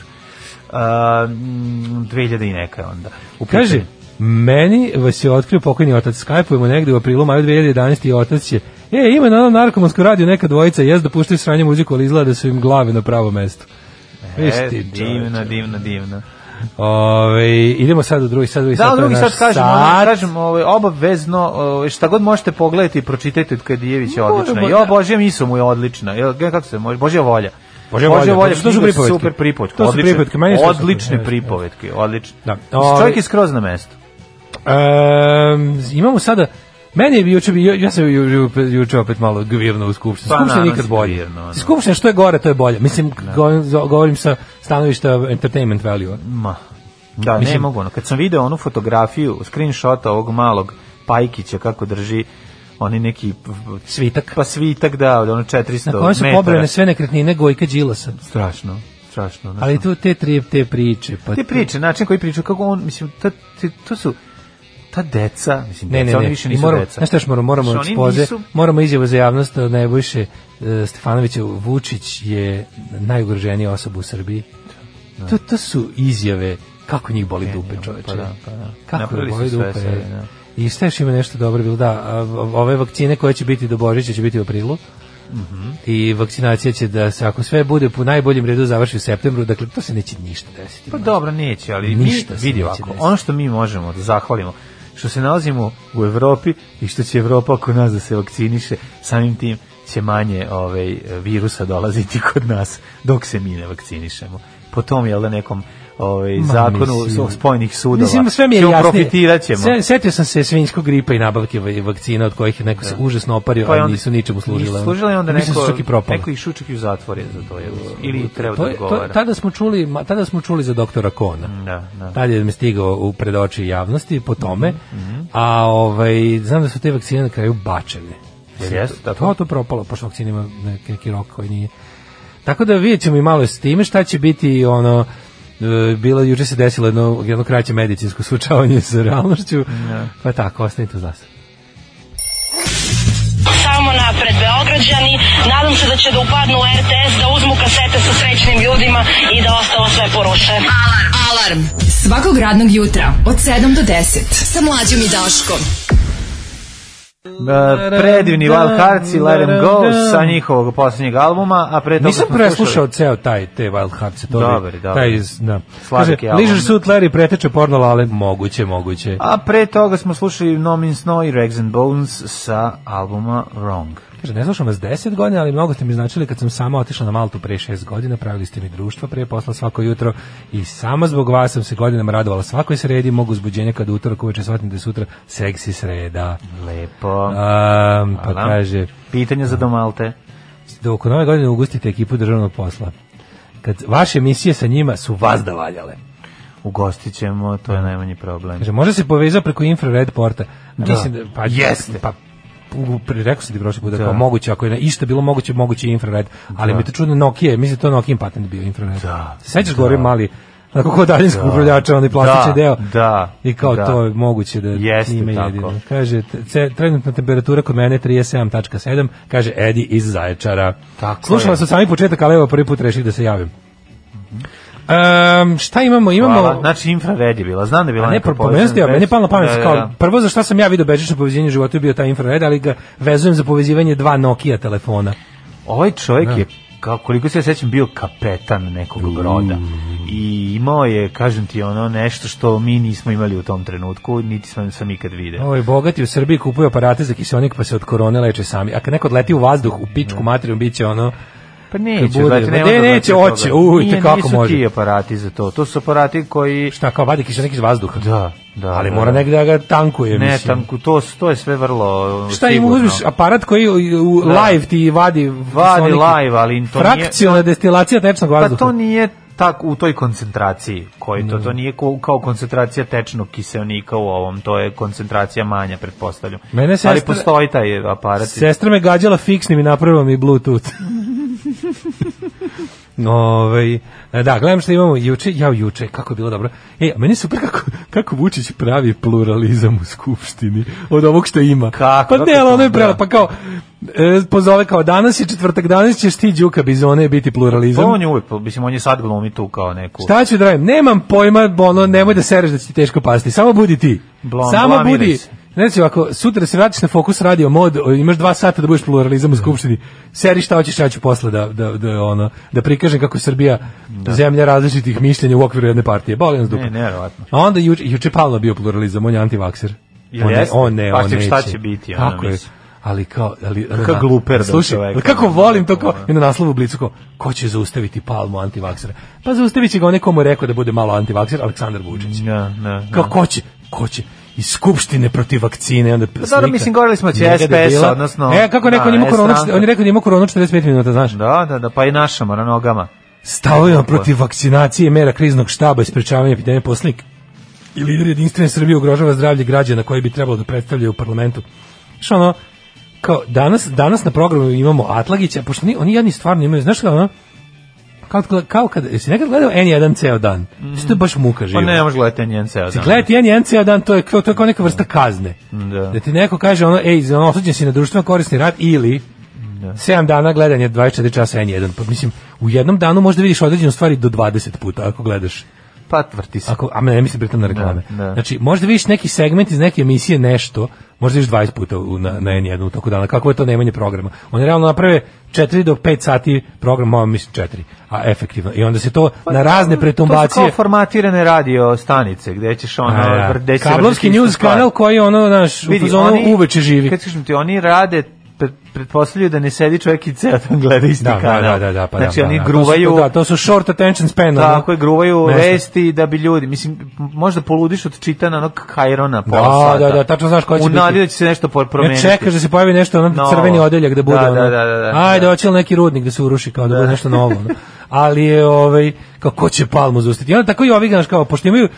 Speaker 5: A, mm, 2000 i neka je onda. U pitanju.
Speaker 6: Kaže, meni vas je otkrio pokojni otac, skajpujemo negde u aprilu, maju 2011. i otac će, e, ima na onom narkomanskom radiju neka dvojica, jes da puštaju sranje muziku, ali izgleda da su im glave na pravo mesto. Viš
Speaker 5: E,
Speaker 6: ti,
Speaker 5: divno, divno, divno.
Speaker 6: Ove, idemo sad u drugi, sad u drugi,
Speaker 5: Da,
Speaker 6: sad
Speaker 5: ali drugi sad kažem, ono,
Speaker 6: sad,
Speaker 5: kažem ovaj, obavezno, ovaj, šta god možete pogledati i pročitajte od Kadijevića odlična.
Speaker 6: Moramo,
Speaker 5: Jo,
Speaker 6: da.
Speaker 5: Božja miso mu je odlična. Jo, ga- kako se može? Božja volja.
Speaker 6: Božja volja, to su- to su
Speaker 5: knjiga sa
Speaker 6: pripovetke.
Speaker 5: Super pripovetke.
Speaker 6: To su
Speaker 5: odlične-
Speaker 6: pripovetke, meni su super.
Speaker 5: Odlične
Speaker 6: Jeste.
Speaker 5: pripovetke, odlične.
Speaker 6: Da.
Speaker 5: Čovjek je skroz na mestu.
Speaker 6: Ehm, imamo sada meni je juče bio ja sam ju, ju, juče opet malo gvirno u skupštini.
Speaker 5: Pa,
Speaker 6: Skupština je
Speaker 5: naravno,
Speaker 6: nikad bolje.
Speaker 5: gvirno, ono.
Speaker 6: Skupština što je gore, to je bolje. Mislim go- govorim sa stanovišta entertainment value.
Speaker 5: Ma. Da, ne
Speaker 6: Mislim-
Speaker 5: mogu ono. Kad sam video onu fotografiju, screenshot ovog malog Pajkića kako drži oni neki
Speaker 6: Svitak.
Speaker 5: pa svitak da, od ono
Speaker 6: Na
Speaker 5: 400
Speaker 6: kojem su
Speaker 5: metara.
Speaker 6: pobrane sve nekretnine Gojka Đilasa.
Speaker 5: Strašno, strašno. ono, znaš,
Speaker 6: Ali tu te tri te priče, pa
Speaker 5: Te priče, način koji priča, kako on, mislim, ta, te, to su ta deca, mislim,
Speaker 6: Ne,
Speaker 5: deca,
Speaker 6: ne, ne.
Speaker 5: oni više
Speaker 6: I
Speaker 5: nisu
Speaker 6: moramo,
Speaker 5: deca.
Speaker 6: Znaš šta još moramo, moramo
Speaker 5: Znaš, oni
Speaker 6: ekspoze,
Speaker 5: nisu-
Speaker 6: moramo izjavu za javnost od Nebojše e, Stefanovića, Vučić je najugroženija osoba u Srbiji. To, to su izjave kako njih boli dupe, čoveče.
Speaker 5: pa da, pa da.
Speaker 6: Kako
Speaker 5: Napravili
Speaker 6: ih boli
Speaker 5: su sve
Speaker 6: dupe.
Speaker 5: sebi, da.
Speaker 6: I šta još ima nešto dobro bilo, da, a, o- ove vakcine koje će biti do Božića će biti u aprilu.
Speaker 5: Mhm.
Speaker 6: I vakcinacija će da se, ako sve bude po najboljem redu, završi u septembru, dakle, to se neće ništa desiti.
Speaker 5: Pa dobro, neće, ali
Speaker 6: Ništa
Speaker 5: Ništa
Speaker 6: se
Speaker 5: vidi
Speaker 6: neće
Speaker 5: ovako,
Speaker 6: desiti.
Speaker 5: ono što mi možemo da zahvalimo, što se nalazimo u Evropi i što će Evropa oko nas da se vakciniše, samim tim će manje ovaj, virusa dolaziti kod nas dok se mi ne vakcinišemo. Po tom, jel da, nekom ovaj, zakonu
Speaker 6: mislim.
Speaker 5: spojnih sudova
Speaker 6: Mislim, sve mi je
Speaker 5: ćemo,
Speaker 6: jasnije.
Speaker 5: profitirat ćemo.
Speaker 6: Se- setio sam se svinjskog gripa i nabavke va- vakcina od kojih je neko se užasno opario,
Speaker 5: Pa je
Speaker 6: a
Speaker 5: onda-
Speaker 6: nisu ničemu služile.
Speaker 5: Nisu služile i onda
Speaker 6: Mislim, su
Speaker 5: neko,
Speaker 6: čak i propale. E,
Speaker 5: neko i šučak i u zatvore za to. Jel? Ili treba
Speaker 6: To
Speaker 5: da
Speaker 6: je- to-
Speaker 5: odgovara. Mm.
Speaker 6: tada smo čuli, ma, tada smo čuli za doktora Kona.
Speaker 5: Da, da.
Speaker 6: Tad je mi stigao u
Speaker 5: Mhm,
Speaker 6: pred oči javnosti po tome. A ovaj znam da su te vakcine na kraju bačene. Jer
Speaker 5: Jel jeste
Speaker 6: to-
Speaker 5: tako?
Speaker 6: To, to propalo, pošto vakcina ima neki, neki rok koji nije. Tako da vidjet ćemo i malo s time šta će biti ono e, bilo juče se desilo jedno, jedno kraće medicinsko sučavanje sa realnošću, pa tako, ostanite uz nas.
Speaker 2: Samo napred Beograđani, nadam se da će da upadnu u RTS, da uzmu kasete sa srećnim ljudima i da ostalo sve poruše.
Speaker 4: Alarm. Alarm. Svakog radnog jutra od 7 do 10. Sa mlađom i Daškom.
Speaker 5: E, predivni Wild Hearts i Let Em Go sa njihovog poslednjeg albuma, a pre toga
Speaker 6: Nisam
Speaker 5: smo
Speaker 6: preslušao
Speaker 5: slušali-
Speaker 6: ceo taj te Wild Hearts to
Speaker 5: Dobar je, dobar
Speaker 6: Taj
Speaker 5: je.
Speaker 6: iz, da. Kaže,
Speaker 5: Sladak je album.
Speaker 6: Leisure Suit Larry preteče porno lale, moguće, moguće.
Speaker 5: A pre toga smo slušali No Means No i Rags and Bones sa albuma Wrong.
Speaker 6: Kaže, ne slušam vas 10 godina, ali mnogo ste mi značili kad sam sama otišla na Maltu pre 6 godina, pravili ste mi društvo pre posla svako jutro i sama zbog vas sam se godinama radovala svakoj sredi, mogu uzbuđenja kad utorak uveče shvatim da je sutra seksi sreda.
Speaker 5: Lepo.
Speaker 6: Um, pa
Speaker 5: Hvala.
Speaker 6: kaže,
Speaker 5: Pitanje za domalte.
Speaker 6: dok u nove godine ugustite ekipu državnog posla, kad vaše emisije sa njima su vas da valjale.
Speaker 5: Ugostit ćemo, to je najmanji problem.
Speaker 6: Kaže, može se povezao preko infrared porta. Da. Mislim da, pa,
Speaker 5: Jeste.
Speaker 6: Pa, u- pre- rekao sam ti prošli put da,
Speaker 5: Da.
Speaker 6: kao moguće, ako je na- išta bilo moguće, moguće je infrared, ali mi je to čudno Nokia, mislim da je to Nokia patent bio infrared.
Speaker 5: Da.
Speaker 6: Se Sećaš gore mali, onako kod daljinskog upravljača, onaj plastični
Speaker 5: Da,
Speaker 6: deo.
Speaker 5: da,
Speaker 6: I kao
Speaker 5: da.
Speaker 6: to je moguće da
Speaker 5: Jeste
Speaker 6: ime
Speaker 5: tako.
Speaker 6: jedino. Kaže, t- ce- trenutna temperatura kod mene je 37.7, kaže Edi iz Zaječara.
Speaker 5: Tako
Speaker 6: Slušala
Speaker 5: je.
Speaker 6: sam sami početak, ali evo prvi put reših da se javim. Um, šta imamo? Imamo...
Speaker 5: Hvala. Znači, infrared je bila. Znam da je bila
Speaker 6: A ne,
Speaker 5: Pa neka
Speaker 6: pro- promenio sam
Speaker 5: povezana
Speaker 6: ja, meni je
Speaker 5: vest.
Speaker 6: palo na pamet,
Speaker 5: Da, da,
Speaker 6: kao,
Speaker 5: da.
Speaker 6: prvo za šta sam ja vidio bežično povezivanje života je bio taj infrared, ali ga vezujem za povezivanje dva Nokia telefona.
Speaker 5: Ovaj čovjek je kao koliko se ja sećam bio kapetan nekog broda i imao je kažem ti ono nešto što mi nismo imali u tom trenutku niti sam sam ikad video.
Speaker 6: Ovo bogati u Srbiji kupuju aparate za kiselnik pa se od korone leče sami. A kad neko leti u vazduh, u pičku materiju, bit će ono...
Speaker 5: Pa neće,
Speaker 6: bude,
Speaker 5: brate,
Speaker 6: ma
Speaker 5: nema
Speaker 6: ne,
Speaker 5: da
Speaker 6: neće,
Speaker 5: vrati od
Speaker 6: hoće,
Speaker 5: toga.
Speaker 6: u,
Speaker 5: Nije,
Speaker 6: itekako
Speaker 5: nisu
Speaker 6: može.
Speaker 5: ti aparati za to. To su aparati koji
Speaker 6: Šta, kao vadi kiselnik iz vazduha?
Speaker 5: da, da.
Speaker 6: ali
Speaker 5: da,
Speaker 6: mora
Speaker 5: da.
Speaker 6: negde da ga tankuje,
Speaker 5: Ne,
Speaker 6: mislim.
Speaker 5: tanku, to, to je sve vrlo uh,
Speaker 6: Šta im
Speaker 5: sigurno.
Speaker 6: uzmiš aparat koji u- u
Speaker 5: Da.
Speaker 6: live ti vadi
Speaker 5: Vadi
Speaker 6: kiseonik?
Speaker 5: live, ali to nije-
Speaker 6: Frakcijalna destilacija tečnog
Speaker 5: Pa
Speaker 6: vazduha.
Speaker 5: to nije tak u toj koncentraciji koji
Speaker 6: Mm.
Speaker 5: to to nije ko- kao koncentracija tečnog kiseonika u ovom to je koncentracija manja pretpostavljam
Speaker 6: Mene se
Speaker 5: ali
Speaker 6: sestra-
Speaker 5: postoji taj aparat i
Speaker 6: Znači, Sestra me gađala fiksnim i napravila mi bluetooth. Ove, Ovaj, e, da, gledam što imamo juče, ja juče, kako je bilo dobro. E, a meni je super kako, kako Vučić pravi pluralizam u skupštini od ovog što ima.
Speaker 5: Kako?
Speaker 6: Pa ne,
Speaker 5: Kako
Speaker 6: ali ono je
Speaker 5: to?
Speaker 6: prela,
Speaker 5: Da.
Speaker 6: pa kao, e, pozove kao danas je četvrtak, danas ćeš ti Đuka Bizone biti
Speaker 5: Pa
Speaker 6: pluralizam.
Speaker 5: on je uvek, mislim, on je sad glumi tu kao neku...
Speaker 6: Šta ću da radim? Nemam pojma, ono, nemoj da sereš da će ti teško pasti. Samo budi ti.
Speaker 5: Blam-
Speaker 6: Samo
Speaker 5: blamiraj
Speaker 6: budi.
Speaker 5: se.
Speaker 6: Znači, ako sutra se vratiš na Fokus Radio Mod, o, imaš dva sata da budeš pluralizam u skupštini, seri šta hoćeš, ja ću posle da, da, da, ono, da prikažem kako je Srbija zemlja različitih mišljenja u okviru jedne partije. Boli nas dupa.
Speaker 5: Ne, nevjerovatno.
Speaker 6: A onda juče, juče Pavlo bio pluralizam, on je antivakser.
Speaker 5: Jel
Speaker 6: on, ne,
Speaker 5: jeste?
Speaker 6: on ne,
Speaker 5: Pa
Speaker 6: on
Speaker 5: ček,
Speaker 6: neće.
Speaker 5: šta će biti, ono,
Speaker 6: Tako je.
Speaker 5: mislim.
Speaker 6: Ali kao, ali, ali
Speaker 5: Kakav gluper da
Speaker 6: slušaj,
Speaker 5: čovek,
Speaker 6: ali kako
Speaker 5: ono,
Speaker 6: volim to kao,
Speaker 5: ono.
Speaker 6: i na naslovu u blicu kao, ko će zaustaviti palmu antivaksera? Pa zaustavit će ga onaj komu je rekao da bude malo antivakser, Aleksandar Vučić.
Speaker 5: Ne, ne, ne.
Speaker 6: Kao, ko će? Ko će? iz skupštine protiv vakcine onda slika.
Speaker 5: Pa dobro, mislim, govorili smo, će
Speaker 6: njega
Speaker 5: SPS,
Speaker 6: debila.
Speaker 5: odnosno-
Speaker 6: E, kako neko
Speaker 5: Da,
Speaker 6: njemu koronu,
Speaker 5: stranka.
Speaker 6: on je rekao da ima koronu 45 minuta, znaš.
Speaker 5: Da, da, da, pa i naša mora nogama.
Speaker 6: Stavovima protiv vakcinacije, mera kriznog štaba i sprečavanja epidemije poslik i lider jedinstvene Srbije ugrožava zdravlje građana koji bi trebalo da predstavljaju u parlamentu. Što ono, kao danas, danas na programu imamo Atlagića, pošto oni, oni jadni stvarno imaju, znaš kao ono, kao, kao kad, jesi nekad gledao N1 ceo dan? Isto je baš muka
Speaker 5: Pa
Speaker 6: živa.
Speaker 5: ne, možeš gledati njen ceo dan.
Speaker 6: Gledati N1 ceo dan, to je, kao, to je kao neka vrsta kazne.
Speaker 5: Da.
Speaker 6: Da ti neko kaže ono, ej, za ono, osuđen si na društveno korisni rad ili 7 dana gledanje 24 časa N1. Pa mislim, u jednom danu možda vidiš određenu stvari do 20 puta ako gledaš.
Speaker 5: Pa tvrti se.
Speaker 6: Ako, a ne mislim pritom na reklame.
Speaker 5: Da, da.
Speaker 6: Znači, možda vidiš neki segment iz neke emisije nešto, možda vidiš 20 puta u, na, na N1 u toku dana. Kako je to nemanje programa? Oni realno naprave 4 do 5 sati program, malo mislim 4, a efektivno. I onda se to na razne
Speaker 5: Pa To su kao
Speaker 6: pretumbacije...
Speaker 5: formatirane radio stanice, gde ćeš ono...
Speaker 6: A, da.
Speaker 5: gde će se
Speaker 6: Kablovski
Speaker 5: vrtiti ista
Speaker 6: news
Speaker 5: stvar.
Speaker 6: kanal koji ono naš u
Speaker 5: pa- Vidi,
Speaker 6: fazonu uveče živi.
Speaker 5: Kad kažem ti, oni rade pre- pretpostavljaju da ne sedi čovjek i ceo dan gleda isti
Speaker 6: Da,
Speaker 5: kanal.
Speaker 6: da, da, da, pa da,
Speaker 5: znači,
Speaker 6: da,
Speaker 5: oni
Speaker 6: da.
Speaker 5: gruvaju...
Speaker 6: To su, da, to su short attention span. ono.
Speaker 5: Tako je, gruvaju
Speaker 6: Nešto.
Speaker 5: vesti da bi ljudi, mislim, možda poludiš od čitana onog Kajrona pola
Speaker 6: Da,
Speaker 5: sata.
Speaker 6: da, da, tačno znaš ko će
Speaker 5: U nadi
Speaker 6: biti.
Speaker 5: da će se nešto por-
Speaker 6: Ne
Speaker 5: promeniti.
Speaker 6: čekaš da se pojavi nešto ono
Speaker 5: Novo.
Speaker 6: crveni odeljak da bude
Speaker 5: Da, da,
Speaker 6: ono.
Speaker 5: da, da, da.
Speaker 6: Ajde,
Speaker 5: Da.
Speaker 6: hoće li neki rudnik da se uruši kao da, bude nešto novo. Ono. Ali je ovaj kako će Palmu zaustiti. I onda tako i ovi znaš kao pošto imaju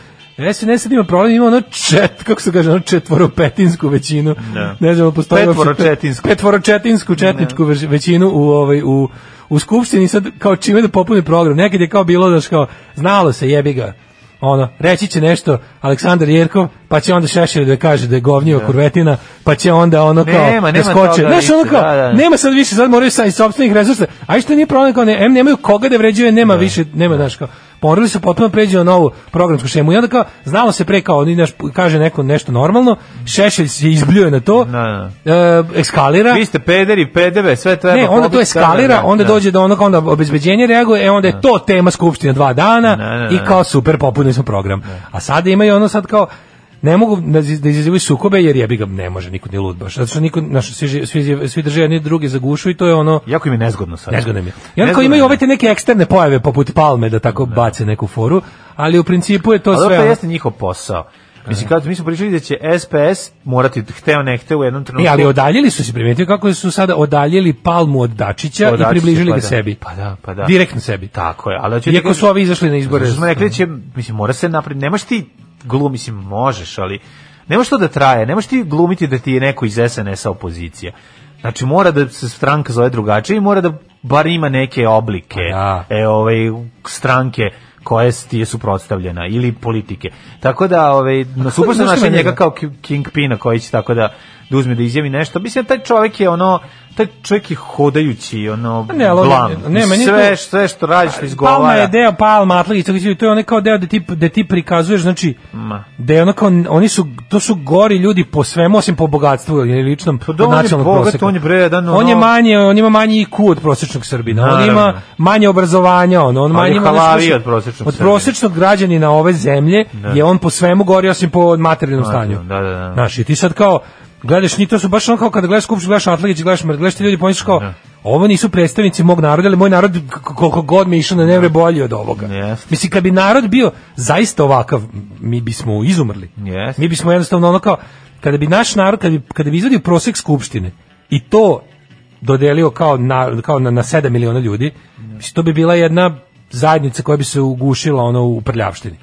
Speaker 6: SNS ima problem, ima ono čet, kako se kaže, ono četvoropetinsku većinu.
Speaker 5: Da.
Speaker 6: Ne znam, postoji
Speaker 5: Petvoročetinsku.
Speaker 6: Petvoročetinsku četničku veš- većinu u ovaj u u skupštini sad kao čime da popuni program. Nekad je kao bilo da kao znalo se jebi ga. Ono, reći će nešto Aleksandar Jerkov, pa će onda Šešelj da kaže da je govnjiva kurvetina, pa će onda ono kao
Speaker 5: Nema,
Speaker 6: da
Speaker 5: nema
Speaker 6: skoče.
Speaker 5: toga
Speaker 6: Znaš, ono
Speaker 5: više,
Speaker 6: kao,
Speaker 5: da, da.
Speaker 6: nema sad više, sad moraju sa iz sopstvenih resursa. A i što nije problem kao ne, em nemaju koga da vređaju, nema više, nema znaš kao. Morali su potpuno pređe na novu programsku šemu. I onda kao znalo se pre kao oni naš kaže neko nešto normalno, Šešelj se izbljuje na to.
Speaker 5: Da,
Speaker 6: e, eskalira.
Speaker 5: Vi ste pederi, pedeve, sve treba
Speaker 6: Ne, onda to
Speaker 5: pobiti,
Speaker 6: eskalira,
Speaker 5: da, da,
Speaker 6: onda
Speaker 5: da.
Speaker 6: dođe do onog, onda obezbeđenje reaguje, e onda je to tema skupštine dva dana
Speaker 5: Ne, ne, ne.
Speaker 6: i kao super, popunili smo program. A sada imaju ono sad kao, ne mogu da iz- da izazivaju sukobe jer jebi ga ne može niko ni lud baš zato što niko naš svi ži- svi, ži- svi drže jedni drugi za gušu i to je ono
Speaker 5: Jako im je nezgodno sad.
Speaker 6: nezgodno mi je. I onda kao
Speaker 5: Nezgodno
Speaker 6: imaju ovaj
Speaker 5: je.
Speaker 6: ove te neke eksterne pojave poput palme da tako bace neku foru ali u principu je to
Speaker 5: Ali
Speaker 6: sve
Speaker 5: to
Speaker 6: ono-
Speaker 5: jeste njihov posao. Mislim, kad mi smo pričali da će SPS morati, hteo ne hteo, u jednom trenutku...
Speaker 6: E, ali odaljili su se, primetio kako su sada odaljili palmu od Dačića
Speaker 5: Odaći
Speaker 6: i
Speaker 5: se,
Speaker 6: približili
Speaker 5: pa
Speaker 6: ga
Speaker 5: da.
Speaker 6: sebi.
Speaker 5: Pa da, pa da.
Speaker 6: Direktno sebi.
Speaker 5: Tako je, ali hoću ti
Speaker 6: Iako
Speaker 5: kažem-
Speaker 6: su ovi izašli na izbore.
Speaker 5: Zato što smo rekli da će, mislim, mora se napred, nemaš ti glum, mislim, možeš, ali nemaš to da traje, nemaš ti glumiti da ti je neko iz SNS-a opozicija. Znači, mora da se stranka zove drugačije i mora da bar ima neke oblike
Speaker 6: Pa
Speaker 5: e, ovaj, stranke koje s- ti je suprotstavljena ili politike. Tako da, ovaj, na
Speaker 6: kako-
Speaker 5: suprotno
Speaker 6: znaš šta
Speaker 5: našao
Speaker 6: meni je-
Speaker 5: njega kao ki- Kingpina koji će tako da, da uzme da izjavi nešto. Mislim, taj čovjek je ono, taj čovjek je hodajući, ono,
Speaker 6: Ne, ali on-
Speaker 5: blam.
Speaker 6: ne, meni je
Speaker 5: sve,
Speaker 6: to- Pa,
Speaker 5: sve što radiš, što
Speaker 6: Palma je
Speaker 5: izgovara.
Speaker 6: deo Palma, Atlagić, tako će- to je onaj kao deo da ti, da ti prikazuješ, znači,
Speaker 5: Ma.
Speaker 6: da je ono kao, oni su, to su gori ljudi po svemu, osim po bogatstvu, ili ličnom,
Speaker 5: Pa da, on je
Speaker 6: nacionalnog
Speaker 5: bogat,
Speaker 6: proseka.
Speaker 5: on je bre jedan,
Speaker 6: On je
Speaker 5: ono-
Speaker 6: manje, on ima manji IQ od prosječnog Srbina, on
Speaker 5: Naravno.
Speaker 6: ima manje obrazovanja, on, on
Speaker 5: je
Speaker 6: manje... ima, znaš,
Speaker 5: halaviji
Speaker 6: mislim,
Speaker 5: od prosječnog
Speaker 6: Od
Speaker 5: Srbina.
Speaker 6: prosječnog građanina ove zemlje je on po svemu gori, osim po materijalnom
Speaker 5: Materijalno,
Speaker 6: stanju.
Speaker 5: da, da, da.
Speaker 6: Znaš, i ti sad kao, gledaš, ni to su baš ono kao kada gledaš skupštinu, gledaš Atlagić, gledaš Mrd, gledaš ti ljudi, pomisliš kao, ovo nisu predstavnici mog naroda, ali moj narod k- koliko god mi je išao na nevre bolji od ovoga.
Speaker 5: Jeste.
Speaker 6: Mislim, kad bi narod bio zaista ovakav, mi bismo izumrli.
Speaker 5: Jeste.
Speaker 6: Mi bismo jednostavno ono kao, kada bi naš narod, kada bi, kada bi izvadio prosek skupštine i to dodelio kao na, kao na, na 7 miliona ljudi, mislim, to bi bila jedna zajednica koja bi se ugušila ono u prljavštini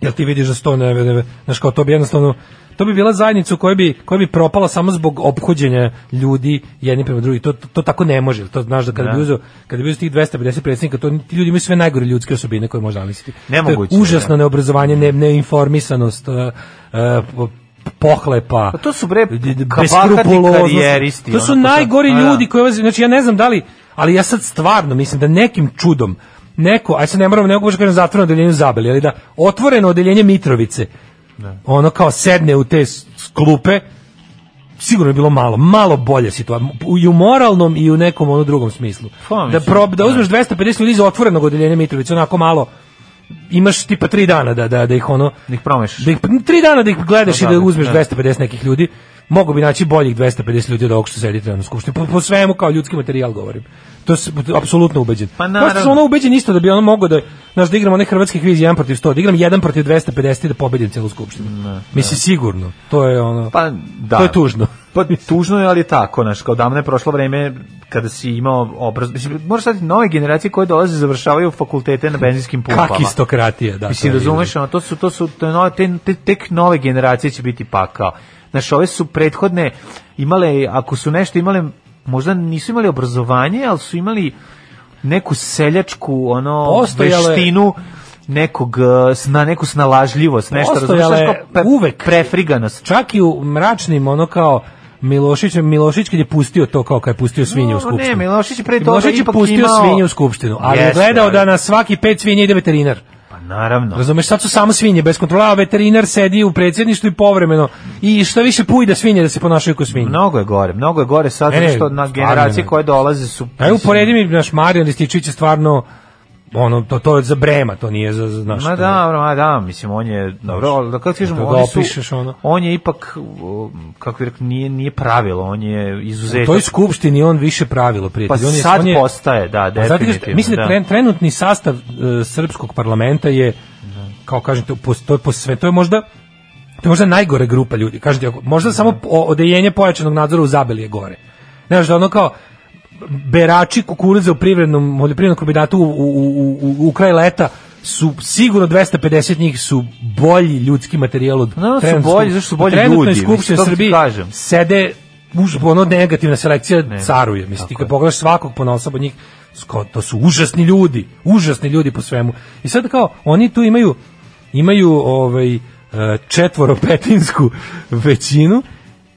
Speaker 6: jel ti vidiš da sto ne, ne, ne znaš kao to bi jednostavno to bi bila zajednica u kojoj bi, koja bi propala samo zbog ophođenja ljudi jedni prema drugi. To, to, to tako ne može. To znaš da kada bi uzeo, kada bi uzeo tih 250 predsjednika, to ti ljudi imaju sve najgore ljudske osobine koje možeš zamisliti.
Speaker 5: Nemoguće,
Speaker 6: To je užasno
Speaker 5: da.
Speaker 6: neobrazovanje, ne, neinformisanost, e, e, po- pohlepa.
Speaker 5: Pa to su, bre,
Speaker 6: d- d-
Speaker 5: kabakati
Speaker 6: beskrupuloznost.
Speaker 5: karijeristi,
Speaker 6: To su
Speaker 5: ono, to su-
Speaker 6: najgori
Speaker 5: A, da.
Speaker 6: ljudi koji ulaze- znači ja ne znam da li, ali ja sad stvarno mislim da nekim čudom neko, aj sad ne moram, ne mogu baš kažem zatvoreno odeljenje u Zabeli, ali da otvoreno odeljenje Mitrovice, ono kao sedne u te s- klupe, sigurno je bilo malo, malo bolje situacija, i u moralnom i u nekom ono drugom smislu.
Speaker 5: Pa,
Speaker 6: da,
Speaker 5: mislim,
Speaker 6: prob, da uzmeš 250 ljudi iz otvorenog odeljenja Mitrovice, onako malo, imaš tipa tri dana da, da, da ih ono...
Speaker 5: Da ih promašiš.
Speaker 6: Da ih, tri dana da ih gledaš
Speaker 5: Da,
Speaker 6: i da
Speaker 5: da,
Speaker 6: uzmeš
Speaker 5: da.
Speaker 6: 250 nekih ljudi, mogu bi naći boljih 250 ljudi od ovog što sedi trenutno u skupštini. Po, po svemu kao ljudski materijal govorim. To sam apsolutno ubeđen.
Speaker 5: Pa
Speaker 6: Kao što sam
Speaker 5: naravno.
Speaker 6: ono ubeđen isto da bi ono mogao da, znaš, da igram onaj hrvatski kviz 1 protiv 100, da igram 1 protiv 250 i da pobedim celu skupštinu. Mislim, sigurno. To je ono...
Speaker 5: Pa da.
Speaker 6: To je tužno.
Speaker 5: Pa tužno je, ali je tako, znaš, kao davno je prošlo vreme kada si imao obraz, mislim, moraš sad nove generacije koje dolaze završavaju fakultete na benzinskim pumpama.
Speaker 6: Kakistokratija, da.
Speaker 5: pa, Mislim,
Speaker 6: to je
Speaker 5: razumeš, ono, to su, to su, to je nove, te, te, tek nove generacije će biti pakao. Znaš, ove su prethodne imale, ako su nešto imale, možda nisu imali obrazovanje, ali su imali neku seljačku, ono,
Speaker 6: Postojalo je-
Speaker 5: veštinu, nekog, eh, sna, neku snalažljivost, nešto, razumeš,
Speaker 6: Postojalo
Speaker 5: znaš,
Speaker 6: je
Speaker 5: kao pe,
Speaker 6: uvek-
Speaker 5: prefriganost.
Speaker 6: čak i u mračnim ono kao Milošić, Milošić kad je pustio to kao kad je pustio svinje u
Speaker 5: No,
Speaker 6: skupštinu.
Speaker 5: ne, Milošić je pre toga
Speaker 6: Milošić je
Speaker 5: ipak
Speaker 6: pustio
Speaker 5: imao-
Speaker 6: svinje u skupštinu, ali je
Speaker 5: Jeste,
Speaker 6: gledao
Speaker 5: ali-
Speaker 6: da na svaki pet svinja ide veterinar.
Speaker 5: Pa naravno.
Speaker 6: Razumeš, sad su samo svinje bez kontrola, a veterinar sedi u predsjedništvu i povremeno. I što više pujda svinje da se ponašaju kao svinje.
Speaker 5: Mnogo je gore, mnogo je gore sad
Speaker 6: Ne, ne,
Speaker 5: što na
Speaker 6: stvarno
Speaker 5: generacije
Speaker 6: ne.
Speaker 5: koje dolaze su...
Speaker 6: Aj uporedi mi naš Marijan Rističić je stvarno ono to to je za brema, to nije za, za naš.
Speaker 5: Ma da, dobro, ma da, mislim, on je, dobro, ali da kako ti kažemo,
Speaker 6: Kad ga
Speaker 5: oni su,
Speaker 6: opišeš, ono.
Speaker 5: on je ipak, o, kako bih rekao, nije, nije pravilo, on je
Speaker 6: u
Speaker 5: izuzetak.
Speaker 6: toj skupštini on više pravilo prijatelj.
Speaker 5: pa
Speaker 6: on je,
Speaker 5: sad
Speaker 6: on je,
Speaker 5: postaje, da,
Speaker 6: A znate
Speaker 5: definitivno.
Speaker 6: što, mislim da,
Speaker 5: da.
Speaker 6: tren- trenutni sastav e, srpskog parlamenta je kao kažem to po, to je po sve to je možda to je možda najgore grupa ljudi. Kažete ako- možda samo po- odeljenje pojačanog nadzora u Zabeli je gore. Znaš da ono kao berači kukuruza u privrednom poljoprivrednom kombinatu u, u, u, u, u kraj leta su sigurno 250 njih su bolji ljudski materijal od
Speaker 5: Naravno su
Speaker 6: trenutno
Speaker 5: bolji,
Speaker 6: skup-
Speaker 5: zato što su bolji
Speaker 6: trenutno
Speaker 5: ljudi,
Speaker 6: iz Skupštine
Speaker 5: mislim, to ti
Speaker 6: Srbije
Speaker 5: kažem.
Speaker 6: sede už, ono negativna selekcija caruje. Mislim, ti
Speaker 5: tako
Speaker 6: kad
Speaker 5: je.
Speaker 6: pogledaš svakog ponosa od njih, sko- to su užasni ljudi, užasni ljudi po svemu. I sad kao, oni tu imaju, imaju ovaj, e, četvoropetinsku većinu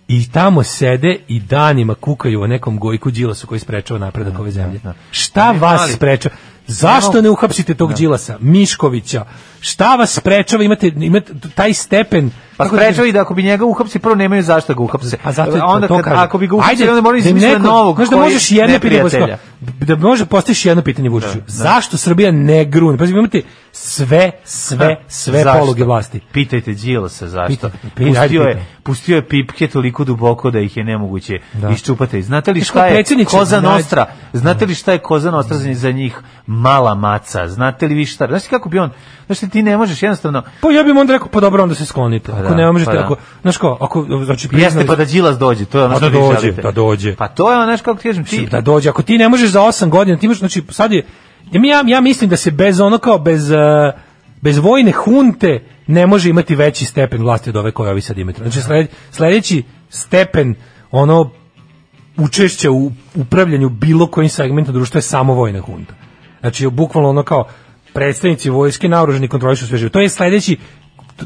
Speaker 6: i tamo sede i danima kukaju o nekom Gojku Đilasu koji sprečava napredak ove zemlje. Šta vas
Speaker 5: ali-
Speaker 6: sprečava? Zašto ne uhapsite tog Đilasa, Miškovića? Šta vas sprečava? Imate, imate taj stepen...
Speaker 5: Pa
Speaker 6: kako da kažem,
Speaker 5: sprečava i da ako bi njega uhapsi, prvo nemaju zašto ga uhapse.
Speaker 6: a zato je
Speaker 5: A onda
Speaker 6: to
Speaker 5: kad,
Speaker 6: kažem.
Speaker 5: ako bi ga uhapsili,
Speaker 6: Ajde,
Speaker 5: onda moraju
Speaker 6: da im
Speaker 5: izmisliti
Speaker 6: neko-
Speaker 5: novog
Speaker 6: znaš da
Speaker 5: koji
Speaker 6: možeš jedno pitanje
Speaker 5: neprijatelja.
Speaker 6: postavi- da može postaviš jedno pitanje Vučiću. Zašto Srbija ne grune? Pa imate sve sve sve
Speaker 5: Zašto?
Speaker 6: poluge vlasti.
Speaker 5: Pitajte Đilasa zašto.
Speaker 6: Pitaj, pitaj, ajde
Speaker 5: Pustio je,
Speaker 6: pitaj.
Speaker 5: pustio je pipke toliko duboko da ih je nemoguće
Speaker 6: Da.
Speaker 5: iščupati. Znate li
Speaker 6: Znaš,
Speaker 5: šta
Speaker 6: kao
Speaker 5: je
Speaker 6: predsjedniče,
Speaker 5: Koza
Speaker 6: nađi-
Speaker 5: Nostra? Znate li šta je Koza Nostra za- za njih? Mala maca. Znate li vi šta? Znaš ti kako bi on... Znaš ti, ti ne možeš jednostavno...
Speaker 6: Pa ja bih mu onda rekao pa dobro onda se sklonite. Ako
Speaker 5: da,
Speaker 6: ne možete
Speaker 5: pa da.
Speaker 6: ako znaš kao ako znači
Speaker 5: Jeste
Speaker 6: priznali-
Speaker 5: pa da Đilas dođe, to je ono
Speaker 6: Pa
Speaker 5: što
Speaker 6: da
Speaker 5: vi
Speaker 6: dođe,
Speaker 5: želite.
Speaker 6: da dođe.
Speaker 5: Pa to je ono, znaš kako ti kažem, ti...
Speaker 6: Mislim, da dođe. Ako ti ne možeš za 8 godina, ti imaš, znači, sad je, ja, mi- ja, ja mislim da se bez ono kao, bez, eh, bez vojne hunte ne može imati veći stepen vlasti od ove koje ovi sad imaju. Znači, sled, sledeći stepen, ono, učešća u upravljanju bilo kojim segmentom društva je samo vojna hunta. Znači, bukvalno ono kao, predstavnici vojske naoružani kontrolišu sve živo. To je sledeći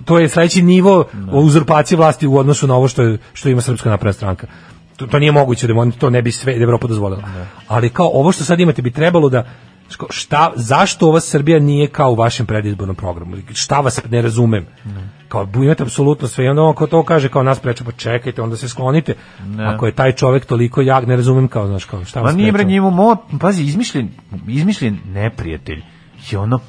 Speaker 6: to je sledeći nivo uzurpacije vlasti u odnosu na ovo što je, što ima srpska napredna stranka. To, to nije moguće da oni to ne bi sve da Evropa dozvolila. Ali kao ovo što sad imate bi trebalo da ško- šta zašto ova Srbija nije kao u vašem predizbornom programu? Šta vas ne razumem? Kao bu- imate apsolutno sve i onda on ko to kaže kao nas preča pa čekajte, onda se sklonite. Ako je taj čovek toliko jak, ne razumem kao znaš kao šta
Speaker 5: Ma
Speaker 6: vas
Speaker 5: nije bre
Speaker 6: sprečava?
Speaker 5: njemu mo, pazi, izmišljen, izmišljen neprijatelj je ono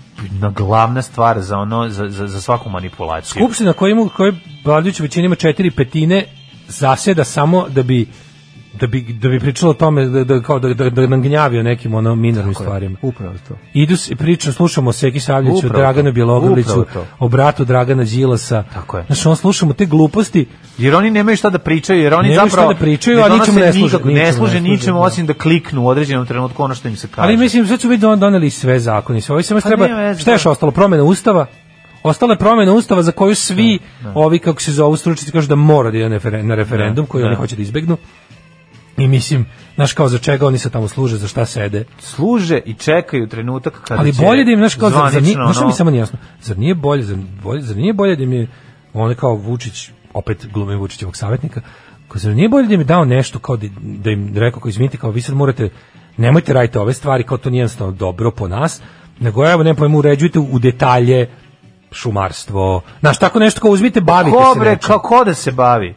Speaker 5: na glavna stvar za ono za, za, za svaku manipulaciju.
Speaker 6: Skupština koja ima koja vladajuća većina ima četiri petine zaseda samo da bi da bi da bi pričalo o tome da da kao da da, da nam gnjavi o nekim ono minornim stvarima.
Speaker 5: Upravo to.
Speaker 6: Idu se priča, slušamo o Seki Savljeviću, o
Speaker 5: Upravo
Speaker 6: Draganu
Speaker 5: to.
Speaker 6: Bjelogrliću,
Speaker 5: Upravo to.
Speaker 6: o bratu Dragana Đilasa.
Speaker 5: Tako je.
Speaker 6: Znači, on slušamo te gluposti.
Speaker 5: Jer oni nemaju šta da pričaju, jer oni
Speaker 6: Nemaju šta
Speaker 5: zapravo
Speaker 6: da pričaju,
Speaker 5: ne
Speaker 6: a
Speaker 5: donose
Speaker 6: ničemu ne služe,
Speaker 5: nikako-
Speaker 6: ničemu
Speaker 5: Ne
Speaker 6: ne
Speaker 5: služe
Speaker 6: služe,
Speaker 5: ničemu
Speaker 6: da.
Speaker 5: osim da kliknu u određenom trenutku ono što im se kaže.
Speaker 6: Ali mislim sad su već don- doneli sve zakone, i sve ovo i samo
Speaker 5: Pa
Speaker 6: treba
Speaker 5: nema veze,
Speaker 6: šta je još
Speaker 5: da.
Speaker 6: ostalo promena ustava. Ostala je promena ustava za koju svi ovi kako se zovu stručnjaci kažu da mora da ide na referen- na referendum koji
Speaker 5: da.
Speaker 6: oni hoće da izbegnu. I mislim, znaš kao za čega oni se tamo služe, za šta sede.
Speaker 5: služe i čekaju trenutak kada
Speaker 6: Ali
Speaker 5: Pa će
Speaker 6: bolje da im znaš kao zar, zar nije,
Speaker 5: zvanično,
Speaker 6: znaš što
Speaker 5: ono,
Speaker 6: mi samo nije jasno. Zar nije bolje, zar, bolje, zar nije bolje da im je on kao Vučić, opet glumim Vučićevog savjetnika, kao zar nije bolje da im je dao nešto kao da, da im rekao kao izvinite kao vi sad morate nemojte raditi ove stvari kao to nije jednostavno dobro po nas, nego evo ne pojmu uređujte u detalje šumarstvo. Znaš, tako nešto kao uzmite, bavite
Speaker 5: Ko
Speaker 6: se.
Speaker 5: bre,
Speaker 6: nečim.
Speaker 5: kako da se bavi?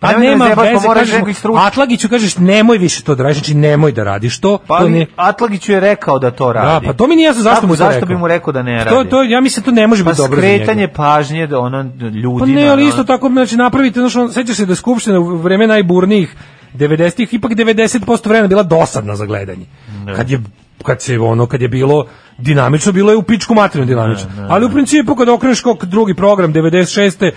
Speaker 6: Pa
Speaker 5: Nemoj da
Speaker 6: nema
Speaker 5: zebaš, pa
Speaker 6: veze,
Speaker 5: moraš
Speaker 6: kažeš mu,
Speaker 5: nekog istručiti.
Speaker 6: Atlagiću kažeš nemoj više to da radiš, znači nemoj da radiš to.
Speaker 5: Pa
Speaker 6: to ne,
Speaker 5: Atlagiću je rekao da to radi.
Speaker 6: Da, pa to mi nije jasno zašto
Speaker 5: Kako,
Speaker 6: mu to
Speaker 5: zašto
Speaker 6: rekao. Pa
Speaker 5: bi mu rekao da ne
Speaker 6: To,
Speaker 5: radi?
Speaker 6: to, ja mislim to ne može
Speaker 5: pa
Speaker 6: biti dobro za
Speaker 5: skretanje
Speaker 6: njega.
Speaker 5: pažnje do ono ljudi.
Speaker 6: Pa ne, ali isto tako, znači napravite, znači, on, sećaš se da je Skupština u vreme najburnijih 90-ih, ipak 90% vremena bila dosadna za gledanje. Kad je kad se ono kad je bilo dinamično bilo je u pičku materinu dinamično. Ali u principu kad okreneš kog drugi program 96.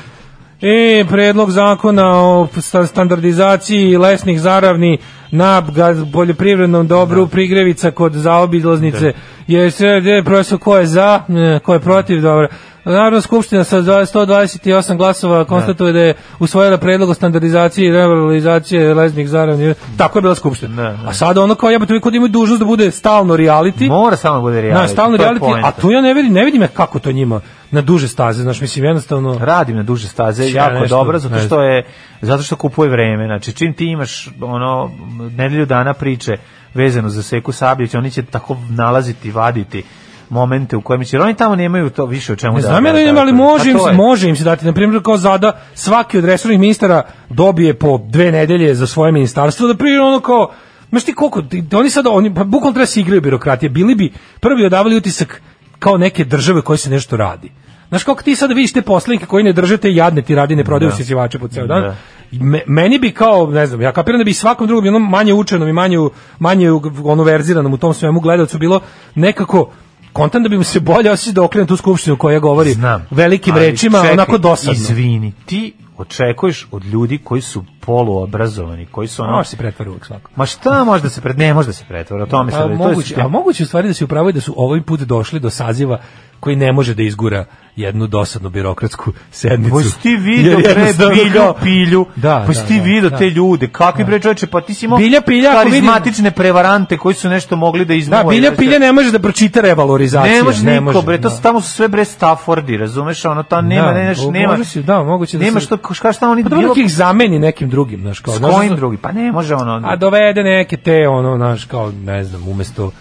Speaker 6: E, predlog zakona o sta- standardizaciji lesnih zaravni na ga- poljoprivrednom dobru prigrevica kod zaobilaznice. Je sve, gde je profesor, ko je za, e, ko je protiv, dobro. Narodna skupština sa 128 glasova konstatuje da je usvojila predlog o standardizaciji i revalorizaciji lesnih zaravni. Tako je bila skupština.
Speaker 5: Da, da.
Speaker 6: A sada ono kao jebate, vi kod imaju dužnost da bude stalno reality,
Speaker 5: Mora samo da bude reality.
Speaker 6: na, stalno
Speaker 5: to je
Speaker 6: reality,
Speaker 5: poenta.
Speaker 6: a tu ja ne vidim, ne vidim ja kako to njima na duže staze, znaš, mislim, jednostavno...
Speaker 5: radim na duže staze
Speaker 6: Znači, Ja
Speaker 5: jako
Speaker 6: nešto,
Speaker 5: dobro zato
Speaker 6: ne
Speaker 5: što je zato što kupuje vreme znači čim ti imaš ono nedelju dana priče vezano za Seku Sabljić oni će tako nalaziti vaditi momente u kojima će jer oni tamo nemaju to više o čemu
Speaker 6: Ne
Speaker 5: da
Speaker 6: znam ja da
Speaker 5: da-
Speaker 6: im, ali
Speaker 5: da-
Speaker 6: može im,
Speaker 5: Pa to
Speaker 6: se-
Speaker 5: je.
Speaker 6: može im se dati. Na primjer, kao zada, svaki od resornih ministara dobije po dve nedelje za svoje ministarstvo, da primjer ono kao, znaš ti koliko, ti- oni sada, oni, pa bukvalno treba se igraju birokratije, bili bi prvi odavali utisak kao neke države koje se nešto radi. Znaš kako ti sada vidiš te poslanike koji ne drže te jadne ti radi, ne prodaju sisivače po ceo dan.
Speaker 5: Da.
Speaker 6: Me- meni bi kao, ne znam, ja kapiram da bi svakom drugom, i onom manje učenom i manje, u- manje u- ono verziranom u tom svemu gledalcu bilo nekako kontam da bi mu se bolje osjećao da okrene tu skupštinu koja govori
Speaker 5: Znam.
Speaker 6: velikim
Speaker 5: Ali
Speaker 6: rečima,
Speaker 5: čekaj,
Speaker 6: onako dosadno.
Speaker 5: Izvini, ti očekuješ od ljudi koji su poluobrazovani, koji su ono...
Speaker 6: Može se pretvara uvek svako.
Speaker 5: Ma šta možda se pred... Ne, možda se pretvara, o tome se...
Speaker 6: A,
Speaker 5: radi, E to je
Speaker 6: Pa moguće,
Speaker 5: suština.
Speaker 6: a moguće u stvari da se upravo da su ovaj put došli do saziva koji ne može da izgura jednu dosadnu birokratsku sednicu.
Speaker 5: Pa si ti vidio
Speaker 6: Jer
Speaker 5: pre
Speaker 6: jednostavno
Speaker 5: bilju
Speaker 6: kao-
Speaker 5: pilju,
Speaker 6: Da, da,
Speaker 5: pa si ti
Speaker 6: da,
Speaker 5: vidio
Speaker 6: da.
Speaker 5: te ljude, kakvi bre čoveče, pa ti si imao
Speaker 6: Bilja pilja, ako vidim-
Speaker 5: karizmatične prevarante koji su nešto mogli da
Speaker 6: Da,
Speaker 5: iznuve.
Speaker 6: Bilja Pilja ne može da pročita revalorizaciju.
Speaker 5: Ne može
Speaker 6: ne
Speaker 5: niko, bre, to
Speaker 6: da.
Speaker 5: su tamo su sve bre Staffordi, razumeš, ono ta nema, ne, znaš,
Speaker 6: o,
Speaker 5: nema.
Speaker 6: može si, da, moguće da
Speaker 5: Nema
Speaker 6: se-
Speaker 5: što, šta šta oni
Speaker 6: Pa dobro, nek ih zameni nekim drugim, znaš, kao...
Speaker 5: s
Speaker 6: znaš,
Speaker 5: kojim
Speaker 6: znaš,
Speaker 5: drugi, pa ne može ono.
Speaker 6: A dovede neke te, ono, znaš, kao, ne znam, umesto...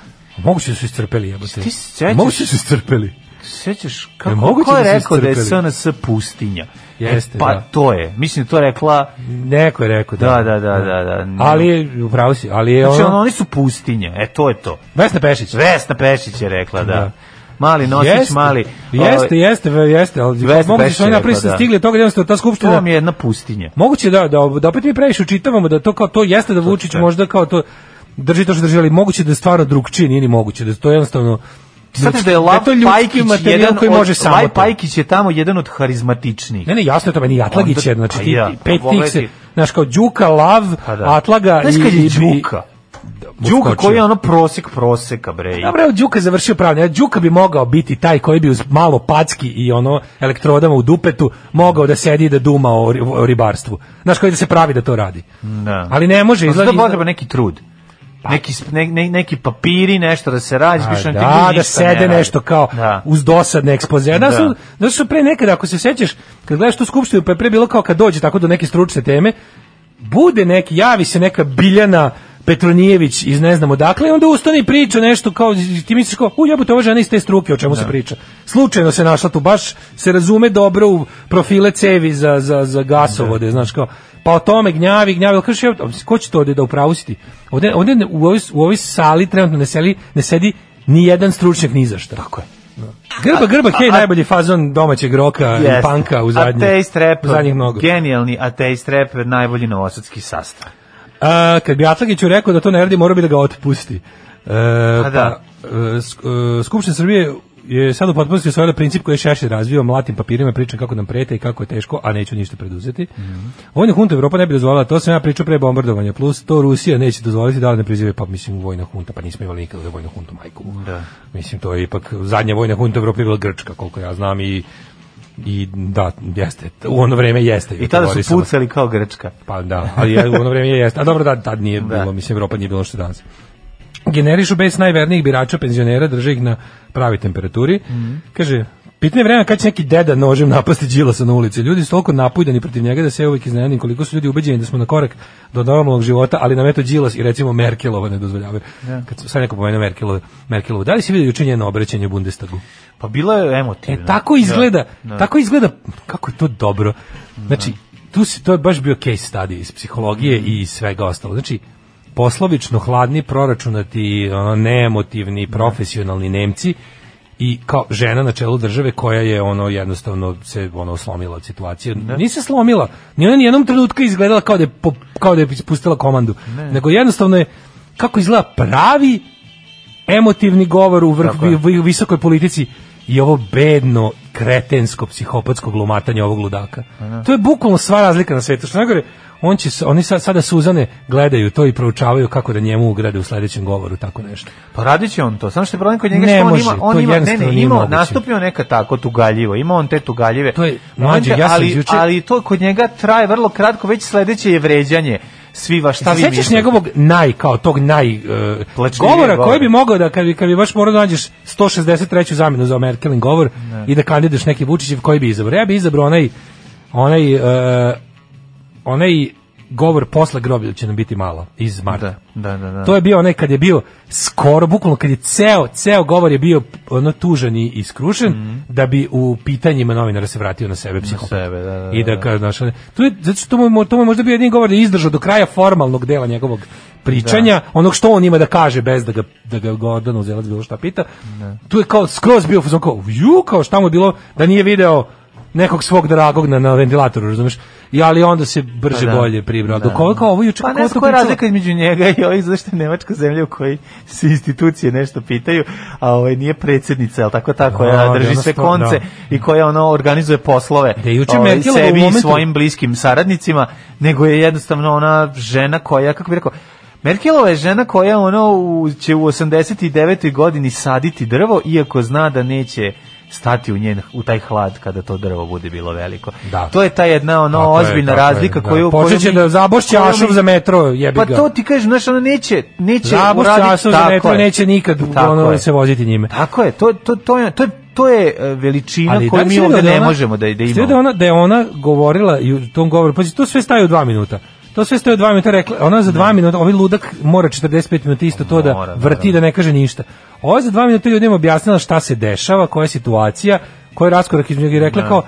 Speaker 6: Moguće da su iscrpeli, jebote.
Speaker 5: Ti se sećaš-
Speaker 6: Moguće da su iscrpeli.
Speaker 5: Sećaš
Speaker 6: Je
Speaker 5: kako
Speaker 6: E, moguće
Speaker 5: ko je
Speaker 6: da su
Speaker 5: rekao da je
Speaker 6: istrpeli?
Speaker 5: SNS pustinja? E,
Speaker 6: Jeste,
Speaker 5: pa
Speaker 6: da.
Speaker 5: to je. Mislim da je to rekla
Speaker 6: Neko je rekao, da.
Speaker 5: Da, da, da, da, da.
Speaker 6: Ali, je, upravo si, ali je
Speaker 5: Znači, ono,
Speaker 6: ono...
Speaker 5: oni su pustinja, e, to je to.
Speaker 6: Vesna Pešić.
Speaker 5: Vesna Pešić je rekla, da.
Speaker 6: Da.
Speaker 5: Mali nosić,
Speaker 6: Jeste,
Speaker 5: mali.
Speaker 6: Jeste,
Speaker 5: ovaj,
Speaker 6: jeste, jeste, ali
Speaker 5: Vesna
Speaker 6: moguće
Speaker 5: Pešić
Speaker 6: su oni
Speaker 5: je
Speaker 6: napravili
Speaker 5: rekla,
Speaker 6: da
Speaker 5: da.
Speaker 6: stigli do toga da jednostavno ta
Speaker 5: To
Speaker 6: skupština
Speaker 5: vam je jedna pustinja.
Speaker 6: Moguće da, da, da opet mi previše učitavamo da to kao to jeste da Vučić možda kao to drži to što drži, ali moguće da je stvarno drugčije, nije ni moguće, da je to jednostavno
Speaker 5: Sada da je
Speaker 6: Znači, da
Speaker 5: Lav
Speaker 6: to ljudski
Speaker 5: Pajkić
Speaker 6: materijal
Speaker 5: jedan
Speaker 6: koji
Speaker 5: od,
Speaker 6: može samo
Speaker 5: Lav
Speaker 6: to.
Speaker 5: Pajkić je tamo jedan od harizmatičnijih.
Speaker 6: Ne, ne, jasno je to meni i Atlagić
Speaker 5: Onda-
Speaker 6: je, znači
Speaker 5: pa
Speaker 6: ti
Speaker 5: ja,
Speaker 6: ti pet
Speaker 5: pa
Speaker 6: tih se,
Speaker 5: pogledaj.
Speaker 6: znaš kao Đuka, Lav,
Speaker 5: Pa da.
Speaker 6: Atlaga
Speaker 5: Znaš
Speaker 6: i...
Speaker 5: kad je
Speaker 6: i-
Speaker 5: Đuka? Đuka koji je ono prosek proseka, bre.
Speaker 6: Dobro, evo, Đuka je završio pravni. a Đuka bi mogao biti taj koji bi uz malo packi i ono elektrodama u dupetu mogao da sedi i da duma o, ri- o ribarstvu. Znaš koji da se pravi da to radi.
Speaker 5: Da.
Speaker 6: Ali ne može,
Speaker 5: Pa za
Speaker 6: izgleda.
Speaker 5: to potreba neki trud. Neki, sp- ne, ne, neki papiri, nešto da se radi,
Speaker 6: A,
Speaker 5: kažem, ti
Speaker 6: Pa da,
Speaker 5: ljudi
Speaker 6: da
Speaker 5: ništa pa ne
Speaker 6: sede
Speaker 5: rade.
Speaker 6: nešto kao
Speaker 5: Da.
Speaker 6: uz dosadne ekspoze. Da,
Speaker 5: Da.
Speaker 6: su, da su pre nekada, ako se sećaš, kad gledaš tu skupštinu, pa je pre bilo kao kad dođe tako do neke stručne teme, bude neki, javi se neka Biljana Petronijević iz ne znam odakle i onda ustane i priča nešto kao, ti misliš kao, u jebote, ova žena iz te struke, o čemu se priča. Slučajno se našla tu, baš se razume dobro u profile cevi za, za, za gasovode, znaš kao, pa o tome gnjavi, gnjavi, ali kažeš, jebote, ko će to ovde da upravusiti? Ovde, ovde ne- u, ovoj, u ovoj sali trenutno ne, seli, ne sedi ni jedan stručnjak ni za šta. Tako je. Grba, grba, hej, najbolji fazon domaćeg roka i
Speaker 5: Jeste.
Speaker 6: panka u zadnjih,
Speaker 5: Ateist rap,
Speaker 6: u zadnjih mnogo.
Speaker 5: genijalni ateist rap, najbolji novosadski sastav.
Speaker 6: A, kad bi Atlagiću rekao da to ne radi, morao bi da ga otpusti. E, pa,
Speaker 5: da.
Speaker 6: e, sk- e, Skupština Srbije je sad u potpunosti osvojila princip koji je Šešelj razvio, mlatim papirima pričam kako nam prete i kako je teško, a neću ništa preduzeti. Mm
Speaker 5: Mhm.
Speaker 6: Vojna hunta Evropa ne bi dozvolila, to sam ja pričao pre bombardovanja, plus to Rusija neće dozvoliti da li ne prizive, pa mislim vojna hunta, pa nismo imali nikada vojnu huntu majku.
Speaker 5: Da.
Speaker 6: Mislim, to je ipak zadnja vojna hunta u Evropi je bila Grčka, koliko ja znam i i da, jeste, u ono vreme jeste.
Speaker 5: I tada su
Speaker 6: Borisova.
Speaker 5: pucali kao Grčka.
Speaker 6: Pa da, ali je, u ono vrijeme je jeste. A dobro, da, tad nije bilo, mislim, Evropa nije bilo što je danas. Generišu bez najvernijih birača, penzionera, drže ih na pravi temperaturi. Kaže, pitanje je vremena kad će neki deda nožem napasti Đilasa na ulici. Ljudi su toliko napujdani protiv njega da se ja uvijek iznenadim koliko su ljudi ubeđeni da smo na korak do normalnog života, ali nam eto Đilas i recimo Merkelova ne dozvoljavaju. Kad sam sad neko pomenuo Merkelova, Merkelova, da li si vidio juče njeno obraćanje u Bundestagu?
Speaker 5: Pa bilo je emotivno.
Speaker 6: E, tako izgleda,
Speaker 5: Da, da.
Speaker 6: tako izgleda, kako je to dobro. Znači, tu se, to je baš bio case study iz
Speaker 5: Mm.
Speaker 6: psihologije i iz svega ostalo. Znači, poslovično hladni, proračunati, ono, neemotivni, profesionalni Nemci i kao žena na čelu države koja je ono jednostavno se ono slomila od situacije. Nije se slomila. Ni ona ni jednom trenutku izgledala kao da je po- kao da je ispustila komandu. Nego jednostavno je kako izgleda pravi emotivni govor u vrh
Speaker 5: Tako je.
Speaker 6: vi- visokoj politici i ovo bedno kretensko psihopatsko glumatanje ovog ludaka. To je bukvalno sva razlika na svetu. Što najgore, on će sa- oni sa- sada Suzane gledaju to i proučavaju kako da njemu ugrade u sledećem govoru tako nešto.
Speaker 5: Pa radit će on to. Samo što je problem kod njega
Speaker 6: Ne
Speaker 5: što on
Speaker 6: može,
Speaker 5: ima,
Speaker 6: to
Speaker 5: on ima, ne,
Speaker 6: jednostavno
Speaker 5: ne,
Speaker 6: nije
Speaker 5: ima,
Speaker 6: moguće.
Speaker 5: nastupio neka tako tugaljivo. Ima on te tugaljive.
Speaker 6: To je,
Speaker 5: momente,
Speaker 6: mlađe, ja sam
Speaker 5: ali,
Speaker 6: juče-
Speaker 5: ali to kod njega traje vrlo kratko, već sledeće je vređanje. Svi va šta
Speaker 6: Šta
Speaker 5: vi
Speaker 6: E, sećaš
Speaker 5: mislite?
Speaker 6: njegovog naj kao tog naj e,
Speaker 5: Plačljivijeg
Speaker 6: govora koji
Speaker 5: govora.
Speaker 6: bi mogao da kad bi kad bi baš morao da nađeš 163. zamenu za Merkelin govor i da kandiduješ neki Vučićev koji bi izabrao. Ja bi izabrao onaj onaj e, onaj govor posle groblja će nam biti malo iz marta.
Speaker 5: Da, da, da. da.
Speaker 6: To je bio onaj kad je bio skoro, bukvalno kad je ceo, ceo govor je bio ono tužan i iskrušen, da bi u pitanjima novinara se vratio na sebe psihopat.
Speaker 5: Mhm. sebe, da, da,
Speaker 6: I da,
Speaker 5: da.
Speaker 6: kaže, znaš, ono- to je, zato što mu, to mu je možda bio jedini govor da je izdržao do kraja formalnog dela njegovog pričanja, onog što on ima da kaže bez da ga, da ga Gordon uzelac bilo šta pita. Tu je kao skroz bio, fazon kao, ju, kao šta mu je bilo da nije video nekog svog dragog na, na ventilatoru, razumeš? I, ali onda se brže
Speaker 5: Pa da.
Speaker 6: bolje pribrao.
Speaker 5: Da.
Speaker 6: Dok ovo kao ovo juče...
Speaker 5: Pa
Speaker 6: kako
Speaker 5: ne
Speaker 6: ona to
Speaker 5: znam koja je
Speaker 6: pričala?
Speaker 5: razlika između njega i ovih, zašto je Nemačka zemlja u kojoj se institucije nešto pitaju, a ovaj nije predsjednica, jel tako ta koja
Speaker 6: Da,
Speaker 5: drži
Speaker 6: da,
Speaker 5: sve
Speaker 6: da,
Speaker 5: konce
Speaker 6: da.
Speaker 5: i koja ono organizuje poslove
Speaker 6: Da je juče
Speaker 5: ovaj,
Speaker 6: Merkelova u
Speaker 5: sebi i
Speaker 6: momentu-
Speaker 5: svojim bliskim saradnicima, nego je jednostavno ona žena koja, kako bi rekao, Merkelova je žena koja ono u, će u 89. godini saditi drvo, iako zna da neće stati u njen u taj hlad kada to drvo bude bilo veliko.
Speaker 6: Da.
Speaker 5: To je ta jedna ono
Speaker 6: Tako je,
Speaker 5: ozbiljna
Speaker 6: tako je,
Speaker 5: razlika
Speaker 6: da.
Speaker 5: koju
Speaker 6: Počet će
Speaker 5: koju mi-
Speaker 6: da zabošće
Speaker 5: koju mi-
Speaker 6: Ašov za metro, jebi
Speaker 5: Pa
Speaker 6: ga.
Speaker 5: to ti kažeš, znaš, ona neće neće
Speaker 6: Zabošće
Speaker 5: uraditi
Speaker 6: Ašov za
Speaker 5: tako
Speaker 6: metro
Speaker 5: je.
Speaker 6: neće nikad
Speaker 5: Tako
Speaker 6: ono,
Speaker 5: je.
Speaker 6: se voziti njime.
Speaker 5: Tako je, to, to, to, je, to, je, to je e, veličina
Speaker 6: da
Speaker 5: koju
Speaker 6: li ono?
Speaker 5: mi
Speaker 6: si vidio
Speaker 5: ovde
Speaker 6: da
Speaker 5: ne
Speaker 6: ona-
Speaker 5: možemo da, da
Speaker 6: si vidio
Speaker 5: imamo.
Speaker 6: Da ona, da je ona govorila i u tom govoru, pa to sve staje u dva minuta. To sve staje u dva minuta, rekla, ona za dva minuta, ovaj ludak mora 45 minuta isto to
Speaker 5: Mora,
Speaker 6: da vrti,
Speaker 5: naravno.
Speaker 6: da ne kaže ništa. Ovo je za dva minuta ljudima objasnila šta se dešava, koja je situacija, koji je raskorak između njega i rekla kao,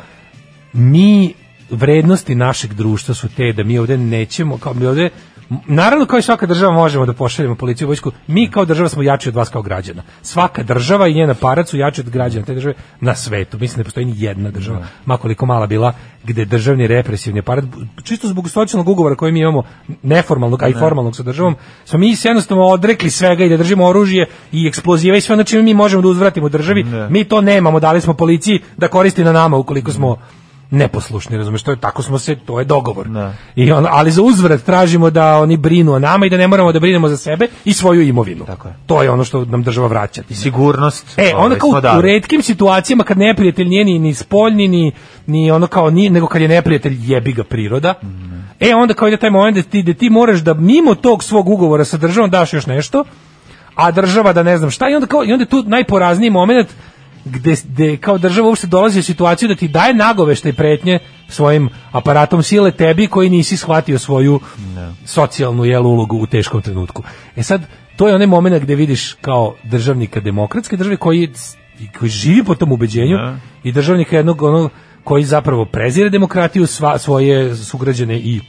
Speaker 6: mi vrednosti našeg društva su te da mi ovde nećemo kao mi ovde Naravno kao i svaka država možemo da pošaljemo policiju i vojsku. Mi kao država smo jači od vas kao građana. Svaka država i njena aparat su jači od građana te države na svetu. Mislim da ne postoji ni jedna država, ma koliko mala bila, gde državni represivni aparat čisto zbog socijalnog ugovora koji mi imamo neformalnog, a i formalnog sa državom, smo mi se jednostavno odrekli svega i da držimo oružje i eksploziva i sve ono čime mi možemo da uzvratimo državi. Mi to nemamo, dali smo policiji da koristi na nama ukoliko smo neposlušni, razumeš, to je, tako smo se, to je dogovor.
Speaker 5: Da.
Speaker 6: I on, ali za uzvrat tražimo da oni brinu o nama i da ne moramo da brinemo za sebe i svoju imovinu.
Speaker 5: Tako je.
Speaker 6: To je ono što nam država vraća.
Speaker 5: Sigurnost.
Speaker 6: E,
Speaker 5: ovaj,
Speaker 6: onda kao
Speaker 5: smo
Speaker 6: u- u
Speaker 5: dali.
Speaker 6: retkim situacijama kad neprijatelj nije ni, ni spoljni, ni, ni ono kao, ni, nego kad je neprijatelj jebi ga priroda, e, onda kao ide taj moment da ti, da ti moraš da mimo tog svog ugovora sa državom daš još nešto, a država da ne znam šta, i onda, kao, i onda je tu najporazniji moment gde, gde kao država uopšte dolazi u situaciju da ti daje nagovešte i pretnje svojim aparatom sile tebi koji nisi shvatio svoju socijalnu jel ulogu u teškom trenutku. E sad, to je onaj moment gde vidiš kao državnika demokratske države koji, i koji živi po tom ubeđenju
Speaker 5: Da.
Speaker 6: i državnika jednog onog koji zapravo prezire demokratiju, sva, svoje sugrađane i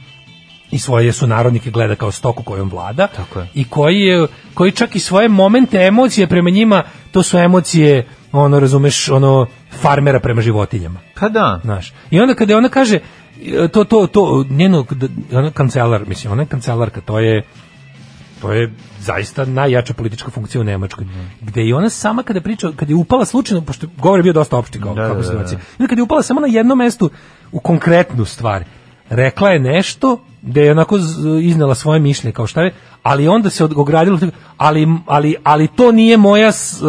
Speaker 6: i svoje su narodnike gleda kao stoku kojom vlada
Speaker 5: Tako je.
Speaker 6: i koji je koji čak i svoje momente emocije prema njima to su emocije ono razumeš ono farmera prema životinjama
Speaker 5: Pa da.
Speaker 6: znaš i onda kada ona kaže e, to to to njeno ona kancelar mislim ona je kancelarka to je to je zaista najjača politička funkcija u Nemačkoj. Gde i ona sama kada priča, kada je upala slučajno, pošto govor je bio dosta opšti kao,
Speaker 5: Da,
Speaker 6: kao
Speaker 5: da, da,
Speaker 6: situacija, onda kada je upala samo na jednom mestu u konkretnu stvar, rekla je nešto gde je onako z- iznela svoje mišljenje kao šta je, ali onda se od- ogradilo ali, ali, ali to nije moja s- e,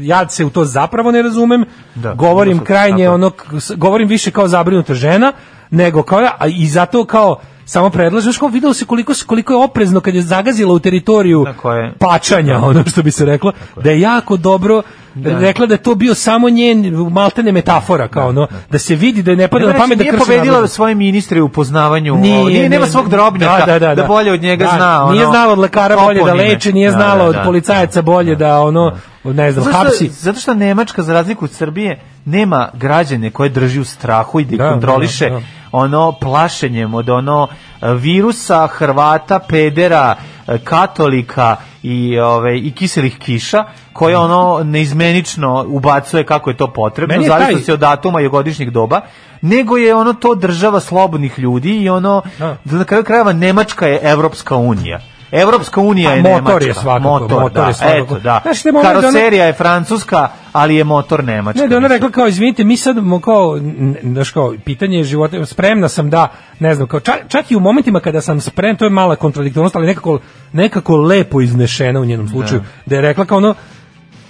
Speaker 6: ja se u to zapravo ne razumem
Speaker 5: Da,
Speaker 6: govorim
Speaker 5: tako je.
Speaker 6: krajnje ono k- s- govorim više kao zabrinuta žena nego kao ja, a i zato kao samo predlažeš kao video se koliko s- koliko je oprezno kad je zagazila u teritoriju
Speaker 5: Tako je.
Speaker 6: pačanja ono što bi se reklo da je jako dobro rekla da je to bio samo njen maltene metafora kao ono da se vidi da je ne pada na
Speaker 5: Nema reći,
Speaker 6: pamet da
Speaker 5: nije
Speaker 6: krši
Speaker 5: pobedila
Speaker 6: nadležnost.
Speaker 5: svoje ministre u poznavanju,
Speaker 6: Nije,
Speaker 5: nije, nije, nema
Speaker 6: ne,
Speaker 5: svog drobnjaka da, bolje od njega
Speaker 6: Da,
Speaker 5: zna. Ono,
Speaker 6: nije znala od lekara bolje da
Speaker 5: toponime.
Speaker 6: leči, nije
Speaker 5: Da,
Speaker 6: znala
Speaker 5: da,
Speaker 6: od
Speaker 5: da.
Speaker 6: policajaca bolje da ono, ne znam,
Speaker 5: Zato što-
Speaker 6: hapsi.
Speaker 5: Zato što Nemačka, za razliku od Srbije, nema građane koje drži u strahu i da ih
Speaker 6: Da,
Speaker 5: kontroliše
Speaker 6: da, da.
Speaker 5: ono plašenjem od ono e, virusa, Hrvata, pedera, e, katolika i ove i kiselih kiša koje ono neizmenično ubacuje kako je to potrebno
Speaker 6: Meni je
Speaker 5: zavisno
Speaker 6: taj-
Speaker 5: se od datuma i godišnjih doba nego je ono to država slobodnih ljudi i ono
Speaker 6: Da.
Speaker 5: da. na kraju krajeva Nemačka je Evropska unija Evropska unija
Speaker 6: A
Speaker 5: je
Speaker 6: Pa motor
Speaker 5: Nemačka.
Speaker 6: je svakako, motor
Speaker 5: da,
Speaker 6: je svakako.
Speaker 5: Eto, da.
Speaker 6: Znaš, idemo onda da ono-
Speaker 5: Karoserija je francuska, ali je motor nemačka.
Speaker 6: Ne, da je ona
Speaker 5: mislim.
Speaker 6: rekla kao, izvinite, mi sad, mo- kao, n- n- znaš kao, pitanje je života, spremna sam da, ne znam, kao, čak, čak i u momentima kada sam spremna, to je mala kontradiktornost, ali nekako, nekako lepo iznešena u njenom slučaju, da, je rekla kao ono,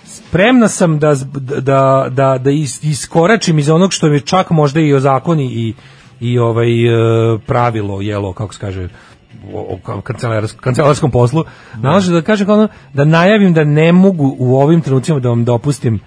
Speaker 6: spremna sam da, z- da, da, da is- iskoračim iz onog što mi čak možda i o zakoni i, i ovaj, e, pravilo, jelo, kako se kaže, o, o ka- kancelarsk- kancelarskom poslu, nalaže da kažem kao ono, da najavim da ne mogu u ovim trenucima da vam dopustim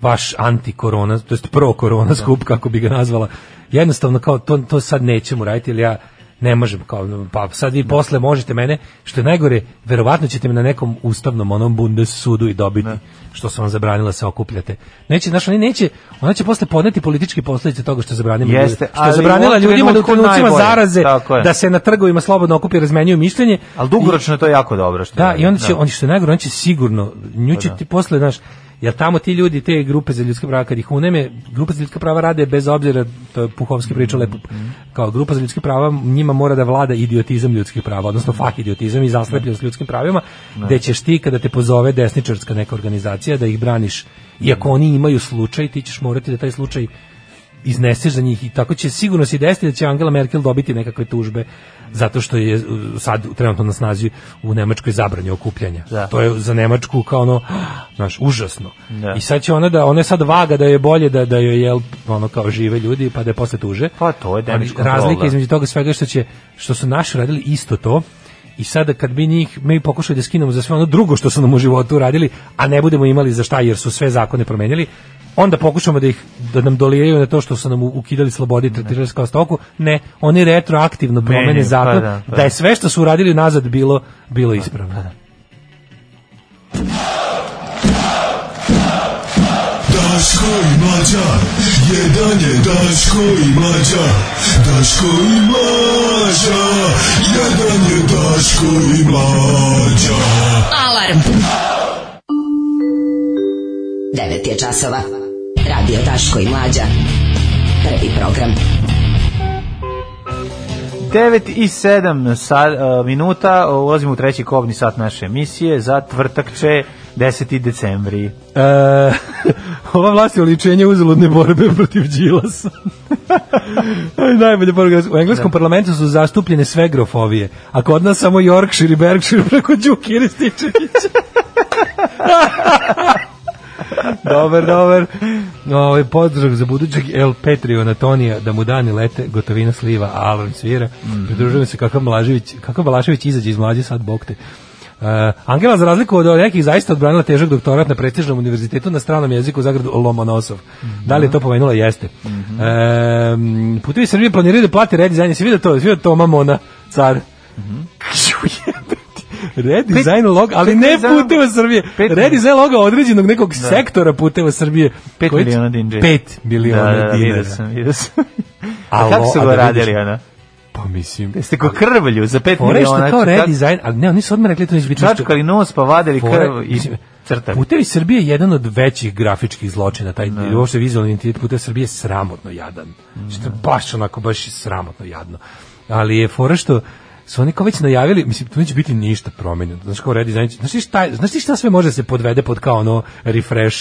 Speaker 6: vaš anti-korona, to jest pro-korona skup, kako bi ga nazvala. Jednostavno kao to, to sad nećemo raditi, ili ja ne možem, kao, pa sad vi posle možete mene, što je najgore, verovatno ćete me na nekom ustavnom onom Bundessudu i dobiti, što sam vam zabranila se okupljate. Neće, znaš, oni neće, ona će posle podneti političke posledice toga što je zabranila,
Speaker 5: Jeste,
Speaker 6: što je
Speaker 5: ali u
Speaker 6: zabranila
Speaker 5: ovom
Speaker 6: ljudima da u
Speaker 5: trenutku
Speaker 6: trenucima
Speaker 5: najbolje.
Speaker 6: zaraze,
Speaker 5: Tako je.
Speaker 6: da se na trgovima slobodno okupi i razmenjuju mišljenje.
Speaker 5: Ali dugoročno je to jako dobro. Što
Speaker 6: Da,
Speaker 5: je,
Speaker 6: i onda će, on što je najgore, on će sigurno, nju će ti posle, znaš, jer tamo ti ljudi, te grupe za ljudska prava, kad ih uneme, grupa za ljudska prava rade bez obzira, to je Puhovski pričao lepo, kao grupa za ljudska prava, njima mora da vlada idiotizam ljudskih prava, odnosno fak idiotizam i zaslepljenost ljudskim pravima, gde ćeš ti, kada te pozove desničarska neka organizacija, da ih braniš, iako oni imaju slučaj, ti ćeš morati da taj slučaj izneseš za njih i tako će sigurno se i desiti da će Angela Merkel dobiti nekakve tužbe zato što je uh, sad trenutno na snazi u Nemačkoj zabranje okupljanja.
Speaker 5: Da.
Speaker 6: To je za Nemačku kao ono, znaš, užasno.
Speaker 5: Da.
Speaker 6: I sad će ona da, ona je sad vaga da je bolje da, da joj jel, ono kao žive ljudi pa da je posle tuže.
Speaker 5: Pa to je
Speaker 6: Ali
Speaker 5: damage control,
Speaker 6: Razlika
Speaker 5: da.
Speaker 6: između toga svega što će, što su naši radili isto to, I sada kad bi njih mi pokušali da skinemo za sve ono drugo što su nam u životu radili, a ne budemo imali za šta jer su sve zakone promenili, onda pokušamo da ih da nam dolijaju na to što su nam u- ukidali slobode i tretirali kao stoku, ne, oni retroaktivno promene
Speaker 5: Menjaju, pa
Speaker 6: zakon,
Speaker 5: da, pa
Speaker 6: da je sve što su uradili nazad bilo bilo ispravno.
Speaker 8: Daško i mlađa, jedan je Daško i mlađa, Daško i mlađa, jedan je Daško i mlađa.
Speaker 4: Alarm.
Speaker 7: 9 je časova. Radio Daško i Mlađa. Prvi program.
Speaker 5: 9 i 7 sa, e, minuta, ulazimo u treći kobni sat naše emisije, za tvrtak će 10. decembri.
Speaker 6: E, ova vlast je oličenje uzaludne borbe protiv Đilasa. Aj, Najbolje borbe. U engleskom parlamentu su zastupljene sve grofovije, a kod nas samo Yorkshire i Berkshire preko Đuki i Rističevića. dobar, dobar. Ovaj podržak za budućeg El Petrio Antonija da mu dani lete, gotovina sliva, alarm svira. Pridružujem se kakav Mlažević, kakav Balašević izađe iz mlađe sad bog te. Uh, Angela za razliku od nekih zaista odbranila težak doktorat na prestižnom univerzitetu na stranom jeziku u zagradu Lomonosov. Da li je to pomenula? Jeste. Mm putevi Srbije planiraju da plate redizajn. Jesi vidio to? Jesi vidio to Mamona, car? redizajn log, ali ne
Speaker 5: redizajn-
Speaker 6: puteva Srbije.
Speaker 5: pet-
Speaker 6: Redizajn loga određenog nekog sektora puteva Srbije.
Speaker 5: 5
Speaker 6: Koji-
Speaker 5: miliona dinđe.
Speaker 6: Pet miliona
Speaker 5: da, da,
Speaker 6: dinara.
Speaker 5: Da, sam, vidio sam.
Speaker 6: A
Speaker 5: A kako
Speaker 6: lo-
Speaker 5: su
Speaker 6: a
Speaker 5: ga
Speaker 6: da
Speaker 5: radili,
Speaker 6: vidiš-
Speaker 5: ona?
Speaker 6: Pa mislim...
Speaker 5: Jeste ko krvlju za 5
Speaker 6: Fore što
Speaker 5: miliona. znači
Speaker 6: kao
Speaker 5: čak-
Speaker 6: redizajn, ali ne, oni su odmah rekli da to neće biti ništa.
Speaker 5: Čačkali nos, pa vadili
Speaker 6: Fore-
Speaker 5: krv i
Speaker 6: mislim,
Speaker 5: crtali.
Speaker 6: Putevi Srbije je jedan od većih grafičkih zločina, taj ne. uopšte vizualni identitet Putevi Srbije je sramotno jadan. Što je baš onako, baš sramotno jadno. Ali je fora što su oni kao već najavili, mislim, tu neće biti ništa promenjeno. Znaš kao redizajn, će- znaš ti šta, znaš ti šta sve može da se podvede pod kao ono refresh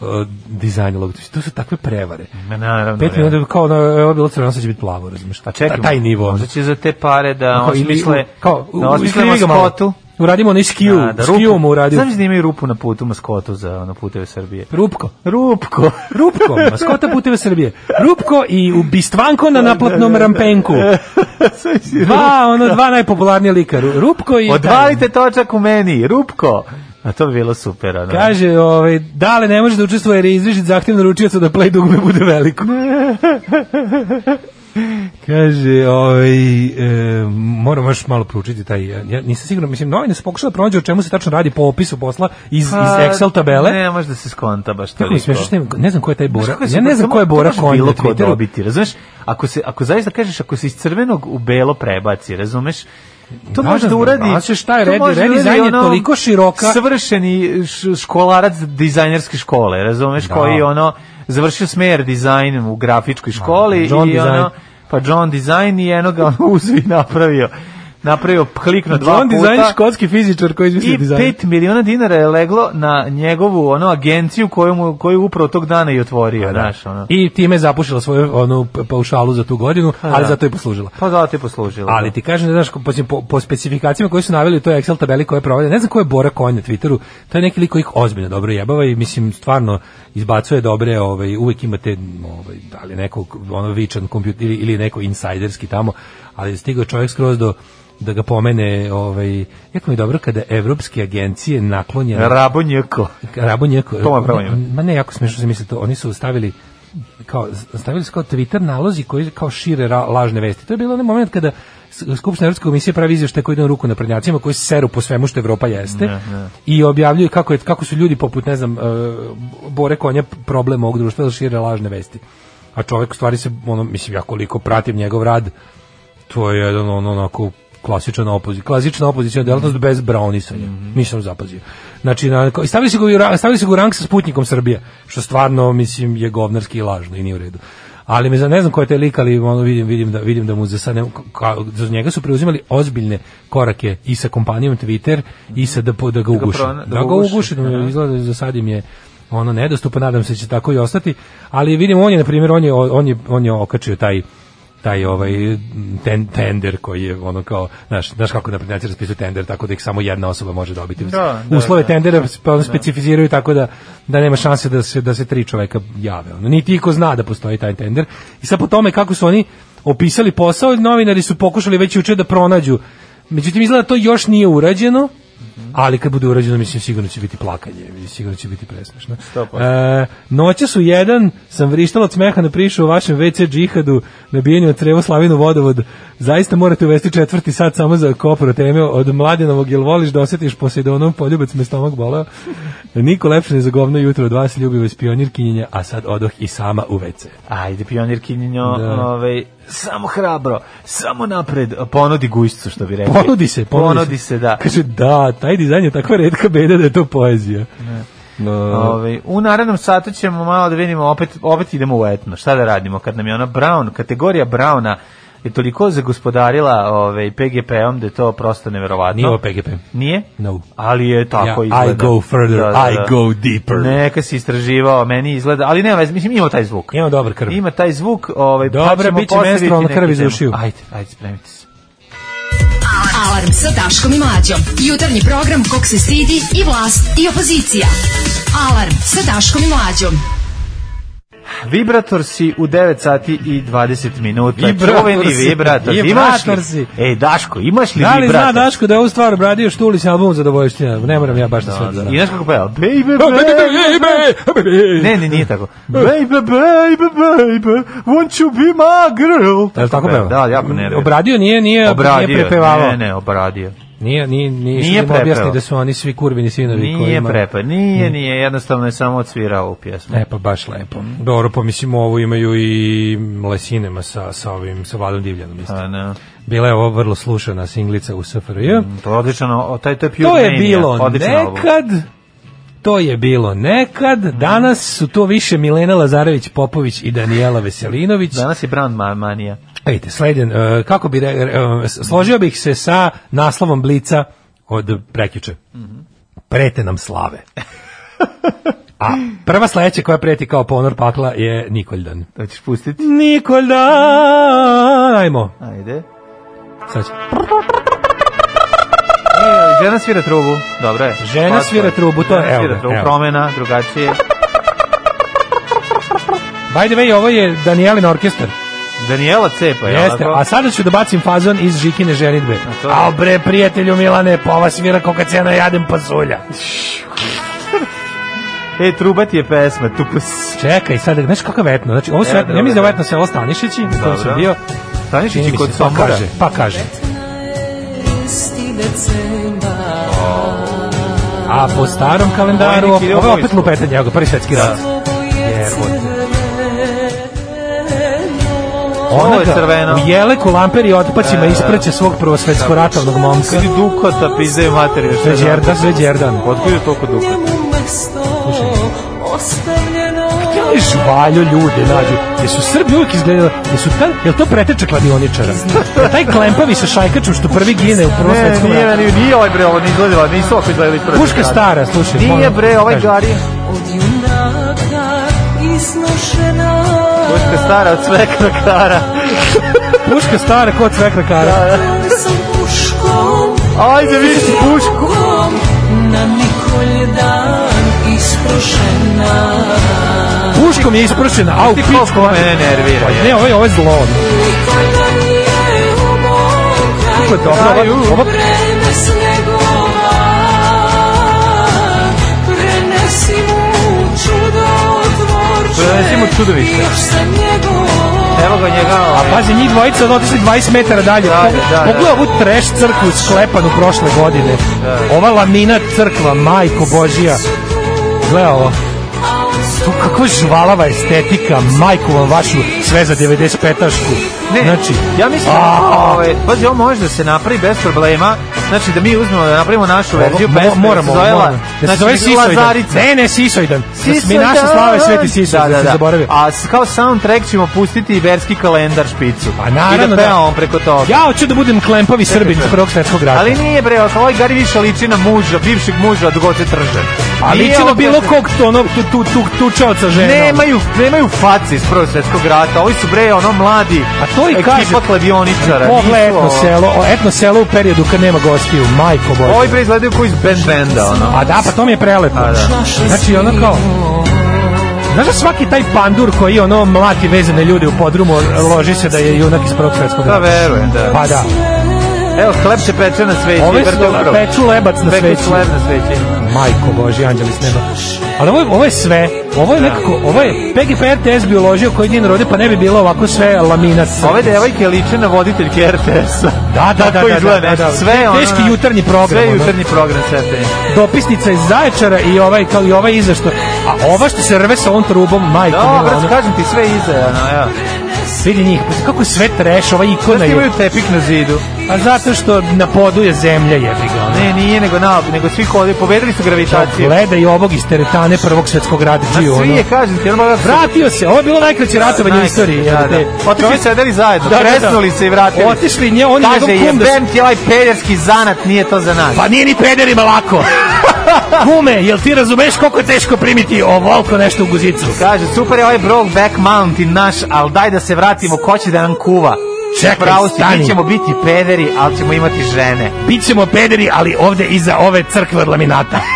Speaker 6: uh, dizajn logo. To su takve prevare.
Speaker 5: Ma, naravno,
Speaker 6: Pet
Speaker 5: ja.
Speaker 6: minuta kao ono, ovo je bilo crveno, sad će biti plavo, razumiješ?
Speaker 5: Pa čekaj,
Speaker 6: Ta- taj nivo.
Speaker 5: Možda će za te pare da
Speaker 6: Kao, ili
Speaker 5: osmisle,
Speaker 6: u- kao, u-
Speaker 5: da
Speaker 6: u-
Speaker 5: osmisle
Speaker 6: iskrivi ga malo.
Speaker 5: maskotu.
Speaker 6: Uradimo onaj skiju,
Speaker 5: Da, da,
Speaker 6: skiju mu uradio.
Speaker 5: Znaš da imaju rupu na putu maskotu za ono puteve Srbije?
Speaker 6: Rupko.
Speaker 5: Rupko.
Speaker 6: Rupko, maskota puteva Srbije. Rupko i ubistvanko na naplatnom rampenku. Dva, ono, dva najpopularnija lika. Ru- Rupko i...
Speaker 5: Odvalite točak u meni, Rupko. A to bi bilo super, ono.
Speaker 6: Kaže, ovaj, dale ne može da učestvuje jer je izvršit zahtjev naručioca da play dugme bude veliko. Kaže, ovaj, e, moram još malo proučiti taj, ja nisam siguran, mislim, novine su pokušali da pronađe o čemu se tačno radi po opisu posla iz, iz Excel tabele.
Speaker 5: Pa, Ne, može da se skonta baš
Speaker 6: Kako mi
Speaker 5: toliko.
Speaker 6: smiješno što nema- ne znam ko je taj Bora.
Speaker 5: Znaš kako je
Speaker 6: Ja
Speaker 5: super,
Speaker 6: ne znam
Speaker 5: samo
Speaker 6: ko je Bora
Speaker 5: to može
Speaker 6: Konj na
Speaker 5: bilo ko
Speaker 6: Twitteru.
Speaker 5: dobiti, razumeš? Ako se ako zaista kažeš ako se iz crvenog u belo prebaci, razumeš? To
Speaker 6: Da,
Speaker 5: može
Speaker 6: da,
Speaker 5: da
Speaker 6: da,
Speaker 5: uradi.
Speaker 6: da, znaš šta je
Speaker 5: to
Speaker 6: red-
Speaker 5: može da
Speaker 6: red
Speaker 5: uradi
Speaker 6: dizajn je
Speaker 5: ono
Speaker 6: toliko široka-
Speaker 5: Savršeni š- školarac dizajnerske škole, razumeš,
Speaker 6: Da.
Speaker 5: koji ono završio smer dizajn u grafičkoj školi
Speaker 6: John
Speaker 5: i
Speaker 6: design.
Speaker 5: ono pa John design i eno ga ono uzvi napravio napravio klik na dva
Speaker 6: John
Speaker 5: puta.
Speaker 6: dizajn škotski fizičar koji izmislio
Speaker 5: I
Speaker 6: dizajn.
Speaker 5: 5 miliona dinara je leglo na njegovu ono agenciju koju mu koju upravo tog dana i
Speaker 6: Pa
Speaker 5: otvorio, znaš, ono.
Speaker 6: I time je zapušila svoju onu pa- paušalu za tu godinu, ali
Speaker 5: da.
Speaker 6: zato je poslužila.
Speaker 5: Pa da ti je poslužilo.
Speaker 6: Ali ti kažem, da, znaš, po, po, po specifikacijama koje su naveli u toj Excel tabeli koje provode, ne znam ko je Bora Konj na Twitteru, to je neki lik koji ih ozbiljno dobro jebava i mislim stvarno izbacuje dobre, ovaj, uvek imate ovaj, da li je neko ono vičan kompjuter ili, ili je neko insajderski tamo, ali je stigao čovjek skroz do da ga pomene, ovaj, jako mi je dobro kada evropske agencije naklonjene
Speaker 5: Rabo njeko.
Speaker 6: Rabon je...
Speaker 5: To je pravo ime.
Speaker 6: Ma ne, jako smiješno se misli to. Oni su stavili kao, stavili su kao Twitter nalozi koji kao šire ra, lažne vesti. To je bilo onaj moment kada S- Skupština Evropske komisije pravi izveštaj koji ide na ruku na prednjacima, koji seru po svemu što Evropa jeste i objavljuju kako, je, kako su ljudi poput, ne znam, e, Bore Konja problem ovog društva da šire lažne vesti. A čovjek u stvari se, ono, mislim, ja koliko pratim njegov rad, to je jedan ono onako klasičan opozicija, klasična opozicijna delatnost bez brownisanja. Nisam zapazio. Znači, na, kao- i stavili se ga u ra- stavili se ga u rang sa Sputnikom Srbije, što stvarno mislim je govnarski i lažno i nije u redu. Ali me za ne znam ko je taj lik, ali ono vidim vidim da vidim da mu za sad ne, ka, za njega su preuzimali ozbiljne korake i sa kompanijom Twitter i sa da po- da ga uguše.
Speaker 5: prona-
Speaker 6: Da ga uguše, da mu
Speaker 5: aha.
Speaker 6: izgleda za sad im je ono nedostupan, nadam se da će tako i ostati, ali vidimo on je na primjer on je on je on je okačio taj taj ovaj ten, tender koji je ono kao znaš, znaš kako naprednjaci raspisuju tender tako da ih samo jedna osoba može dobiti.
Speaker 5: Da, da,
Speaker 6: Uslove
Speaker 5: da.
Speaker 6: tendera pa ono specificiraju tako da da nema šanse da se da se tri čoveka jave. Ono niti iko zna da postoji taj tender. I sad po tome kako su oni opisali posao, novinari su pokušali već juče da pronađu. Međutim izgleda to još nije urađeno. Ali kad bude urađeno, mislim, sigurno će biti plakanje, sigurno će biti presmešno.
Speaker 5: 100%.
Speaker 6: E, noće su jedan, sam vrištala od smeha na prišu u vašem WC džihadu, nabijanju od trevo slavinu vodovod. Zaista morate uvesti četvrti sat samo za kopro teme od mladenovog, jel voliš da osjetiš Poseidonom, poljubac me stomak boleo. Niko lepše ne za govno jutro od vas, ljubivo iz pionirkinjenja, a sad odoh i sama u WC.
Speaker 5: Ajde, pionir Kinjinjo,
Speaker 6: Da.
Speaker 5: ovaj, samo hrabro, samo napred, ponudi gujscu, što bi rekli.
Speaker 6: Ponudi se, ponudi,
Speaker 5: se. da.
Speaker 6: Kaže, da, taj dizajn je takva redka beda da je to poezija.
Speaker 5: Ove, Ovaj, u narednom satu ćemo malo da vidimo, opet, opet idemo u etno. Šta da radimo? Kad nam je ona Brown, kategorija Browna je toliko zagospodarila ovaj, PGP-om da je to prosto neverovatno.
Speaker 6: Nije ovo PGP.
Speaker 5: Nije?
Speaker 6: No.
Speaker 5: Ali je tako
Speaker 6: Ja, I
Speaker 5: izgleda.
Speaker 6: go further, I go deeper.
Speaker 5: Neka si istraživao, meni izgleda, ali nema veze, mislim ima taj zvuk.
Speaker 6: Ima dobar krv.
Speaker 5: Ima taj zvuk, ovaj
Speaker 6: Dobra,
Speaker 5: ćemo
Speaker 6: bit će
Speaker 5: postaviti
Speaker 6: menstrualna
Speaker 5: neku
Speaker 6: krv iz
Speaker 5: temu.
Speaker 6: ušiju.
Speaker 5: Ajde, ajde, spremite se.
Speaker 4: Alarm sa Daškom i Mlađom. Jutarnji program kog se stidi i vlast i opozicija. Alarm sa Daškom i Mlađom.
Speaker 5: Vibrator si u 9 sati i 20 minuta.
Speaker 6: Vibrator
Speaker 5: Čuveni
Speaker 6: si.
Speaker 5: vibrator. Imaš
Speaker 6: Vibrator
Speaker 5: li?
Speaker 6: si.
Speaker 5: Ej, Daško, imaš li
Speaker 6: Da li zna
Speaker 5: vibrator?
Speaker 6: Daško da je ovu stvar obradio Štulić album zadovoljština? Ne moram ja baš da sve da
Speaker 5: I
Speaker 6: radim.
Speaker 5: znaš kako peva? Baby, baby. Ne, ne, nije tako. Baby, baby, baby, won't you be my girl?
Speaker 6: Da li tako peva?
Speaker 5: Da, jako nervio.
Speaker 6: Obradio nije, nije,
Speaker 5: obradio.
Speaker 6: nije prepevavao.
Speaker 5: Ne, ne, obradio.
Speaker 6: Nije, nije, nije,
Speaker 5: Nije
Speaker 6: nije objasni
Speaker 5: prepevao.
Speaker 6: da su oni svi kurvini sinovi
Speaker 5: Nije
Speaker 6: kojima...
Speaker 5: prepa, nije, nije, jednostavno je samo odsvirao ovu pjesmu.
Speaker 6: E pa baš lepo. Dobro, pa mislim ovo imaju i lesinema sa, sa ovim, sa Vladom Divljanom. isto.
Speaker 5: A, ne.
Speaker 6: Bila je ovo vrlo slušana singlica u SFRJ.
Speaker 5: To je odlično, o, taj to je Pure
Speaker 6: To je
Speaker 5: Mania,
Speaker 6: bilo
Speaker 5: odličan album. Mhm.
Speaker 6: nekad, to je bilo nekad, danas su to više Milena Lazarević-Popović i Danijela Veselinović.
Speaker 5: Danas je Brown Ma- Manija.
Speaker 6: Ejte, sleden, e, kako bi, re- e, s- složio bih se sa naslovom Blica od prekjuče.
Speaker 5: Mhm.
Speaker 6: Prete nam slave. A prva sledeća koja preti kao ponor pakla je Nikoldan.
Speaker 5: To ćeš pustiti?
Speaker 6: Nikoldan! Ajmo.
Speaker 5: Ajde.
Speaker 6: Sad će.
Speaker 5: E, žena svira trubu, dobro je.
Speaker 6: Žena
Speaker 5: Hvala
Speaker 6: svira
Speaker 5: tvoje.
Speaker 6: trubu, to je-
Speaker 5: Žena
Speaker 6: evo
Speaker 5: svira
Speaker 6: ga,
Speaker 5: trubu,
Speaker 6: evo.
Speaker 5: promena, drugačije.
Speaker 6: By the way, ovo je Danijelin orkestar.
Speaker 5: Daniela Cepa, je
Speaker 6: Jeste, a sada ću da bacim fazon iz Žikine ženitbe.
Speaker 5: to je-
Speaker 6: Al bre, prijatelju Milane, pa ova svira koga cena jadem pasulja.
Speaker 5: E, truba ti je pesma, tu pus.
Speaker 6: Čekaj, sad, znaš kako je vetno? Znači, ovo su,
Speaker 5: E,
Speaker 6: vetno, ja
Speaker 5: dobro,
Speaker 6: mislim da Znači, je vetno
Speaker 5: dobro.
Speaker 6: selo Stanišići, u kojem sam
Speaker 5: Dobro.
Speaker 6: bio.
Speaker 5: Stanišići
Speaker 6: Čini mi
Speaker 5: kod
Speaker 6: se, Pa
Speaker 5: Sombora.
Speaker 6: kaže, pa kaže. A po starom kalendaru,
Speaker 5: Vojnik ide u
Speaker 6: ovo je opet
Speaker 5: vojsku.
Speaker 6: lupetanje, evo ga, prvi svetski rat. Jebote. Ona
Speaker 5: Ovo je
Speaker 6: ga
Speaker 5: crveno.
Speaker 6: u jeleku, lamperi i otpacima ispreće svog prvosvetskoratovnog momka.
Speaker 5: Sedi dukata, pizdaju materiju.
Speaker 6: Sve Đerdan, sve Đerdan.
Speaker 5: Otkud je toliko dukata?
Speaker 6: Ja li žvaljo ljude nađu? Jesu Srbi uvijek izgledali, jesu ta, jel to preteča kladioničara? Jel taj klempavi sa šajkačom što prvi gine u prvom
Speaker 5: Ne,
Speaker 6: svetskom
Speaker 5: nije,
Speaker 6: ratu?
Speaker 5: nije, nije ovaj bre, ovo nije izgledalo, nisu opet gledali prvi.
Speaker 6: Puška
Speaker 5: rad.
Speaker 6: stara, slušaj.
Speaker 5: Nije
Speaker 6: molim,
Speaker 5: bre, ovaj
Speaker 6: kažem.
Speaker 5: gari. Puška stara od sve krakara.
Speaker 6: Puška stara kod svekra kara.
Speaker 5: Ajde, vidi si pušku.
Speaker 6: Puškom je ispršena, a u
Speaker 5: Ti
Speaker 6: pičku.
Speaker 5: koliko mene nervira.
Speaker 6: Pa
Speaker 5: je.
Speaker 6: Ne, ovo je, ovo je zlo. Kako je dobro, ovo, ovo
Speaker 5: Prenesi mu čudovište. Evo ga njega. ovaj.
Speaker 6: Pazi, njih dvojica od otišli 20 metara dalje.
Speaker 5: Da,
Speaker 6: Pog-
Speaker 5: da, da.
Speaker 6: Pogledaj ovu treš crkvu sklepanu prošle godine. Ova lamina crkva, majko božija. Gle ovo. Tu kakva žvalava estetika, majku vam vašu. sve za 95-ašku.
Speaker 5: Ne,
Speaker 6: znači,
Speaker 5: ja mislim da, ovaj, pazi, ovo može da se napravi bez problema, znači da mi uzmemo da napravimo našu verziju
Speaker 6: Mo-
Speaker 5: pesme,
Speaker 6: moramo,
Speaker 5: da se zove,
Speaker 6: moramo. Da se zove
Speaker 5: znači,
Speaker 6: Sisojdan.
Speaker 5: Lazarica.
Speaker 6: Ne, ne, Sisojdan. Da mi
Speaker 5: Sisojdan.
Speaker 6: naše slave sveti Sisoj, da, da, se zaboravio.
Speaker 5: A s- kao soundtrack ćemo pustiti i verski kalendar špicu.
Speaker 6: Pa naravno
Speaker 5: I da
Speaker 6: da.
Speaker 5: peva on preko toga.
Speaker 6: Ja hoću da budem klempavi Srbin iz Prvog svjetskog rata.
Speaker 5: Ali nije bre, ovaj Gari više liči na muža, bivšeg muža dugote tržan.
Speaker 6: A
Speaker 5: Nije
Speaker 6: ličilo
Speaker 5: ovo-
Speaker 6: bilo kog to onog tu, tu, tu, tučaoca žena.
Speaker 5: Nemaju, nemaju face iz Prvog svjetskog rata, ovi su bre ono mladi,
Speaker 6: A to i
Speaker 5: ekipa
Speaker 6: kaže-
Speaker 5: kladioničara.
Speaker 6: Pogle ono.
Speaker 5: nisu
Speaker 6: etno
Speaker 5: ovo-
Speaker 6: selo, o, etno selo u periodu kad nema gostiju, majko bože.
Speaker 5: Ovi bre izgledaju koji iz band benda, ono.
Speaker 6: A da, pa to mi je prelepo.
Speaker 5: A da.
Speaker 6: Znači, ono kao... Znaš da svaki taj pandur koji ono mlati vezane ljude u podrumu loži se da je junak iz prvog svetskog
Speaker 5: Da,
Speaker 6: rata.
Speaker 5: verujem, da.
Speaker 6: Pa da.
Speaker 5: Evo, hleb se peče na sveći.
Speaker 6: Ove su
Speaker 5: vrtogrov.
Speaker 6: peču lebac na
Speaker 5: Peku
Speaker 6: sveći.
Speaker 5: hleb na sveći.
Speaker 6: Majko Boži, anđeli s neba. Ali ovo je, ovo je sve, ovo je nekako, ovo je PGP RTS bi uložio koji njen rode, pa ne bi bilo ovako sve laminat.
Speaker 5: Ove devojke liče na voditeljke RTS-a.
Speaker 6: Da, da, da,
Speaker 5: Tako
Speaker 6: da,
Speaker 5: izgleda
Speaker 6: da,
Speaker 5: nešto.
Speaker 6: da.
Speaker 5: Sve ono...
Speaker 6: Teški
Speaker 5: na-
Speaker 6: jutarnji program,
Speaker 5: Sve
Speaker 6: ono.
Speaker 5: jutarnji program sve te.
Speaker 6: dopisnica iz Zaječara i ovaj, kao i ovaj izašto. A ova što se rve sa ovom trubom, majko
Speaker 5: Da,
Speaker 6: mila,
Speaker 5: brz,
Speaker 6: ono,
Speaker 5: kažem ti sve iza, ono, ja.
Speaker 6: vidi njih, pa kako je sve treš, ova ikona
Speaker 5: Znaš ti
Speaker 6: je.
Speaker 5: imaju tepik na zidu?
Speaker 6: A zato što na podu je zemlja jebi ga. ono.
Speaker 5: Ne, nije, nego na, nego svi hodaju, pobedili su gravitaciju.
Speaker 6: Gleda i ovog iz teretane prvog svetskog rada
Speaker 5: Ma
Speaker 6: džiju,
Speaker 5: svi
Speaker 6: ono.
Speaker 5: je, kažem ti, ono...
Speaker 6: Vratio se, ovo je bilo najkraće ratovanje u istoriji.
Speaker 5: Da,
Speaker 6: jebote.
Speaker 5: da. Otišli
Speaker 6: Čovjek-
Speaker 5: sedeli zajedno,
Speaker 6: Da, da, da.
Speaker 5: kresnuli se i vratili.
Speaker 6: Otišli nje, on i
Speaker 5: Kaže,
Speaker 6: njegov kum da su-
Speaker 5: jebem ti ovaj pederski zanat, nije to za nas.
Speaker 6: Pa nije ni pederima lako. Kume, jel ti razumeš koliko je teško primiti ovoliko nešto u guzicu?
Speaker 5: Kaže, super je ovaj Brokeback Mountain naš, ali daj da se vratimo, ko će da nam kuva?
Speaker 6: Čekaj,
Speaker 5: Pravo si,
Speaker 6: stani.
Speaker 5: mi ćemo biti pederi, ali ćemo imati žene.
Speaker 6: Bićemo pederi, ali ovde iza ove crkve od laminata.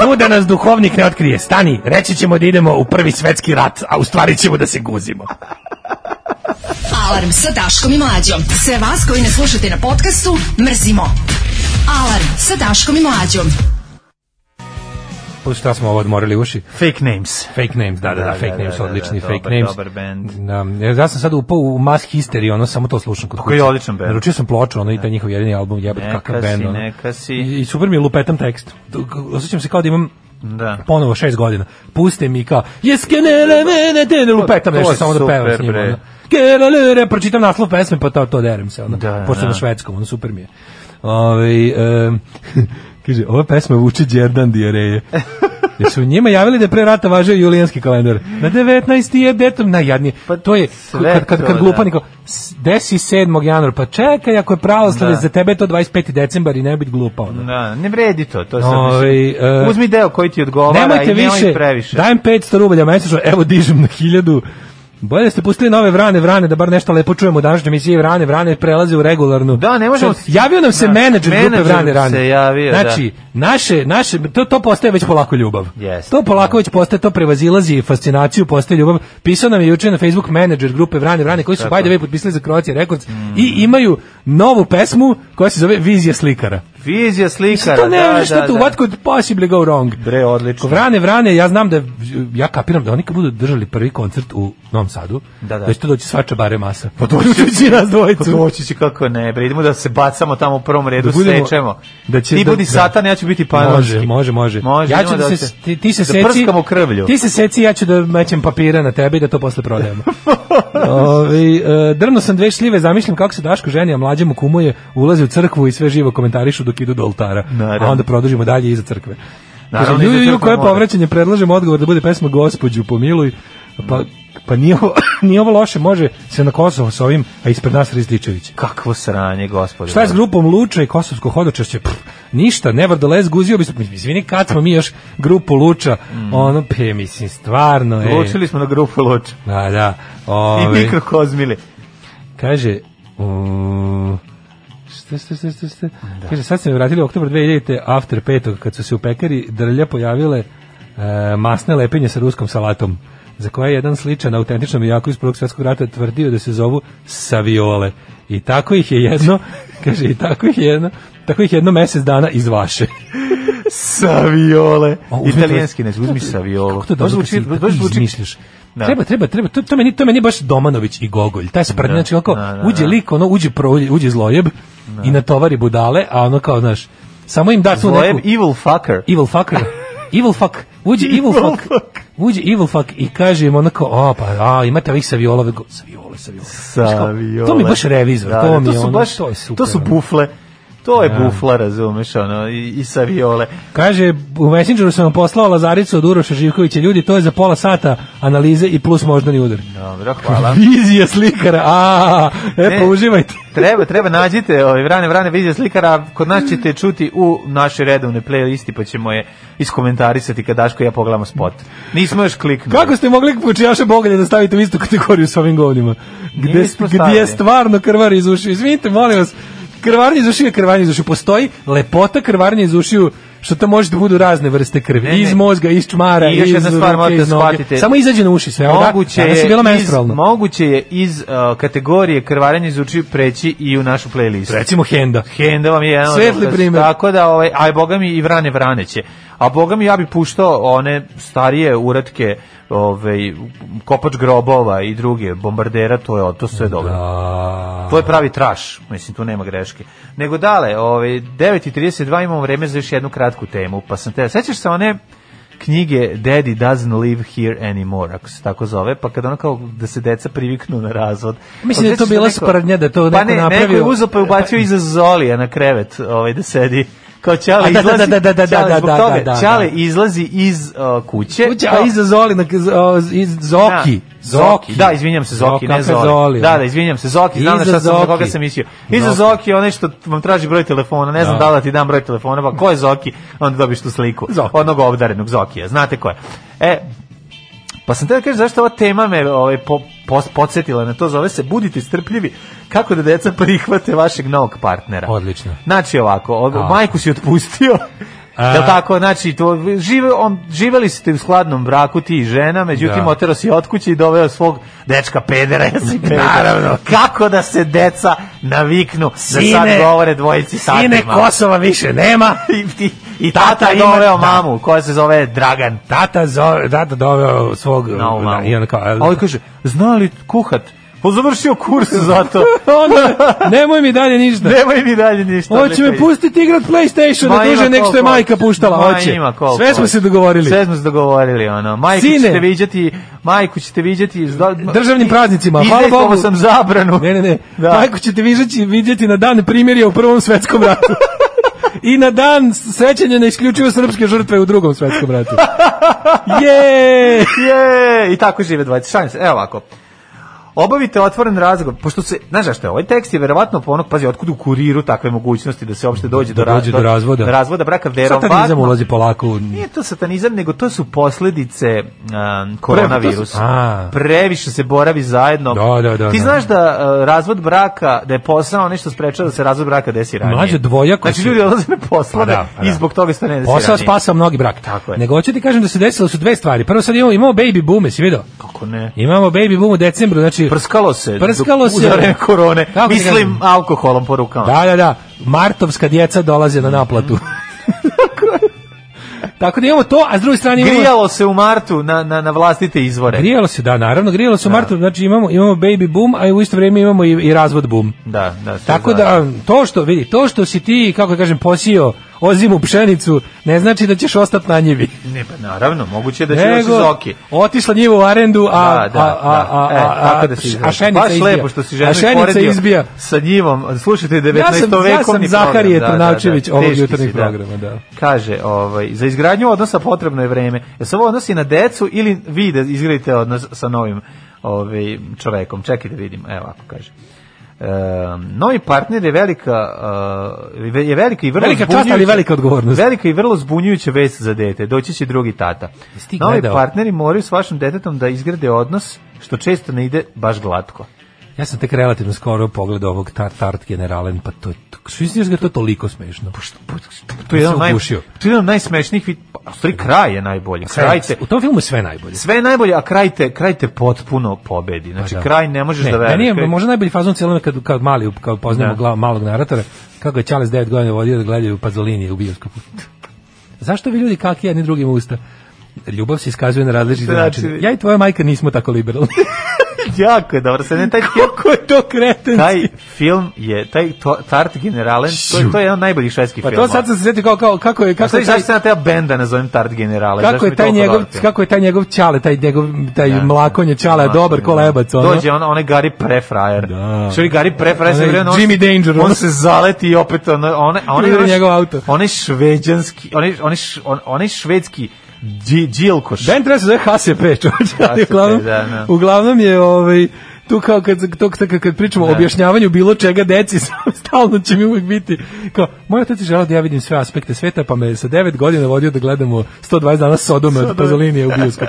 Speaker 6: Tu da nas duhovnik ne otkrije. Stani, reći ćemo da idemo u prvi svetski rat, a u stvari ćemo da se guzimo.
Speaker 4: Alarm sa Daškom i Mlađom. Sve vas koji ne slušate na podcastu, mrzimo. Alarm sa Daškom i Mlađom.
Speaker 6: Šta smo ovo odmorili uši?
Speaker 5: Fake names.
Speaker 6: Fake names, da, da, da, fake names,
Speaker 5: da,
Speaker 6: odlični
Speaker 5: da,
Speaker 6: fake
Speaker 5: dobar,
Speaker 6: names.
Speaker 5: Dobar band.
Speaker 6: Da, ja- ja sam sad upao u mass histeriju, ono samo to slušam kod kuće.
Speaker 5: koji je odličan band.
Speaker 6: Naručio sam ploču, ono i taj njihov jedini album, jebate
Speaker 5: Neka
Speaker 6: kakav
Speaker 5: si,
Speaker 6: bend. ono.
Speaker 5: neka si.
Speaker 6: I, I super mi je lupetam tekst. Osjećam se kao da imam
Speaker 5: Da.
Speaker 6: ponovo šest godina. Puste mi kao Jeskenele mene te ne lupetam
Speaker 5: To- to
Speaker 6: nešto
Speaker 5: je
Speaker 6: samo da
Speaker 5: super,
Speaker 6: pevam s njim.
Speaker 5: bre.
Speaker 6: ono. Kerelere, pročitam naslov pesme pa to, to derem se. Ono.
Speaker 5: Da, da,
Speaker 6: Pošto
Speaker 5: da.
Speaker 6: na švedskom, ono super mi je. Ove, em, kaže, ova pesma vuče Đerdan dijareje. Jer su njima javili da je pre rata važio julijanski kalendar. Na 19. je detom najjadnije. Pa to je,
Speaker 5: sve
Speaker 6: kad, kad,
Speaker 5: to,
Speaker 6: kad
Speaker 5: da.
Speaker 6: glupa niko, desi 7. januar, pa čekaj, ako je pravoslave,
Speaker 5: Da.
Speaker 6: za tebe je to 25. decembar i ne biti glupa. Ono.
Speaker 5: Da, ne vredi to, to sam
Speaker 6: Ovaj,
Speaker 5: mislim.
Speaker 6: e,
Speaker 5: Uzmi deo koji ti odgovara
Speaker 6: Nemojte
Speaker 5: i nemoj
Speaker 6: više,
Speaker 5: previše.
Speaker 6: dajem 500 rubalja mesečno, evo dižem na 1000. Bolje da ste pustili nove vrane, vrane, da bar nešto lepo čujemo u današnjoj emisiji vrane, vrane prelaze u regularnu.
Speaker 5: Da, ne možemo-
Speaker 6: Sad, Javio nam se
Speaker 5: Da,
Speaker 6: menadžer grupe
Speaker 5: menadžer
Speaker 6: vrane,
Speaker 5: se
Speaker 6: rane.
Speaker 5: javio, da.
Speaker 6: znači, naše, naše, to, to postaje već polako ljubav.
Speaker 5: Jeste.
Speaker 6: To polako već postaje, to prevazilazi fascinaciju, postaje ljubav. Pisao nam je juče na Facebook menadžer grupe vrane, vrane, koji su, by the way, potpisali za Croatia Records
Speaker 5: Mm.
Speaker 6: i imaju novu pesmu koja se zove Vizija slikara.
Speaker 5: Vizija slikara.
Speaker 6: To ne, ono
Speaker 5: da,
Speaker 6: što
Speaker 5: da,
Speaker 6: tu,
Speaker 5: da.
Speaker 6: what could possibly go wrong?
Speaker 5: Bre, odlično.
Speaker 6: Ko Vrane, Vrane, ja znam da, ja kapiram da oni kad budu držali prvi koncert u Novom Sadu,
Speaker 5: Da, da.
Speaker 6: će tu doći svača bare masa. Pa doći nas dvojicu.
Speaker 5: Pa Doći će kako ne, bre, idemo da se bacamo tamo u prvom redu,
Speaker 6: Da budemo-
Speaker 5: sečemo.
Speaker 6: da će-
Speaker 5: ti
Speaker 6: da-
Speaker 5: budi
Speaker 6: da.
Speaker 5: satan, ja ću biti panoški.
Speaker 6: Može, može, može.
Speaker 5: Može,
Speaker 6: ja ću
Speaker 5: idemo
Speaker 6: da,
Speaker 5: da
Speaker 6: se,
Speaker 5: se-
Speaker 6: ti, ti se
Speaker 5: da
Speaker 6: seci...
Speaker 5: prskamo krvlju.
Speaker 6: Ti se seci, ja ću da mećem papira na tebe i da to posle prodajemo. Ovi, e, drno sam dve šljive, zamišljam kako se Daško ženi, a mlađemu kumuje, ulaze u crkvu i sve živo komentarišu dok idu do oltara.
Speaker 5: Naravno.
Speaker 6: A onda produžimo dalje iza crkve.
Speaker 5: Naravno,
Speaker 6: Kaže,
Speaker 5: iza
Speaker 6: "Ju, ju, ju,
Speaker 5: crkve
Speaker 6: koje
Speaker 5: mora."
Speaker 6: povraćanje predlažem odgovor da bude pesma Gospodju pomiluj. Pa, pa nije ovo, nije ovo loše, može se na Kosovo sa ovim, a ispred nas Rizdičević.
Speaker 5: Kakvo sranje, gospodine.
Speaker 6: Šta je s grupom Luča i Kosovsko hodočašće? Pff, ništa, nevertheless, guzio bi se, mislim, izvini, kad smo mi još grupu Luča, ono, pe, mislim, stvarno, ej.
Speaker 5: Mm. Lučili E. smo na grupu Luč.
Speaker 6: Da, da. ovaj.
Speaker 5: I
Speaker 6: Ove,
Speaker 5: mikrokozmili.
Speaker 6: kaže, um, šta, šta, šta, šta, šta? Kaže, sad se mi vratili u oktober 2000. after petog, kad su se u pekari drlja pojavile e, masne lepinje sa ruskom salatom za koje je jedan sličan autentičnom i jako iz prvog svjetskog rata tvrdio da se zovu saviole. I tako ih je jedno, kaže, i tako ih je jedno, tako ih je jedno mesec dana izvaše.
Speaker 5: Saviole.
Speaker 6: O, uzmi to-
Speaker 5: Italijanski, ne uzmi saviolu.
Speaker 6: Kako to dobro
Speaker 5: Pa zvuči,
Speaker 6: kad si-
Speaker 5: baš
Speaker 6: kad
Speaker 5: zvuči-
Speaker 6: izmišljaš.
Speaker 5: Da.
Speaker 6: Treba, treba, treba. To, to, meni, to meni je baš Domanović i Gogolj. Taj sprdnja, znači ono kao,
Speaker 5: da, da,
Speaker 6: uđe
Speaker 5: da.
Speaker 6: lik, ono, uđe, pro, uđe zlojeb i natovari budale, a ono kao, znaš, samo im da tu
Speaker 5: Zlojeb
Speaker 6: neku...
Speaker 5: evil fucker.
Speaker 6: Evil fucker. Evil fuck. Uđe evil,
Speaker 5: Evil
Speaker 6: fuck.
Speaker 5: fuck.
Speaker 6: uđe Evil Fuck i kaže im onako, a pa, a, imate ovih saviolove, go- saviole, saviole. Znaš kao, To mi je baš revizor,
Speaker 5: Da,
Speaker 6: to
Speaker 5: da,
Speaker 6: mi je
Speaker 5: to su
Speaker 6: ono,
Speaker 5: baš,
Speaker 6: to je super.
Speaker 5: To su
Speaker 6: ono.
Speaker 5: bufle. To je bufla, razumeš, ono, i, i sa viole.
Speaker 6: Kaže, u Messengeru sam vam poslao Lazaricu od Uroša Živkovića. Ljudi, to je za pola sata analize i plus moždani udar.
Speaker 5: Dobro, hvala.
Speaker 6: Vizija slikara, a, e,
Speaker 5: Ne.
Speaker 6: pa uživajte.
Speaker 5: treba, treba, nađite ovaj, Vrane Vrane vizija slikara, kod nas ćete čuti u našoj redovnoj playlisti, pa ćemo je iskomentarisati kad Daško i ja pogledamo spot. Nismo još kliknuli.
Speaker 6: Kako ste mogli pučijaše bogalje da stavite u istu kategoriju sa ovim govnima? Gde,
Speaker 5: Nismo stavili.
Speaker 6: gdje stvarno krvar iz ušiju? Izvinite, molim vas, krvarnje iz ušiju je krvarnje iz ušiju. Postoji lepota krvarnje iz ušiju što to može da budu razne vrste krvi.
Speaker 5: Ne, ne.
Speaker 6: Iz mozga, iz čmara,
Speaker 5: I još
Speaker 6: iz
Speaker 5: jedna stvar
Speaker 6: ruke,
Speaker 5: morate
Speaker 6: iz
Speaker 5: da
Speaker 6: noge.
Speaker 5: shvatite.
Speaker 6: Samo izađe na uši sve. evo, da-
Speaker 5: Moguće
Speaker 6: danas je bilo
Speaker 5: je, iz,
Speaker 6: menstrualno.
Speaker 5: moguće je iz uh, kategorije krvarenje iz učiju preći i u našu playlistu.
Speaker 6: Recimo Henda.
Speaker 5: Henda vam je jedan od
Speaker 6: Svetli
Speaker 5: dokaza.
Speaker 6: primer.
Speaker 5: Tako da, ovaj, aj boga mi i vrane vraneće. A boga mi ja bi puštao one starije uratke ovaj, kopač grobova i druge bombardera, to je to sve dobro. To je pravi traš, mislim, tu nema greške. Nego dale, ovaj, 9.32 imamo vreme za još jednu kratku temu, pa sam te... Sećaš se one knjige Daddy doesn't live here anymore, ako se tako zove, pa kad ono kao da se deca priviknu na razvod. Pa
Speaker 6: Mislim da je to
Speaker 5: Sećaš se
Speaker 6: bila
Speaker 5: neko-
Speaker 6: sprdnja, da je to
Speaker 5: pa
Speaker 6: neko
Speaker 5: ne, neko je
Speaker 6: napravio.
Speaker 5: uzeo pa je
Speaker 6: E,
Speaker 5: ubacio iza Zolija na krevet, ovaj, da sedi kao
Speaker 6: A, da,
Speaker 5: Ćale
Speaker 6: da,
Speaker 5: izlazi,
Speaker 6: da, da, da,
Speaker 5: Ćale
Speaker 6: da,
Speaker 5: zbog
Speaker 6: da,
Speaker 5: toga,
Speaker 6: da, da.
Speaker 5: Ćale izlazi iz o, kuće, pa
Speaker 6: Kuća,
Speaker 5: kao-
Speaker 6: a Pa iza Zoli, na, z- o, z- iz Zoki. Zoki.
Speaker 5: Da, izvinjam se, Zoki, ne
Speaker 6: Zoka,
Speaker 5: Zoli.
Speaker 6: Zoli. ono.
Speaker 5: Da, da, izvinjam se, Zoki, znam
Speaker 6: Iza
Speaker 5: na šta sam, na
Speaker 6: Zoki.
Speaker 5: koga sam mislio. Iza
Speaker 6: Zoki.
Speaker 5: Zoki, onaj što vam traži broj telefona, ne
Speaker 6: Da.
Speaker 5: znam da li da ti dam broj telefona, pa ko je Zoki, onda dobiš tu sliku.
Speaker 6: Zoki.
Speaker 5: Onog obdarenog Zokija, znate ko je. E, pa sam te da kažem zašto ova tema me ovaj, po, pos- podsjetila na to, zove se Budite strpljivi, kako da deca prihvate vašeg novog partnera.
Speaker 6: Odlično.
Speaker 5: Znači ovako, od,
Speaker 6: A.
Speaker 5: majku si otpustio,
Speaker 6: A.
Speaker 5: Jel tako, znači, to, žive, on, živeli ste u skladnom braku ti i žena, međutim,
Speaker 6: Da.
Speaker 5: otero si od kuće i doveo svog dečka pedera, jesi pedera.
Speaker 6: Naravno.
Speaker 5: Kako da se deca naviknu da sad govore dvojici satima.
Speaker 6: Kosova više nema.
Speaker 5: I, i, i tata,
Speaker 6: Tata
Speaker 5: je
Speaker 6: ima-
Speaker 5: doveo
Speaker 6: da.
Speaker 5: mamu, koja se zove Dragan.
Speaker 6: Tata, zo, tata doveo svog...
Speaker 5: Novu mamu.
Speaker 6: I on kao...
Speaker 5: A ovaj kaže, zna li kuhat? Pa završio kurs za to.
Speaker 6: Onda, nemoj mi dalje ništa.
Speaker 5: Nemoj mi dalje ništa.
Speaker 6: Hoće me
Speaker 5: odlično.
Speaker 6: pustiti igrat PlayStation
Speaker 5: Ma,
Speaker 6: da duže nek
Speaker 5: ima
Speaker 6: što je
Speaker 5: koliko
Speaker 6: majka puštala.
Speaker 5: Ma,
Speaker 6: Hoće.
Speaker 5: ima koliko
Speaker 6: Sve smo
Speaker 5: hoće.
Speaker 6: se dogovorili.
Speaker 5: Sve smo se dogovorili, ono. Majku
Speaker 6: Sine.
Speaker 5: ćete viđati, majku ćete viđati... s do-
Speaker 6: Državnim praznicima, hvala
Speaker 5: Izdejstvovao
Speaker 6: Bogu.
Speaker 5: sam zabranu.
Speaker 6: Ne, ne, ne.
Speaker 5: Da.
Speaker 6: Majku ćete vidjeti, vidjeti na dan primirja u Prvom svetskom ratu. I na dan sećanja na isključivo srpske žrtve u Drugom svetskom ratu. Je!
Speaker 5: Je, i tako žive dvojice. Šalim se. Evo ovako. Obavite otvoren razgovor, pošto se, znaš zašto, je, ovaj tekst je verovatno po onog, pazi, otkud u kuriru takve mogućnosti da se uopšte dođe do,
Speaker 6: Da dođe do razvoda.
Speaker 5: do razvoda braka,
Speaker 6: Satanizam
Speaker 5: verovatno,
Speaker 6: ulazi polako u...
Speaker 5: Nije to satanizam, nego to su posledice um, koronavirusa.
Speaker 6: A.
Speaker 5: Previše se boravi zajedno.
Speaker 6: Da, da, da,
Speaker 5: Ti
Speaker 6: da.
Speaker 5: znaš da uh, razvod braka, da je posao nešto sprečava da se razvod braka desi ranije.
Speaker 6: Mlađe dvojako
Speaker 5: Znači
Speaker 6: su-
Speaker 5: ljudi odlaze na poslove
Speaker 6: Pa da, pa da.
Speaker 5: i zbog toga što ne desi
Speaker 6: Posao
Speaker 5: ranije.
Speaker 6: spasa mnogi brak.
Speaker 5: Tako je.
Speaker 6: Nego hoću ti kažem da se desilo su dve stvari. Prvo sad imamo, imamo baby boom, jesi vidio?
Speaker 5: Kako ne?
Speaker 6: Imamo baby boom u decembru, znači...
Speaker 5: Prskalo se.
Speaker 6: Prskalo
Speaker 5: dok- u
Speaker 6: se.
Speaker 5: vreme korone.
Speaker 6: Kako ti
Speaker 5: Mislim
Speaker 6: kažem?
Speaker 5: alkoholom po rukama.
Speaker 6: Da, da, da. Martovska djeca dolaze na naplatu. Tako da imamo to, a s druge strane imamo...
Speaker 5: Grijalo se u martu na, na, na vlastite izvore.
Speaker 6: Grijalo se, da, naravno, grijalo se u martu, znači imamo, imamo baby boom, a u isto vrijeme imamo i, i razvod boom.
Speaker 5: Da, da. sve
Speaker 6: Tako
Speaker 5: zajedno.
Speaker 6: da, to što, vidi, to što si ti, kako da kažem, posio ozimu pšenicu, ne znači da ćeš ostati na njivi.
Speaker 5: Ne, pa naravno, moguće da će još zoki.
Speaker 6: otišla njiva u arendu, a,
Speaker 5: da, da,
Speaker 6: a, a, a,
Speaker 5: da. E,
Speaker 6: a,
Speaker 5: tako da si
Speaker 6: a,
Speaker 5: izgleda.
Speaker 6: a šenica
Speaker 5: Baš
Speaker 6: izbija.
Speaker 5: lepo što si
Speaker 6: a
Speaker 5: ženu
Speaker 6: šenica
Speaker 5: poredio
Speaker 6: izbija.
Speaker 5: sa njivom. Slušajte 19.
Speaker 6: Ja sam, ja sam
Speaker 5: vekovni
Speaker 6: Zaharije
Speaker 5: program.
Speaker 6: Trnavčević ovog
Speaker 5: teški
Speaker 6: jutarnjeg
Speaker 5: si,
Speaker 6: programa, da.
Speaker 5: Kaže, ovaj, za izgradnju odnosa potrebno je vreme. Jel se ovo odnosi na decu ili vi da izgradite odnos sa novim ovaj, čovekom? Čekaj da vidim. Evo, ako kaže. Um, novi partner je velika uh, je velika i vrlo
Speaker 6: Velika čast,
Speaker 5: zbunjujuća-
Speaker 6: ali velika odgovornost.
Speaker 5: Velika i vrlo zbunjujuća vest za dete. Doći će drugi tata.
Speaker 6: Jesi ti
Speaker 5: Novi
Speaker 6: gledao?
Speaker 5: partneri moraju s vašim detetom da izgrade odnos što često ne ide baš glatko.
Speaker 6: Ja sam tek relativno skoro pogledao ovog tar, tart generalen, pa to, to što misliš da je to toliko smešno?
Speaker 5: To je jedan
Speaker 6: Sam
Speaker 5: od naj,
Speaker 6: pa ugušio.
Speaker 5: to je jedan od najsmešnijih vid, pa, u stvari kraj je najbolji. Kraj te,
Speaker 6: u tom filmu je sve najbolje.
Speaker 5: sve je najbolje, a kraj te, kraj te potpuno pobedi. Znači
Speaker 6: Pa da.
Speaker 5: kraj ne možeš da veruješ.
Speaker 6: Meni je
Speaker 5: Kraj-
Speaker 6: možda najbolji fazon cijelome kad, kad mali, kad poznajemo
Speaker 5: Da.
Speaker 6: glav, malog naratora, kako je Čales 9 godina vodio da gledaju Pazolinije u bioskopu. Zašto vi ljudi kaki jedni drugim usta? Ljubav se iskazuje na različite
Speaker 5: Znači-
Speaker 6: načine. Ja i tvoja majka nismo tako liberalni.
Speaker 5: jako je dobro. Sad ne taj film,
Speaker 6: Kako je to kretenski?
Speaker 5: taj film je, taj to, Tart Generalen, to, je- to je jedan od najboljih švedskih
Speaker 6: pa
Speaker 5: filmova.
Speaker 6: to sad sam se sjetio kao, kao kako je
Speaker 5: A
Speaker 6: kako
Speaker 5: sad
Speaker 6: je
Speaker 5: zašto
Speaker 6: taj,
Speaker 5: sam ja teo benda nazovem Tart Generalen?
Speaker 6: kako je taj njegov kako je taj njegov ćale, taj njegov taj mlakonje ćale, a dobar ko lebac ono.
Speaker 5: Dođe on, onaj Gary Prefrajer.
Speaker 6: Da.
Speaker 5: Što je Gary Prefrajer? sve
Speaker 6: Onaj
Speaker 5: vreme, on-
Speaker 6: Jimmy Danger, ono.
Speaker 5: On se zaleti i opet on, on, on,
Speaker 6: Privede njegov auto.
Speaker 5: Onaj šveđanski, onaj, onaj, š- on, onaj švedski dži- džilkoš.
Speaker 6: Ben treba se zove HSP, čovječe, ali
Speaker 5: HSP,
Speaker 6: uglavnom,
Speaker 5: da, da.
Speaker 6: uglavnom je ovaj, tu kao kad, to, kad, kad pričamo o objašnjavanju bilo čega deci, stalno će mi uvek biti kao, moj otac je želao da ja vidim sve aspekte sveta, pa me sa 9 godina vodio da gledamo 120 dana Sodome od Pazolinije u bioskop.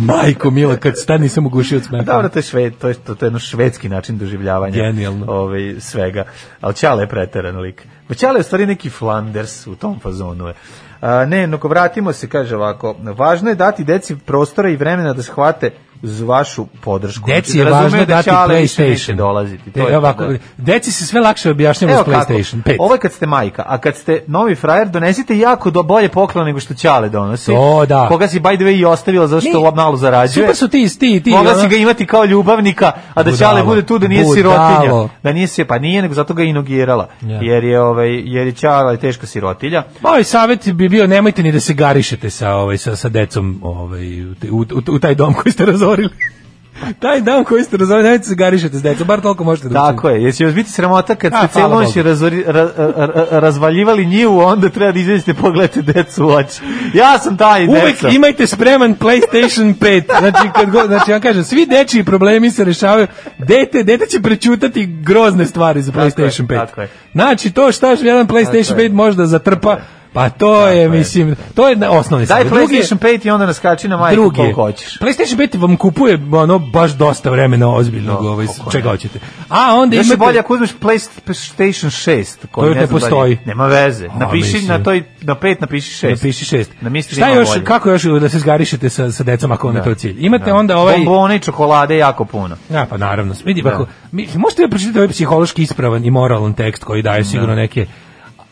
Speaker 6: Majko mila, kad stan nisam ugušio od smeha.
Speaker 5: Dobro, to je, šved, to je, to, to je jedno švedski način doživljavanja
Speaker 6: Genijalno.
Speaker 5: ovaj, svega. Ali Ćale je preteran lik. Ma Ćale je u stvari neki Flanders u tom fazonu je. A, ne, no ko vratimo se, kaže ovako, važno je dati deci prostora i vremena da shvate uz vašu podršku.
Speaker 6: Deci
Speaker 5: Znači,
Speaker 6: je
Speaker 5: da razumeju
Speaker 6: važno
Speaker 5: da
Speaker 6: dati
Speaker 5: Ćale više neće
Speaker 6: PlayStation.
Speaker 5: dolaziti. To
Speaker 6: E,
Speaker 5: je
Speaker 6: ovako,
Speaker 5: to, da.
Speaker 6: Deci se sve lakše objašnjava s
Speaker 5: kako,
Speaker 6: PlayStation 5.
Speaker 5: Ovo je kad ste majka, a kad ste novi frajer, donesite jako do bolje poklon nego što Ćale donosi.
Speaker 6: To da.
Speaker 5: Koga si by the way i ostavila zato što
Speaker 6: Ne,
Speaker 5: malo zarađuje.
Speaker 6: Super su ti, ti, ti.
Speaker 5: Mogla
Speaker 6: ono-
Speaker 5: si ga imati kao ljubavnika, a da
Speaker 6: Budalo.
Speaker 5: Ćale bude tu da nije
Speaker 6: Budalo.
Speaker 5: sirotinja. Da nije se, pa nije, nego zato ga je inogirala.
Speaker 6: Ja.
Speaker 5: Jer je, ovaj, jer je Ćale teška sirotilja.
Speaker 6: Moj ovaj savjet bi bio nemojte ni da se garišete sa ovaj sa sa decom ovaj u, te- u, u- u taj dom koji ste razorili. taj dom koji ste razorili, nemojte se garišete s decom, bar toliko možete da učinite.
Speaker 5: Tako je, jer će vas biti sramota kad
Speaker 6: Znači- A,
Speaker 5: ste
Speaker 6: hvala
Speaker 5: celu noć
Speaker 6: Bogu.
Speaker 5: razori, ra, ra- ra- razvaljivali njivu, onda treba da izađete i pogledate decu u oči. Ja sam taj
Speaker 6: Uvek
Speaker 5: deca.
Speaker 6: imajte spreman PlayStation 5. Znači kad god, znači ja kažem svi dečiji problemi se rešavaju. Dete, dete će prećutati grozne stvari za
Speaker 5: je,
Speaker 6: PlayStation 5.
Speaker 5: tako je.
Speaker 6: Znači to šta jedan PlayStation
Speaker 5: Tako je.
Speaker 6: 5 može da zatrpa, pa to je,
Speaker 5: je.
Speaker 6: mislim, to je na- osnovni
Speaker 5: Daj
Speaker 6: savjet. Drugi je-
Speaker 5: PlayStation 5 i onda naskači na majku
Speaker 6: Drugi, Pa
Speaker 5: koliko hoćeš.
Speaker 6: PlayStation 5 vam kupuje ono baš dosta vremena ozbiljnog
Speaker 5: No,
Speaker 6: ovaj,
Speaker 5: kako
Speaker 6: čega hoćete. A onda
Speaker 5: Još je
Speaker 6: imate...
Speaker 5: bolje ako uzmeš PlayStation 6, koji
Speaker 6: To
Speaker 5: ne,
Speaker 6: ne
Speaker 5: znam da li-
Speaker 6: postoji.
Speaker 5: Nema veze.
Speaker 6: A,
Speaker 5: Napiši
Speaker 6: mislim.
Speaker 5: na toj na 5 napiši 6.
Speaker 6: Napiši šest.
Speaker 5: Na misli
Speaker 6: Šta još, kako još da se zgarišete sa, sa decom ako vam je to cilj? Imate onda ovaj...
Speaker 5: Bombone i čokolade jako puno.
Speaker 6: Ja, pa naravno. Vidi, ako, mi, možete da pročitati ovaj psihološki ispravan i moralan tekst koji daje sigurno neke...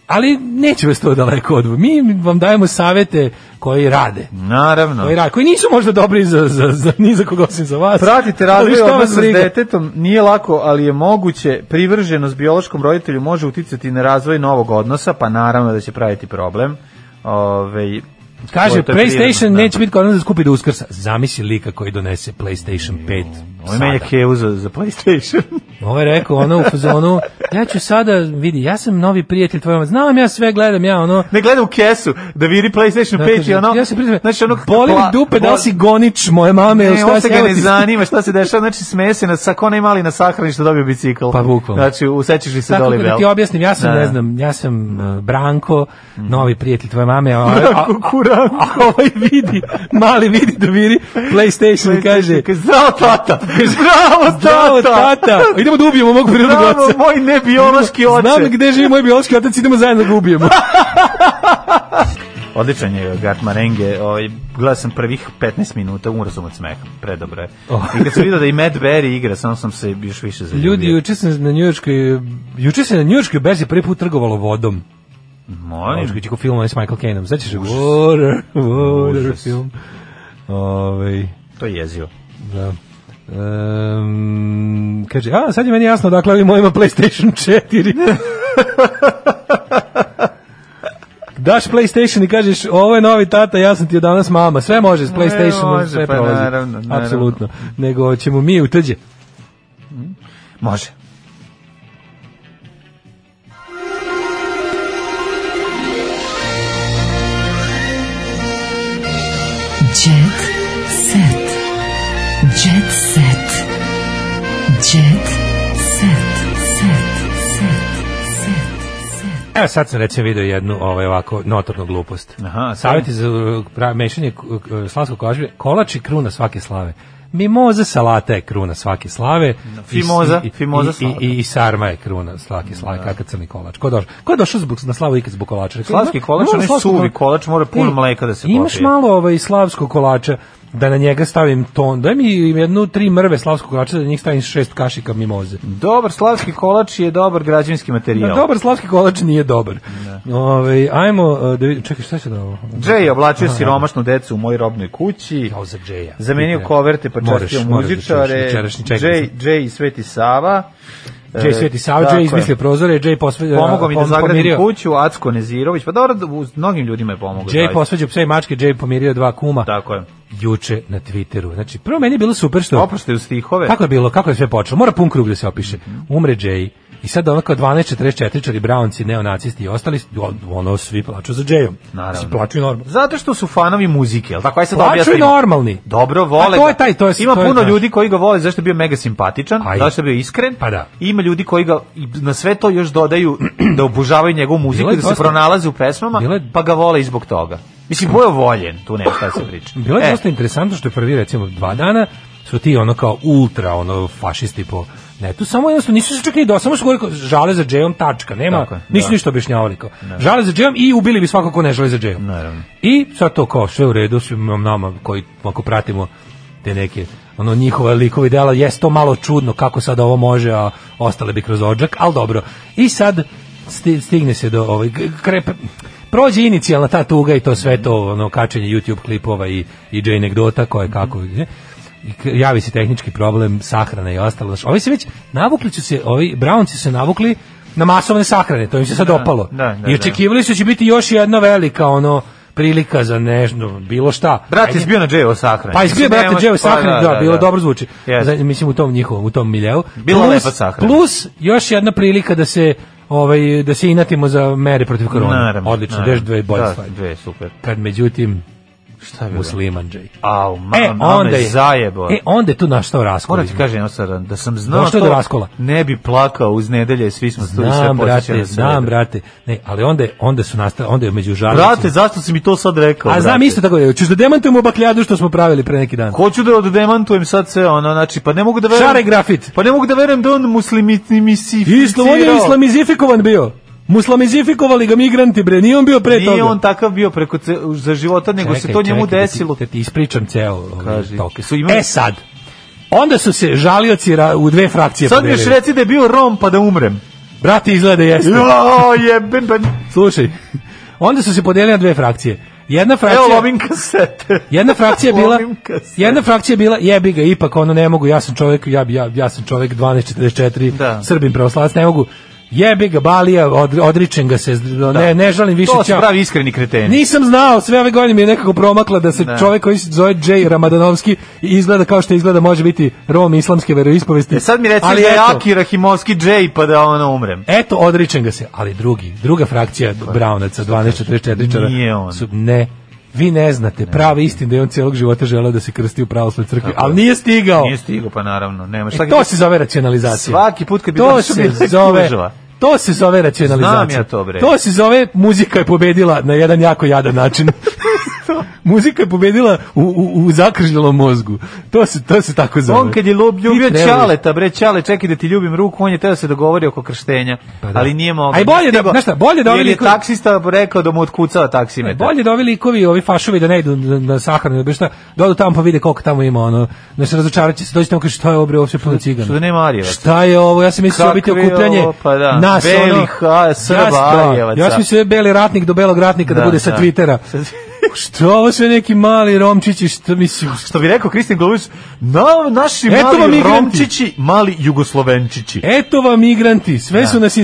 Speaker 6: Ali neće vas to daleko od... Mi vam dajemo savete koji rade.
Speaker 5: Naravno.
Speaker 6: Koji, rade, koji nisu možda dobri za, za, za, ni za koga osim za vas.
Speaker 5: Pratite
Speaker 6: Ali
Speaker 5: razvoj
Speaker 6: šta vas
Speaker 5: odnosa s
Speaker 6: briga?
Speaker 5: detetom, nije lako, ali je moguće. Privrženost biološkom roditelju može uticati na razvoj novog odnosa, pa naravno da će praviti problem. Ove,
Speaker 6: Kaže,
Speaker 5: to je prirodno,
Speaker 6: PlayStation
Speaker 5: da.
Speaker 6: neće biti kod nas da skupi do uskrsa. Zamisli lika koji donese PlayStation 5
Speaker 5: Ovo je meni
Speaker 6: sada.
Speaker 5: keu za, za PlayStation.
Speaker 6: Ovo je rekao, ono u fazonu, ja ću sada, vidi, ja sam novi prijatelj tvojom, znam ja sve, gledam ja, ono,
Speaker 5: ne gleda u kesu, da vidi PlayStation 5 i
Speaker 6: kaže,
Speaker 5: ono...
Speaker 6: ja se priznam,
Speaker 5: znači, ono,
Speaker 6: boli mi
Speaker 5: pla-
Speaker 6: dupe, da li
Speaker 5: pla-
Speaker 6: si gonič moje mame, ili
Speaker 5: Ne,
Speaker 6: šta
Speaker 5: E, on
Speaker 6: si,
Speaker 5: se ga
Speaker 6: evo
Speaker 5: ne
Speaker 6: ti-
Speaker 5: zanima šta se dešava, znači smese na sako onaj mali na sahrani što dobio bicikl.
Speaker 6: Pa, bukvalno.
Speaker 5: Znači, usećaš li se
Speaker 6: Tako
Speaker 5: doli
Speaker 6: da
Speaker 5: bel.
Speaker 6: ti objasnim, ja sam,
Speaker 5: Da,
Speaker 6: ne
Speaker 5: da. Mm.
Speaker 6: znam, ja sam uh, Branko, novi prijatelj tvoje mame, a, a, a,
Speaker 5: Kukuranku.
Speaker 6: a ovaj vidi, mali vidi da vidi PlayStation i kaže,
Speaker 5: Zdravo tata! Zdravo
Speaker 6: bravo
Speaker 5: tata!
Speaker 6: tata, idemo da ubijemo mog prirodnog
Speaker 5: Zdravo
Speaker 6: oca.
Speaker 5: moj nebiološki oče!
Speaker 6: Znam gde živi moj biološki otac, idemo zajedno da ga ubijemo.
Speaker 5: Odličan je Gartmarenge, ovaj, gledao sam prvih 15 minuta, umro sam od smeha, predobro je.
Speaker 6: Oh.
Speaker 5: I kad sam vidio da i Matt Berry igra, samo sam se još više zaljubio.
Speaker 6: Ljudi, juče sam na njujorškoj juče se na njujorškoj berzi prvi put trgovalo vodom.
Speaker 5: Molim,
Speaker 6: Njujorški čiko film onaj s Michael Caineom. Sećaš se? Water, water
Speaker 5: Užas.
Speaker 6: film. Ovaj
Speaker 5: to je jezivo.
Speaker 6: da. Ehm, kaže, a sad je meni jasno dakle ovim mojima PlayStation 4. Daš PlayStation i kažeš, ovo je novi tata, ja sam ti od danas mama. Sve može s PlayStationom,
Speaker 5: može,
Speaker 6: sve
Speaker 5: pa
Speaker 6: prolazi.
Speaker 5: naravno, naravno.
Speaker 6: Apsolutno. Nego ćemo mi u tuđe.
Speaker 5: Može.
Speaker 4: Jet set. Jet set. Jet set. Set.
Speaker 6: Evo sad sam recimo video jednu ovaj, ovako notornu glupost.
Speaker 5: Aha,
Speaker 6: Savjeti za uh, pra- mešanje uh, slavskog kolača, kolač i kruna svake slave. Mimoza salata je kruna svake slave.
Speaker 5: Fimoza,
Speaker 6: i, i,
Speaker 5: fimoza
Speaker 6: i,
Speaker 5: salata.
Speaker 6: i, i, i sarma je kruna svake slave, kakav crni kolač. Ko je došao, ko je došao zbog, na slavu ikad zbog kolača? Rekao,
Speaker 5: Slavski
Speaker 6: "Ma,
Speaker 5: kolač,
Speaker 6: moram
Speaker 5: onaj
Speaker 6: slavskog
Speaker 5: suvi
Speaker 6: kolača."
Speaker 5: kolač, mora puno
Speaker 6: Ej,
Speaker 5: mleka da se
Speaker 6: Imaš
Speaker 5: popije.
Speaker 6: malo ovaj, slavskog kolača, da na njega stavim ton, daj mi jednu tri mrve slavskog kolača, da na njih stavim šest kašika mimoze.
Speaker 5: Dobar slavski kolač je dobar građevinski materijal.
Speaker 6: Da, dobar slavski kolač nije dobar. Ove, ajmo, uh, da vidim, čekaj, šta se da ovo?
Speaker 5: Jay je oblačio siromašnu decu u mojoj robnoj kući.
Speaker 6: Kao za Jaya.
Speaker 5: Zamenio
Speaker 6: Vidite,
Speaker 5: koverte, pa
Speaker 6: moraš,
Speaker 5: častio
Speaker 6: moraš da
Speaker 5: muzičare.
Speaker 6: čuješ večerašnji, čekaj
Speaker 5: Jay, Jay i Sveti Sava. E,
Speaker 6: Jay Sveti Sava, Jay izmislio e, prozore, Jay posveđa...
Speaker 5: Pomogao mi da zagradim kuću, Acko Nezirović. Pa dobro, da- uz- mnogim ljudima je pomogao.
Speaker 6: Jay
Speaker 5: zaista.
Speaker 6: posveđa pse i mačke, Jay pomirio dva kuma.
Speaker 5: Tako je.
Speaker 6: Juče na Twitteru. Znači, prvo meni je bilo super što...
Speaker 5: Oproštaju stihove.
Speaker 6: Kako je bilo, kako je sve počelo? Mora pun krug da se opiše.
Speaker 5: Mhm.
Speaker 6: Umre Jay i sad ono kao 1244 čari brownci, neonacisti i ostali, on- ono svi plaču za Jayom.
Speaker 5: Naravno.
Speaker 6: Svi plaću i normalno.
Speaker 5: Zato što su fanovi muzike, jel tako? Aj sad da
Speaker 6: Plaću i
Speaker 5: objasnimo.
Speaker 6: normalni.
Speaker 5: Dobro, vole.
Speaker 6: A to
Speaker 5: ga.
Speaker 6: je taj, to je-
Speaker 5: Ima
Speaker 6: to je
Speaker 5: puno
Speaker 6: naš.
Speaker 5: ljudi koji ga vole zašto je bio mega simpatičan,
Speaker 6: Aj.
Speaker 5: zašto je bio iskren.
Speaker 6: Pa da.
Speaker 5: Ima ljudi koji ga i na sve to još dodaju da obožavaju njegovu muziku,
Speaker 6: Bilo
Speaker 5: i
Speaker 6: je
Speaker 5: da se
Speaker 6: dosta-
Speaker 5: pronalaze u pesmama,
Speaker 6: Bilo je-
Speaker 5: pa ga vole i zbog toga. Mislim, bio je voljen, tu nema šta se priča.
Speaker 6: Bilo je
Speaker 5: E,
Speaker 6: dosta interesantno što je prvi recimo dva dana su ti ono kao ultra ono fašisti po netu, samo jednostavno nisu se čak ni do, samo su govorili kao, žale za Džejom tačka, nema,
Speaker 5: Tako je,
Speaker 6: nisu
Speaker 5: da.
Speaker 6: ništa objašnjavali kao. Žale za Džejom i ubili bi svakako ne žele za Džejom.
Speaker 5: Naravno.
Speaker 6: I sad to kao sve u redu, svima nama koji ako pratimo te neke ono njihova likova dela, jest to malo čudno kako sad ovo može, a ostale bi kroz odžak, ali dobro. I sad sti- stigne se do ovaj, g- krep, prođe inicijalna ta tuga i to sve to ono kačenje YouTube klipova i, i Jane anegdota koje kako
Speaker 5: Mhm.
Speaker 6: ne? I k- javi se tehnički problem sahrana i ostalo. Znaš, ovi se već navukli su se, ovi Brownci su se navukli na masovne sahrane, to im se sad opalo.
Speaker 5: da, da,
Speaker 6: I
Speaker 5: da.
Speaker 6: očekivali su da će biti još jedna velika ono prilika za nešto, bilo šta.
Speaker 5: Brat
Speaker 6: Ajde.
Speaker 5: je bio na Dževo sahrani.
Speaker 6: Pa izbio brate Dževo sahrani, da, bilo dobro zvuči.
Speaker 5: Jeste.
Speaker 6: Za- mislim u tom njihovom, u tom miljeu.
Speaker 5: Bila lepa sahrana.
Speaker 6: Plus još jedna prilika da se ovaj da se inatimo za mere protiv korone. Odlično, deš dve bolje
Speaker 5: da,
Speaker 6: stvari.
Speaker 5: dve, super.
Speaker 6: Kad međutim
Speaker 5: Šta je bilo?
Speaker 6: musliman Jay.
Speaker 5: Au, ma, e, onda je zajebo.
Speaker 6: E, onda je tu nastao raskol.
Speaker 5: Moram ti kažem, ja sad, da sam znao
Speaker 6: Došlo je
Speaker 5: to,
Speaker 6: do raskola.
Speaker 5: ne bi plakao uz nedelje, svi smo tu i sve
Speaker 6: Znam,
Speaker 5: posjećali
Speaker 6: brate, znam, brate. Ne, ali onda je, onda su nastale, onda je među žalicima.
Speaker 5: Brate, zašto si mi to sad rekao?
Speaker 6: Pa A znam
Speaker 5: brate?
Speaker 6: isto tako je. Hoćeš da demantujemo bakljadu što smo pravili pre neki dan.
Speaker 5: Hoću da oddemantujem sad sve ono, znači, pa ne mogu da verujem...
Speaker 6: Šare grafit.
Speaker 5: Pa ne mogu da verujem da on muslimitnimisificirao.
Speaker 6: Isto, on je islamizifikovan bio. Muslamizifikovali ga migranti, bre. Nije on bio pre toga.
Speaker 5: Nije on takav bio preko ce, za života, nego se to njemu
Speaker 6: čekaj, da ti-
Speaker 5: desilo.
Speaker 6: Da ti, ispričam ceo ovaj
Speaker 5: Kaži.
Speaker 6: tok.
Speaker 5: Su imali-
Speaker 6: E sad, onda su se žalioci ra- u dve frakcije
Speaker 5: Sad mi još
Speaker 6: podelili.
Speaker 5: reci da je bio Rom pa da umrem.
Speaker 6: Brate, izgleda jeste.
Speaker 5: Jo, jebem, pa...
Speaker 6: Slušaj, onda su se podelili na dve frakcije. Jedna frakcija...
Speaker 5: Evo lomim kasete.
Speaker 6: Jedna frakcija je bila
Speaker 5: Lomim kasete.
Speaker 6: jedna frakcija je bila jebi ga ipak ono ne mogu ja sam čovjek ja ja ja sam čovjek 1244
Speaker 5: Da.
Speaker 6: Srbin pravoslavac ne mogu jebi ga balija od, odričem ga se ne ne želim više
Speaker 5: To su
Speaker 6: ćao.
Speaker 5: pravi iskreni kreteni.
Speaker 6: Nisam znao, sve ove godine mi je nekako promakla da se
Speaker 5: Da.
Speaker 6: čovjek koji se zove Jay Ramadanovski i izgleda kao što izgleda može biti Rom islamske veroispovesti.
Speaker 5: E sad mi reci
Speaker 6: Ali
Speaker 5: da je
Speaker 6: eto,
Speaker 5: Aki Rahimovski Džej pa da ono umrem.
Speaker 6: Eto, odričem ga se, ali drugi, druga frakcija Braunaca, 1244
Speaker 5: Pa, Nije on.
Speaker 6: Su, ne, vi ne znate, prava istina da je on cijelog života želeo da se krsti u pravoslavnoj crkvi, ali nije stigao.
Speaker 5: Nije stigo, pa naravno. Nema šta
Speaker 6: E, to se zove racionalizacija.
Speaker 5: Svaki put kad bi
Speaker 6: to
Speaker 5: došao,
Speaker 6: se
Speaker 5: bi se
Speaker 6: zove
Speaker 5: kužila.
Speaker 6: To se zove racionalizacija.
Speaker 5: Znam ja to, bre.
Speaker 6: To se zove muzika je pobedila na jedan jako jadan način. muzika je pobedila u, u, u zakržnjelom mozgu. To se, to se tako zove.
Speaker 5: On kad je lub, ljubio
Speaker 6: Ti trebali-
Speaker 5: Ćaleta, bre, Ćale, čekaj da ti ljubim ruku, on je teo da se dogovori oko krštenja,
Speaker 6: Pa da.
Speaker 5: ali nije mogao.
Speaker 6: Aj, bolje da-
Speaker 5: Nego-
Speaker 6: znaš šta, bolje da ovi
Speaker 5: Jer je
Speaker 6: likovi-
Speaker 5: taksista rekao da mu otkucava taksimetar.
Speaker 6: Bolje da ovi likovi, ovi fašovi da ne idu na, na sahranu, da šta, da odu tamo pa vide koliko tamo ima, ono, da se razočarat će se, dođe tamo i kaže šta je ovo bre, uopšte puno cigana.
Speaker 5: što da nema Arijevaca.
Speaker 6: Šta je ovo, ja sam mislio da će biti
Speaker 5: Kakvi
Speaker 6: okupljanje
Speaker 5: ovo, pa da,
Speaker 6: nas,
Speaker 5: belih,
Speaker 6: ono,
Speaker 5: a, Srba,
Speaker 6: ja sam- da,
Speaker 5: Arijevaca.
Speaker 6: Ja sam mislio da je beli ratnik do belog ratnika da,
Speaker 5: Da,
Speaker 6: bude sa
Speaker 5: da.
Speaker 6: Twittera. Što Pa ovo sve neki mali romčići, što mislim,
Speaker 5: Što bi rekao Kristin Golubić, na, naši
Speaker 6: Eto vam
Speaker 5: mali
Speaker 6: migranti.
Speaker 5: romčići, mali jugoslovenčići.
Speaker 6: Eto vam migranti, sve su nas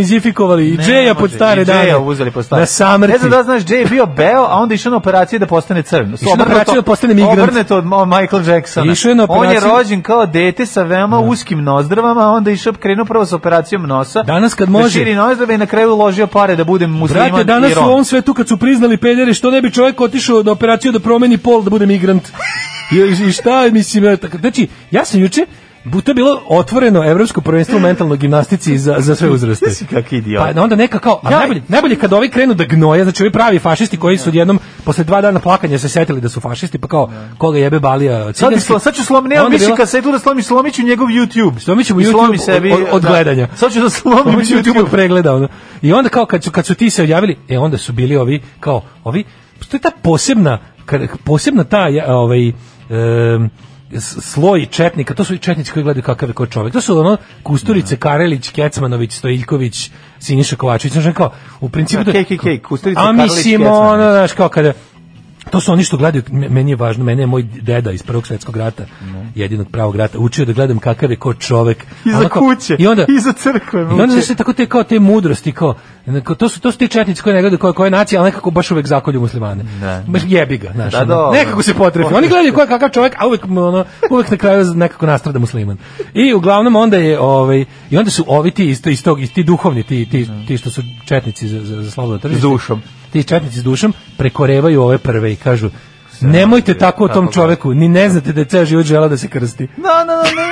Speaker 6: izmuslamizifikovali i
Speaker 5: Ne,
Speaker 6: Džeja pod
Speaker 5: može. I
Speaker 6: stare
Speaker 5: Džeja
Speaker 6: dane.
Speaker 5: uzeli pod stare.
Speaker 6: Na samrti.
Speaker 5: Ne znam da li znaš, Džej je bio beo, a onda išao na operaciju da postane crn.
Speaker 6: Išao na operaciju da postane migrant.
Speaker 5: Obrneto od Mo- Michael Jacksona.
Speaker 6: Išao je na
Speaker 5: On je
Speaker 6: operaciju-
Speaker 5: rođen kao dete sa veoma uskim nozdravama, a onda išao krenuo prvo sa operacijom nosa.
Speaker 6: Danas kad
Speaker 5: Da
Speaker 6: može.
Speaker 5: širi nozdrave i na kraju uložio pare da budem musliman
Speaker 6: Brate, danas
Speaker 5: i
Speaker 6: u
Speaker 5: rom.
Speaker 6: ovom svetu kad su priznali pedere, što ne bi čovjek otišao na operaciju da promeni pol, da bude migrant? I, i šta, mislim, eto, znači, ja sam juče, bu- to je bilo otvoreno evropsko prvenstvo u mentalnoj gimnastici za, za sve uzraste.
Speaker 5: Ti si kaki idiot.
Speaker 6: Pa onda neka kao, a
Speaker 5: Ja-
Speaker 6: najbolje, najbolje kad ovi krenu da gnoje, znači ovi pravi fašisti koji su odjednom posle dva dana plakanja se setili da su fašisti, pa kao, koga jebe balija
Speaker 5: Sad, bi
Speaker 6: ciganski.
Speaker 5: slo- sad ću slom, nemam
Speaker 6: Onda je
Speaker 5: više
Speaker 6: bilo-
Speaker 5: kasetu da slomim, slomit ću njegov YouTube.
Speaker 6: Slomit ćemo
Speaker 5: I slomi
Speaker 6: YouTube od-
Speaker 5: sebi,
Speaker 6: od- od
Speaker 5: da.
Speaker 6: gledanja.
Speaker 5: Sad ću da slomim,
Speaker 6: Ovo se
Speaker 5: YouTube.
Speaker 6: YouTube pregleda. Ono. I onda kao kad su, kad su ti se odjavili, e onda su bili ovi, kao ovi, to je ta posebna, kar- posebna ta, ja, ovaj, em, s- sloj četnika, to su i četnici koji gledaju kakav je ko čovjek. To su ono Kusturice, Karelić, Kecmanović, Stojiljković, Siniša Kovačević, znači kao u principu
Speaker 5: Da, kej, kej, kej, Kusturica,
Speaker 6: A
Speaker 5: Karelić,
Speaker 6: mislim
Speaker 5: Kecmanović.
Speaker 6: ono, znaš, kao kada To su oni što gledaju, me- meni je važno, mene je moj deda iz Prvog svjetskog rata, jedinog pravog rata, učio da gledam kakav je ko čovek.
Speaker 5: Iza
Speaker 6: Ono kao-
Speaker 5: kuće,
Speaker 6: I onda,
Speaker 5: iza crkve.
Speaker 6: i onda
Speaker 5: muče.
Speaker 6: znaš, sve znači, tako te kao te mudrosti kao onako, to su to su ti četnici koji ne gledaju koja koja je nacija, ali nekako baš uvek zakolju muslimane.
Speaker 5: Da.
Speaker 6: Baš jebi ga, znaš.
Speaker 5: Da,
Speaker 6: ono,
Speaker 5: dobro.
Speaker 6: nekako se potrefi. Oni gledaju ko je kakav čovjek, a uvek mu, ono uvek na kraju nekako nastrada musliman. I uglavnom onda je ovaj i onda su ovi ti isto iz tog iz ti duhovni ti ti ti što su četnici za za, za slobodno tržište.
Speaker 5: Mhm. S dušom.
Speaker 6: Ti četnici s dušom prekorevaju ove prve i kažu Nemojte tako o tom
Speaker 5: Kako ga-
Speaker 6: čoveku, ni ne znate da je ceo život želeo da se krsti.
Speaker 5: No, no, no, no.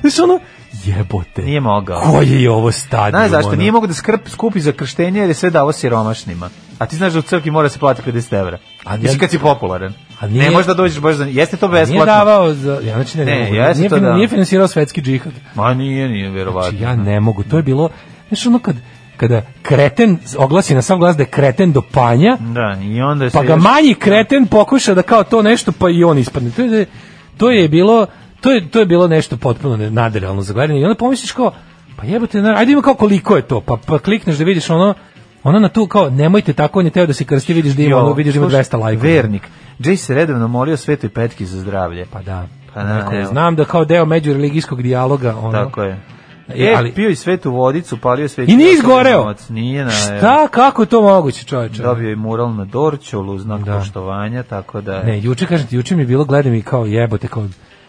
Speaker 6: Znaš, ono, jebote.
Speaker 5: Nije mogao.
Speaker 6: Koji je ovo stadion?
Speaker 5: Znaš zašto?
Speaker 6: ono?
Speaker 5: Nije mogu da skrp, skupi za krštenje jer je sve davo siromašnima. A ti znaš da u crkvi mora se plati 50 evra.
Speaker 6: A
Speaker 5: A
Speaker 6: nije-
Speaker 5: Mislim kad si popularan.
Speaker 6: A nije-
Speaker 5: ne možeš da dođeš baš za... Jeste to
Speaker 6: Nije
Speaker 5: besplatno?
Speaker 6: davao za... Ja znači ne,
Speaker 5: Ne,
Speaker 6: mogu.
Speaker 5: jeste
Speaker 6: Nije,
Speaker 5: to Pa
Speaker 6: fin-
Speaker 5: da.
Speaker 6: nije finansirao svetski džihad.
Speaker 5: Ma nije, nije,
Speaker 6: Znači,
Speaker 5: verovatno.
Speaker 6: ja ne mogu. To je bilo... Znaš, ono kad, kada kreten oglasi na sam glas da je kreten do panja,
Speaker 5: Da, i onda je
Speaker 6: pa
Speaker 5: sve
Speaker 6: ga
Speaker 5: još-
Speaker 6: manji kreten pokuša da kao to nešto, pa i on ispadne. To je, to je bilo... To je, to je bilo nešto potpuno ne- nadrealno za gledanje. I onda pomisliš kao, pa jebote, na- ajde ima kao koliko je to, pa, pa klikneš da vidiš ono, ono na tu kao, nemojte tako, on je teo da se krsti, vidiš da ima,
Speaker 5: Jo,
Speaker 6: ono, vidiš da ima
Speaker 5: slušaj,
Speaker 6: 200 lajkova.
Speaker 5: Vernik. Jay se redovno molio svetoj petki za zdravlje.
Speaker 6: Pa da.
Speaker 5: Pa da,
Speaker 6: Tako je.
Speaker 5: evo.
Speaker 6: Znam da kao deo međureligijskog dijaloga, ono.
Speaker 5: Tako je.
Speaker 6: E,
Speaker 5: E,
Speaker 6: ali-
Speaker 5: pio i svetu vodicu, palio svetu...
Speaker 6: I nije izgoreo.
Speaker 5: Nije na...
Speaker 6: Šta, kako je to moguće, čoveče?
Speaker 5: Dobio je mural na Dorčolu, u znak
Speaker 6: Da.
Speaker 5: poštovanja, tako da...
Speaker 6: Ne, juče kažete, juče mi je bilo gledam i kao jebote kao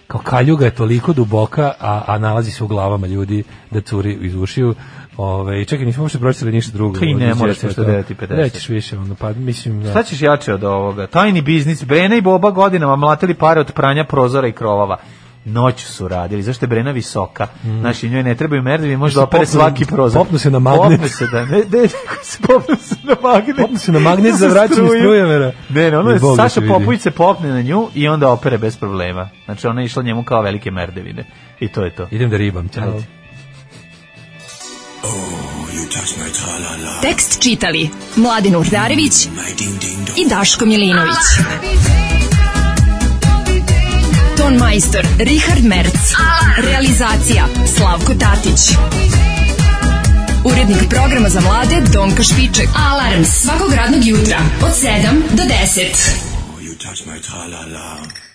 Speaker 6: kao kaljuga je toliko duboka, a, a nalazi se u glavama ljudi da curi iz ušiju. Ove, čekaj, nismo uopšte pročitali ništa drugo.
Speaker 5: Ti ne
Speaker 6: Od
Speaker 5: moraš
Speaker 6: izvještaja,
Speaker 5: nešto
Speaker 6: da.
Speaker 5: 9,50.
Speaker 6: Nećeš više, ono, pa mislim... Da.
Speaker 5: Šta ćeš jače od ovoga? Tajni biznis. Brena i Boba godinama mlatili pare od pranja prozora i krovova. Noću su radili. Zašto je Brena visoka? Znači, njoj ne trebaju merdevi, može
Speaker 6: Mm. Mislim,
Speaker 5: da opere
Speaker 6: popnu-
Speaker 5: svaki prozor.
Speaker 6: popnu se na magnet.
Speaker 5: Popnu se, da, ne, ne, ne, se popnu se na magnet.
Speaker 6: Popnu se na magnet za vraćanje
Speaker 5: struju.
Speaker 6: strujomera.
Speaker 5: Ne, ne, ono
Speaker 6: I
Speaker 5: je,
Speaker 6: Bog da te
Speaker 5: Saša
Speaker 6: vidi.
Speaker 5: Popović se popne na nju i onda opere bez problema. Znači, ona je išla njemu kao velike merdevine. I to je to.
Speaker 6: Idem da ribam, ćao.
Speaker 5: Ajde.
Speaker 4: Tekst čitali Mladin Urdarević i Daško Milinović. Ton majstor Richard Merc. Realizacija Slavko Tatić. Urednik programa za mlade Donka Špiček. Alarms svakog radnog jutra od 7 do 10.
Speaker 8: Oh, you touch my tra-la-la.